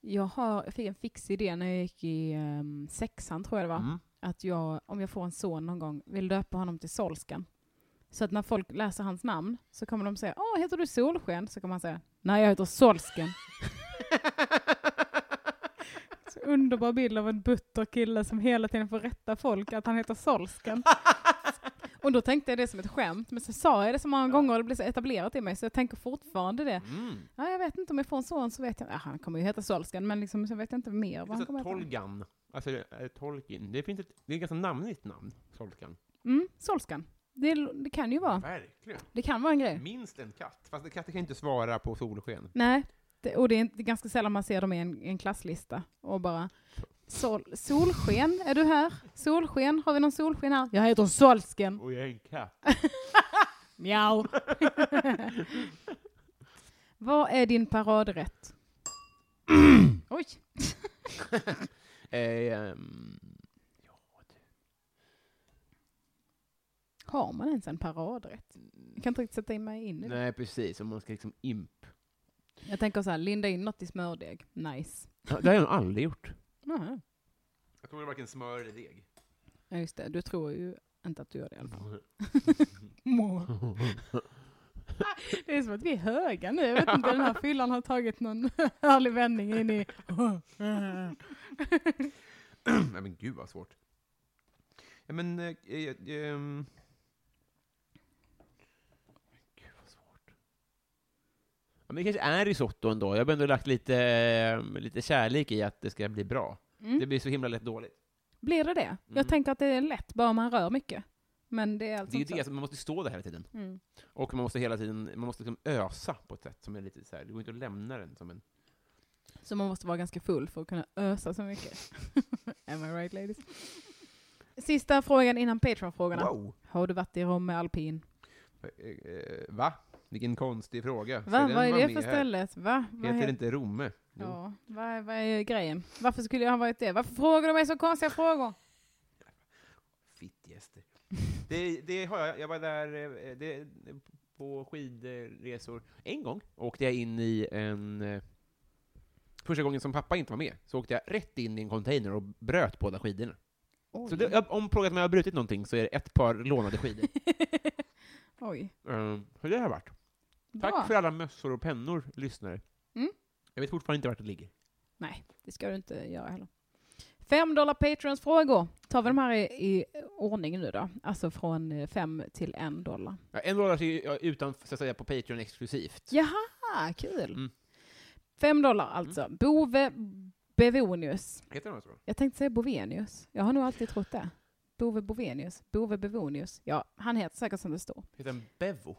B: Jag, har, jag fick en fix idé när jag gick i ehm, sexan, tror jag det var. (laughs)
C: Mm.
B: Att jag, om jag får en son någon gång, vill döpa honom till Solsken. Så att när folk läser hans namn så kommer de säga Åh, heter du Solsken? Så kommer han säga Nej, jag heter (laughs) Solsken. Så underbar bild av en butter kille som hela tiden får rätta folk att han heter (laughs) Solsken. Och då tänkte jag det som ett skämt, men så sa jag det så många gånger och det blev så etablerat i mig så jag tänker fortfarande det.
C: Mm.
B: Ja, jag vet inte om jag får en son så vet jag, ja, han kommer ju heta Solsken, men liksom, så vet jag inte mer
C: Det
B: vad han
C: finns
B: kommer
C: ett
B: heta.
C: Tolgan. Alltså, eh, Tolkien. Det, finns ett, det är ett ganska namnigt namn, Tolkan.
B: Mm, Solskan. Det, det kan ju vara.
C: Verkligen.
B: Det kan vara en grej.
C: Minst en katt. Fast katter kan inte svara på solsken.
B: Nej, det, och det är, inte, det är ganska sällan man ser dem i en, en klasslista och bara sol, Solsken, är du här? Solsken, har vi någon solsken här? Jag heter Solsken.
C: Och jag är en katt.
B: Mjau. (laughs) Vad är din paradrätt? (clears throat) Oj.
C: Eh, ehm,
B: Har man ens en paradrätt? Jag kan inte riktigt sätta in mig in i det.
C: nej, precis. Om man ska liksom imp.
B: Jag tänker så här, linda in något i smördeg. Nice.
C: Ja, Det har jag nog aldrig gjort.
B: Jaha.
C: Jag tror det är varken smör eller (laughs) deg.
B: Ja, just det. Du tror ju inte att du gör det i alla fall. (laughs) Må. Det är som att vi är höga nu. Jag vet inte, den här fyllan har tagit någon (laughs) härlig vändning in i...
C: Mm. nej men gud vad svårt. Ja, Men... Eh, eh, ehm. Gud, vad svårt. Ja, men det kanske är risotto ändå. Jag har ändå lagt lite, eh, lite kärlek i att det ska bli bra.
B: Mm.
C: Det blir så himla lätt dåligt.
B: Blir det det? Jag tänker att det är lätt, bara man rör mycket. Men det är alltså
C: Mm. Det är ju
B: inte
C: det,
B: så.
C: alltså, man måste stå där hela tiden.
B: Mm.
C: Och man måste hela tiden, man måste liksom ösa på ett sätt som är lite så här, det går inte att lämna den som en...
B: Så man måste vara ganska full för att kunna ösa så mycket. (laughs) Am I right ladies? Sista frågan innan Patreon-frågorna.
C: Wow!
B: Har du varit i Rom med alpin?
C: Eh, eh, Va? Vilken konstig fråga. Ska
B: Va?
C: den
B: Vad är
C: vara
B: det för
C: med här?
B: ställe? Va? Vad
C: Heter
B: heter-
C: det inte Romme? Jo.
B: Ja, vad, vad är grejen? Varför skulle jag ha varit det? Varför frågar du mig så konstiga frågor? (laughs)
C: Fittgäster. Det, det har jag. Jag var där eh, det, på skidresor. En gång åkte jag in i en... eh, Första gången som pappa inte var med så åkte jag rätt in i en container och bröt båda skidorna. Så det, jag- om frågat om jag har brutit någonting så är det ett par
B: (laughs)
C: lånade skidor.
B: Oj. (laughs)
C: Eh, Hur det har varit. Tack
B: Bra.
C: för alla mössor och pennor, lyssnare.
B: Mm.
C: Jag vet fortfarande inte vart det ligger.
B: Nej, det ska du inte göra heller. Fem dollar patrons frågor. Tar vi de här i, i ordning nu då? Alltså från eh, fem till en dollar.
C: Ja, en dollar är ju utan, så att säga, på Patreon exklusivt.
B: Jaha, Ah, kul.
C: Mm.
B: Fem dollar alltså. Bove Bevonius.
C: Heter den så?
B: Jag tänkte säga Bovenius. Jag har nog alltid trott det. Bove Bovenius. Bove Bevonius. Ja, han heter säkert som det står. (laughs)
C: Heter den Bevo?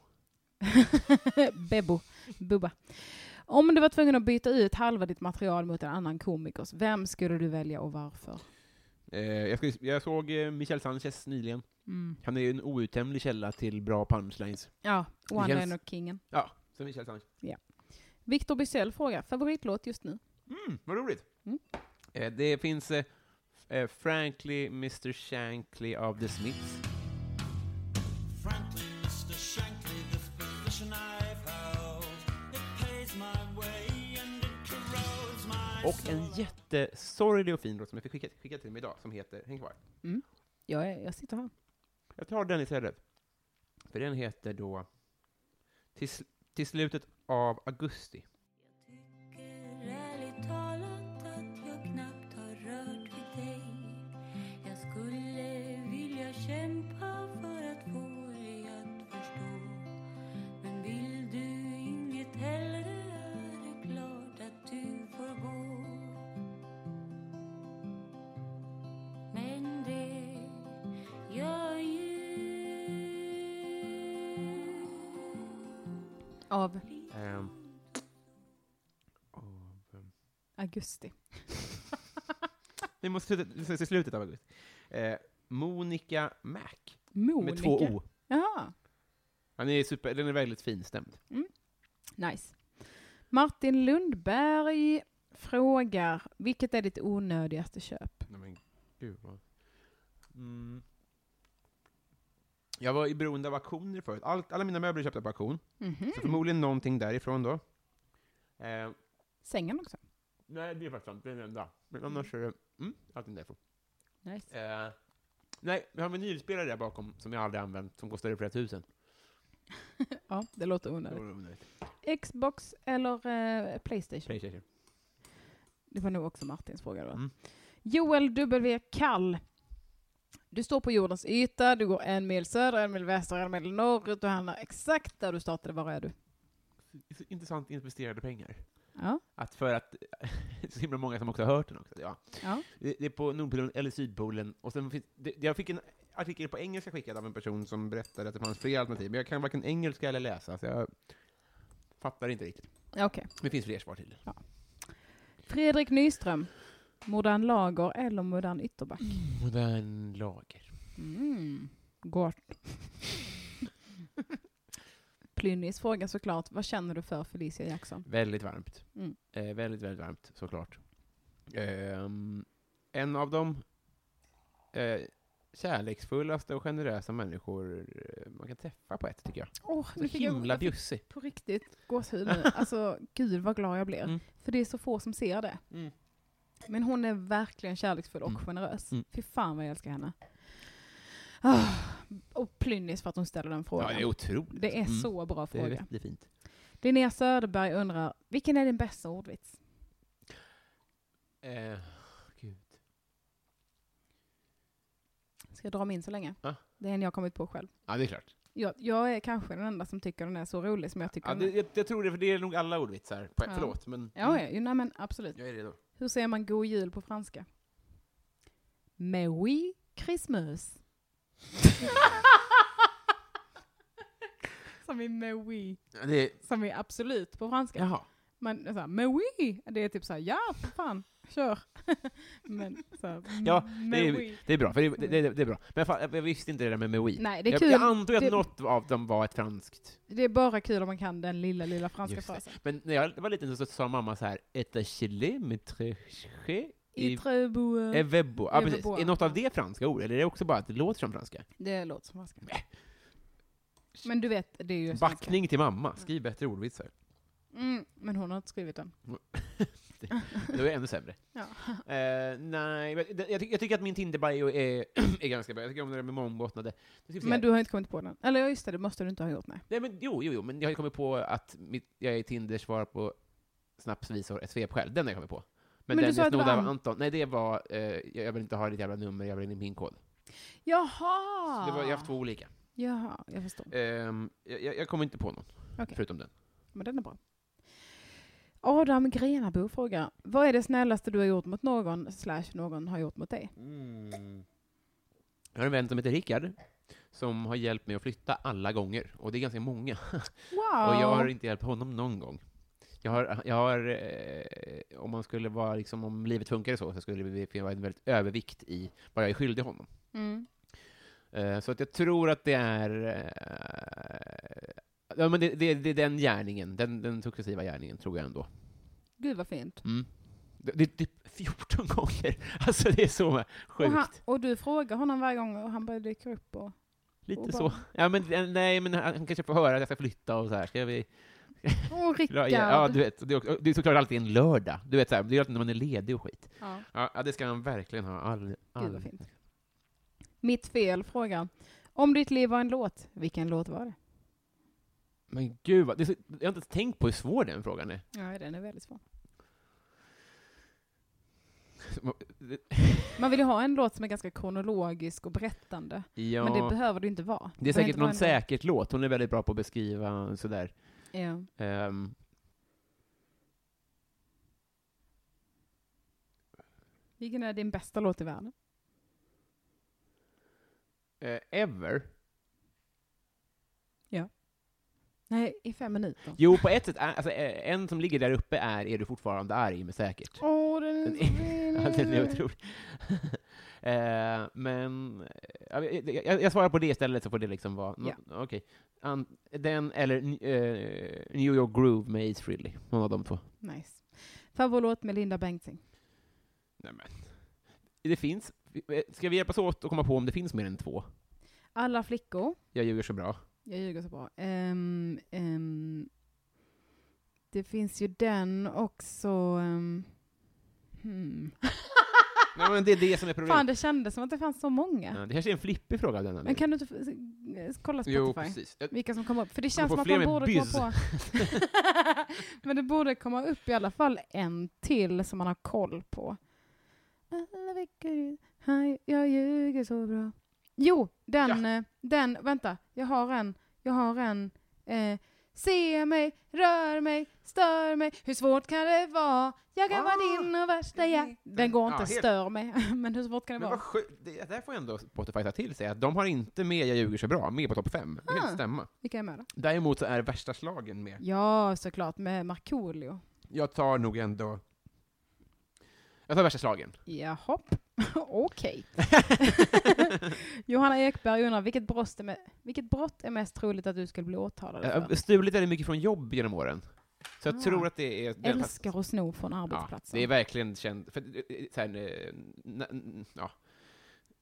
B: Bebo, Bubba. Om du var tvungen att byta ut halva ditt material mot en annan komikers, vem skulle du välja och varför?
C: Eh, jag, skulle, jag såg eh, Michel Sanchez nyligen.
B: Mm.
C: Han är ju en outtömlig källa till bra punchlines.
B: Ja,
C: känns-
B: one-liner-kingen.
C: Ja, så Michel Sanchez.
B: Viktor Bysell frågar, favoritlåt just nu?
C: Mm, vad roligt!
B: Mm.
C: Eh, det finns eh, eh, Frankly Mr Shankly av The Smiths.
E: Frankly, Mr. Shankly, this position I've held, it pays my way and it corrodes my
C: Och en jättesorglig och fin låt som jag fick skicka, skicka till mig idag, som heter Häng kvar.
B: Jag, är, jag sitter här.
C: Jag tar den istället. För den heter då Till, sl- till slutet av augusti.
F: tycker ärligt talat att jag knappt har rört vid dig Jag skulle vilja kämpa för att få dig att förstå Men vill du inget hellre är det klart att du får gå Men det gör ju
B: Av
C: Ehm, av, ehm,
B: augusti.
C: Vi måste sluta till slutet av augusti. Eh, Monica Mac,
B: Monica.
C: med två O.
B: Jaha,
C: Han är super, den är väldigt finstämd.
B: nice. Martin Lundberg frågar, vilket är ditt onödigaste köp?
C: Nej, men, gud vad... mm. Jag var i beroende av auktioner förut. Allt, alla mina möbler är köpta på auktion.
B: Mhm.
C: Så förmodligen någonting därifrån då. Eh,
B: Sängen också.
C: nej, det är faktiskt sant. Det är den enda. Men annars är det mm, allting därifrån.
B: Nice.
C: Eh, nej, vi har en vinylspelare där bakom som jag aldrig använt, som kostade flera tusen.
B: Ja, det låter
C: Det
B: onödigt.
C: var onödigt.
B: Xbox eller eh, Playstation?
C: Playstation.
B: Det var nog också Martins fråga då.
C: Mm.
B: Joel W. Kall. Du står på jordens yta, du går en mil söder, en mil väster, en mil norrut och hamnar exakt där du startade. Var är du?
C: Intressant investerade pengar.
B: Ja.
C: Att för att (laughs) det är så himla många som också har hört den också. Ja.
B: Ja.
C: Det det är på Nordpolen eller Sydpolen. Och sen finns, det, jag fick en artikel på engelska skickad av en person som berättade att det fanns fler alternativ, men jag kan varken engelska eller läsa, så jag fattar inte riktigt.
B: Okej.
C: Men det finns fler svar till.
B: Fredrik Nyström. Modern lager eller modern ytterback?
C: Modern lager.
B: Mm. Gott. Plynnis fråga såklart, vad känner du för Felicia Jackson?
C: Väldigt varmt.
B: Mm.
C: Eh, väldigt, väldigt varmt, såklart. Ehm, en av de eh, kärleksfullaste och generösa människor eh, man kan träffa på ett, tycker jag.
B: Åh,
C: Så himla bjussig.
B: på riktigt gåshud nu. Alltså, gud vad glad jag blir.
C: Mm.
B: För det är så få som ser det.
C: Mm.
B: Men hon är verkligen kärleksfull och
C: Mm.
B: generös.
C: Mm.
B: Fy fan vad jag älskar henne. Ah, och plynnis för att hon ställer den
C: Ja,
B: frågan.
C: det är otroligt.
B: det är
C: Mm.
B: så bra
C: Det är
B: fråga.
C: jättefint.
B: Linnea Söderberg undrar, vilken är din bästa ordvits?
C: Eh, gud.
B: Ska jag dra min så länge?
C: Ja.
B: Det är en jag har kommit på själv.
C: Ja, det är klart.
B: Jag, jag är kanske den enda som tycker den är så rolig som jag tycker
C: Ja,
B: den
C: det,
B: är.
C: jag, jag tror det, för det är nog alla ordvitsar. På,
B: Ja.
C: Förlåt, men
B: Ja, ja, ju, nej men absolut.
C: jag är redo.
B: Hur säger man god jul på franska? Merry
C: (laughs)
B: Christmas. som i Merry,
C: Ja, Det är,
B: som i absolut på franska.
C: jaha.
B: Men så här, Merry, det är typ så här, ja för fan, kör. (laughs) men så här,
C: Ja, det är-
B: "Merry."
C: Det är bra, för det, det, det, det är bra. Men fan, jag visste inte det där med Mewi.
B: Nej, det är
C: jag,
B: kul.
C: jag antog att
B: Det-
C: något av dem var ett franskt.
B: Det är bara kul om man kan den lilla, lilla franska
C: Just det.
B: frasen.
C: Men när jag var liten så sa mamma så här, ett kilometre
B: I
C: i
B: Trebo.
C: Evebo. Ja, precis.
B: Evebo,
C: Är något av
B: ja.
C: det franska ord, eller är det också bara att det låter som franska?
B: Det låter som franska. Men du vet, det är ju svenska.
C: Backning till mamma. Skriv bättre ordvitsar.
B: Mm, men hon har inte skrivit den.
C: Det var ännu sämre.
B: Ja.
C: (laughs) Eh, nej, men det- jag, ty- jag tycker att min Tinder-bio är, (clears throat) är ganska bra. Jag tycker om det där med mångbottnade. Nu ska vi se
B: Men
C: här.
B: du har inte kommit på den. Eller ja, just det, det måste du inte ha gjort, nej.
C: Nej, men, jo, jo, jo, men jag har ju kommit på att mitt, jag är Tinders svar på snapsvisor, ett svep själv. Den har jag kommit på. Men,
B: Men du
C: den
B: sa
C: jag
B: att det var
C: snodde av
B: Ant-
C: Anton. Nej, det var, eh, jag- jag vill inte ha ditt jävla nummer, jag vill ha din pinkod.
B: Jaha!
C: Så Det var, jag har haft två olika.
B: Jaha, jag förstår.
C: Ehm, jag, jag- jag kommer inte på någon,
B: Okej.
C: förutom den.
B: Men den är bra. Adam Grenabo frågar, vad är det snällaste du har gjort mot någon, slash någon har gjort mot dig?
C: Jag har en vän som heter Rickard, som har hjälpt mig att flytta alla gånger. Och det är ganska många.
B: Wow!
C: Och jag har inte hjälpt honom någon gång. Jag har, jag har eh, om man skulle vara, liksom, om livet funkade så, så skulle det finnas en väldigt övervikt i vad jag är skyldig honom.
B: mm.
C: Eh, Så att jag tror att det är... eh, Ja, men det, det, det är den gärningen, den, den successiva gärningen, tror jag ändå.
B: Gud vad fint.
C: Mm. Det, det är typ 14 gånger! (laughs) Alltså det är så
B: Och,
C: sjukt.
B: han, och du frågar honom varje gång och han bara dyker upp och...
C: Lite
B: och
C: så.
B: bara-
C: Ja, men, eh, nej, men han han kanske får höra att jag ska flytta och så här. Ska vi...
B: Åh,
C: dra
B: Rickard!
C: igen? (laughs) Ja, du vet. Det är, också, det är såklart alltid en lördag. Du vet, så här, det är alltid när man är ledig och skit.
B: Ja,
C: Ja, ja, det ska han verkligen ha. All,
B: Gud vad
C: all...
B: fint. Mitt fel frågar, om ditt liv var en låt, vilken låt var det?
C: Men gud, vad, det är så, jag har inte ens tänkt på hur svår den frågan är. (laughs)
B: Ja, den är väldigt svår. Man vill ju ha en låt som är ganska kronologisk och berättande.
C: Ja.
B: Men det behöver du inte vara.
C: Det är
B: Du behöver
C: säkert
B: inte vara
C: någon
B: en-
C: säkert låt. Hon är väldigt bra på att beskriva sådär.
B: Ja.
C: Um,
B: Vilken är din bästa låt i världen?
C: eh, ever?
B: Nej, i fem minuter.
C: Jo, på ett sätt. Är, alltså, eh, en som ligger där uppe är Är du fortfarande arg med säkert.
B: Åh, den är
C: Den
B: så fin!
C: Ja, den är (laughs) otrolig. Eh, men eh, jag, jag, jag svarar på det istället så får det liksom vara... nå- Okej. An- Den eller eh, New York Groove med Ace Frehley. Någon av de två.
B: Nice. Favoritlåt med Linda Bengtzing?
C: Nej, men. Det finns. Ska vi hjälpas åt att komma på om det finns mer än två?
B: Alla flickor.
C: Jag ljuger så bra.
B: Jag ljuger så bra. Ehm, ehm, det finns ju den också... ehm, hmm.
C: (laughs) Nej, men det är det som är problemet.
B: Fan, det kändes som att det fanns så många.
C: Ja, det kanske är en flippig fråga av den
B: Men
C: anledningen.
B: kan du inte f- s- kolla Spotify?
C: Jo, precis. Jag-
B: vilka som kom upp. För det känns
C: få
B: som att
C: fler
B: man
C: med
B: borde
C: bys.
B: komma på... (laughs) Men det borde komma upp i alla fall en till som man har koll på. Alla veckor, hej, jag ljuger så bra. Jo, den, eh, den, vänta, jag har en, jag har en. Eh, se mig, rör mig, stör mig, hur svårt kan det vara? Jag kan vara din och värsta jag. Den går
C: Ah. Mm. Ja,
B: inte,
C: helt-
B: stör mig, (laughs) men hur svårt kan det
C: Men
B: vara?
C: vad sjukt, det där får ändå Spotify ta till sig, att de har inte med Jag ljuger så bra med på topp 5. Det kan
B: Ah.
C: inte stämma.
B: Vilka är med då?
C: Däremot så är värsta slagen med.
B: Ja, såklart, med Markoolio.
C: Jag tar nog ändå... Jag tar värsta slagen.
B: Jaha, (laughs)
C: (laughs)
B: okej. Johanna Ekberg undrar, vilket brott, är me- vilket brott är mest troligt att du skulle bli åtalad
C: Jag
B: för?
C: har Eh, stulit väldigt mycket från jobb genom åren. Så jag
B: Ah.
C: tror att det är... den-
B: Älskar att sno från
C: ja,
B: arbetsplatsen.
C: Det är verkligen känt... För, eh, så här, eh, na- n- ja.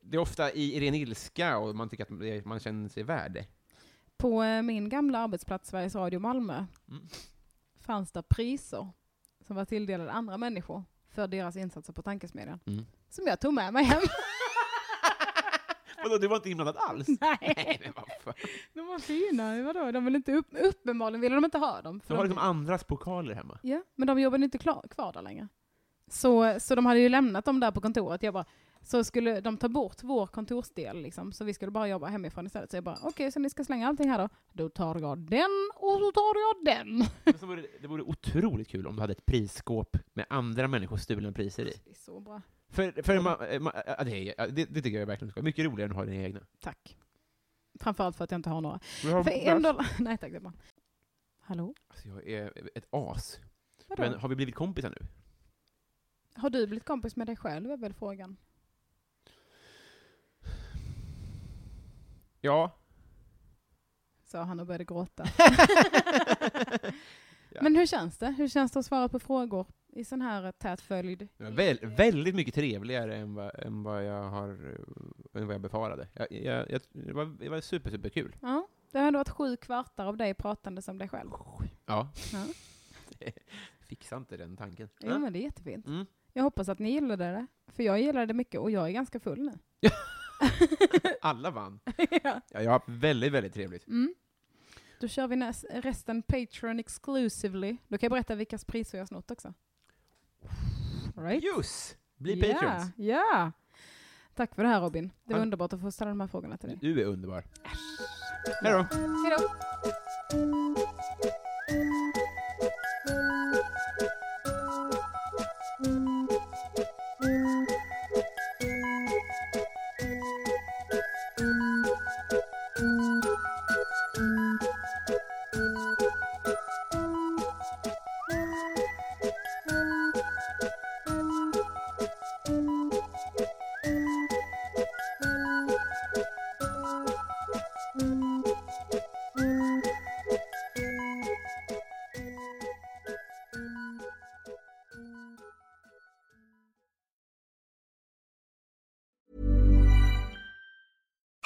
C: Det är ofta i, i ren ilska och man tycker att det- man känner sig värd det.
B: På eh, min gamla arbetsplats, Sveriges Radio Malmö,
C: Mm.
B: fanns det priser som var tilldelade andra människor för deras insatser på tankesmedjan.
C: Mm.
B: Som jag tog med mig hem.
C: (laughs) Vadå, du var inte inblandad alls? (laughs) (laughs) Nej, men vad fan.
B: de var fina, vadå? De vill inte upp, uppenbarligen ville de inte ha dem. för
C: Du har
B: de-
C: liksom andras pokaler hemma.
B: Ja, men de jobbade inte klar, kvar där längre. Så, så de hade ju lämnat dem där på kontoret. Jag bara, Så skulle de ta bort vår kontorsdel, liksom, så vi skulle bara jobba hemifrån istället. Så jag bara, okej, så ni ska slänga allting här då? Då tar jag den och så tar jag den.
C: Men så vore, det- det vore otroligt kul om du hade ett prisskåp med andra människors stulna priser i.
B: Det är så bra.
C: För, för ma, eh, ma, ja, det, är- ja, det, det tycker jag verkligen ska. Mycket roligare än att ha dina egna.
B: Tack. Framförallt för att jag inte har några.
C: Du har
B: För en
C: bärs.
B: dollar... (laughs) Nej tack, det är bra. Hallå?
C: Alltså, jag är ett as.
B: Vadå?
C: Men har vi blivit kompisar nu?
B: Har du blivit kompis med dig själv, är väl frågan?
C: Ja.
B: Sa han och började
C: (laughs)
B: gråta. Men hur känns det? Hur känns det att svara på frågor i sån här tät följd?
C: Det var väl, väldigt mycket trevligare än vad, än vad jag har eh, än vad jag befarade. Jag, jag, jag, det var, det var super, superkul.
B: Ja, det har ändå varit sju kvartar av dig pratande som dig själv.
C: Ja.
B: Ja.
C: (laughs) Fixa inte den tanken.
B: Jo, men det är jättefint.
C: Mm.
B: Jag hoppas att ni gillade det, för jag gillade det mycket och jag är ganska full nu.
C: Alla vann.
B: ja.
C: (laughs) Ja, jag har haft väldigt, väldigt trevligt.
B: mm. Då kör vi näst, resten Patreon exclusively. Då kan jag berätta vilkas priser jag har snott också. Right?
C: Just! Bli
B: Ja,
C: Patreons.
B: Ja! Tack för det här Robin. Det var
C: Ja.
B: underbart att få ställa de här frågorna till dig.
C: Du är underbar. Hej då!
B: Hejdå!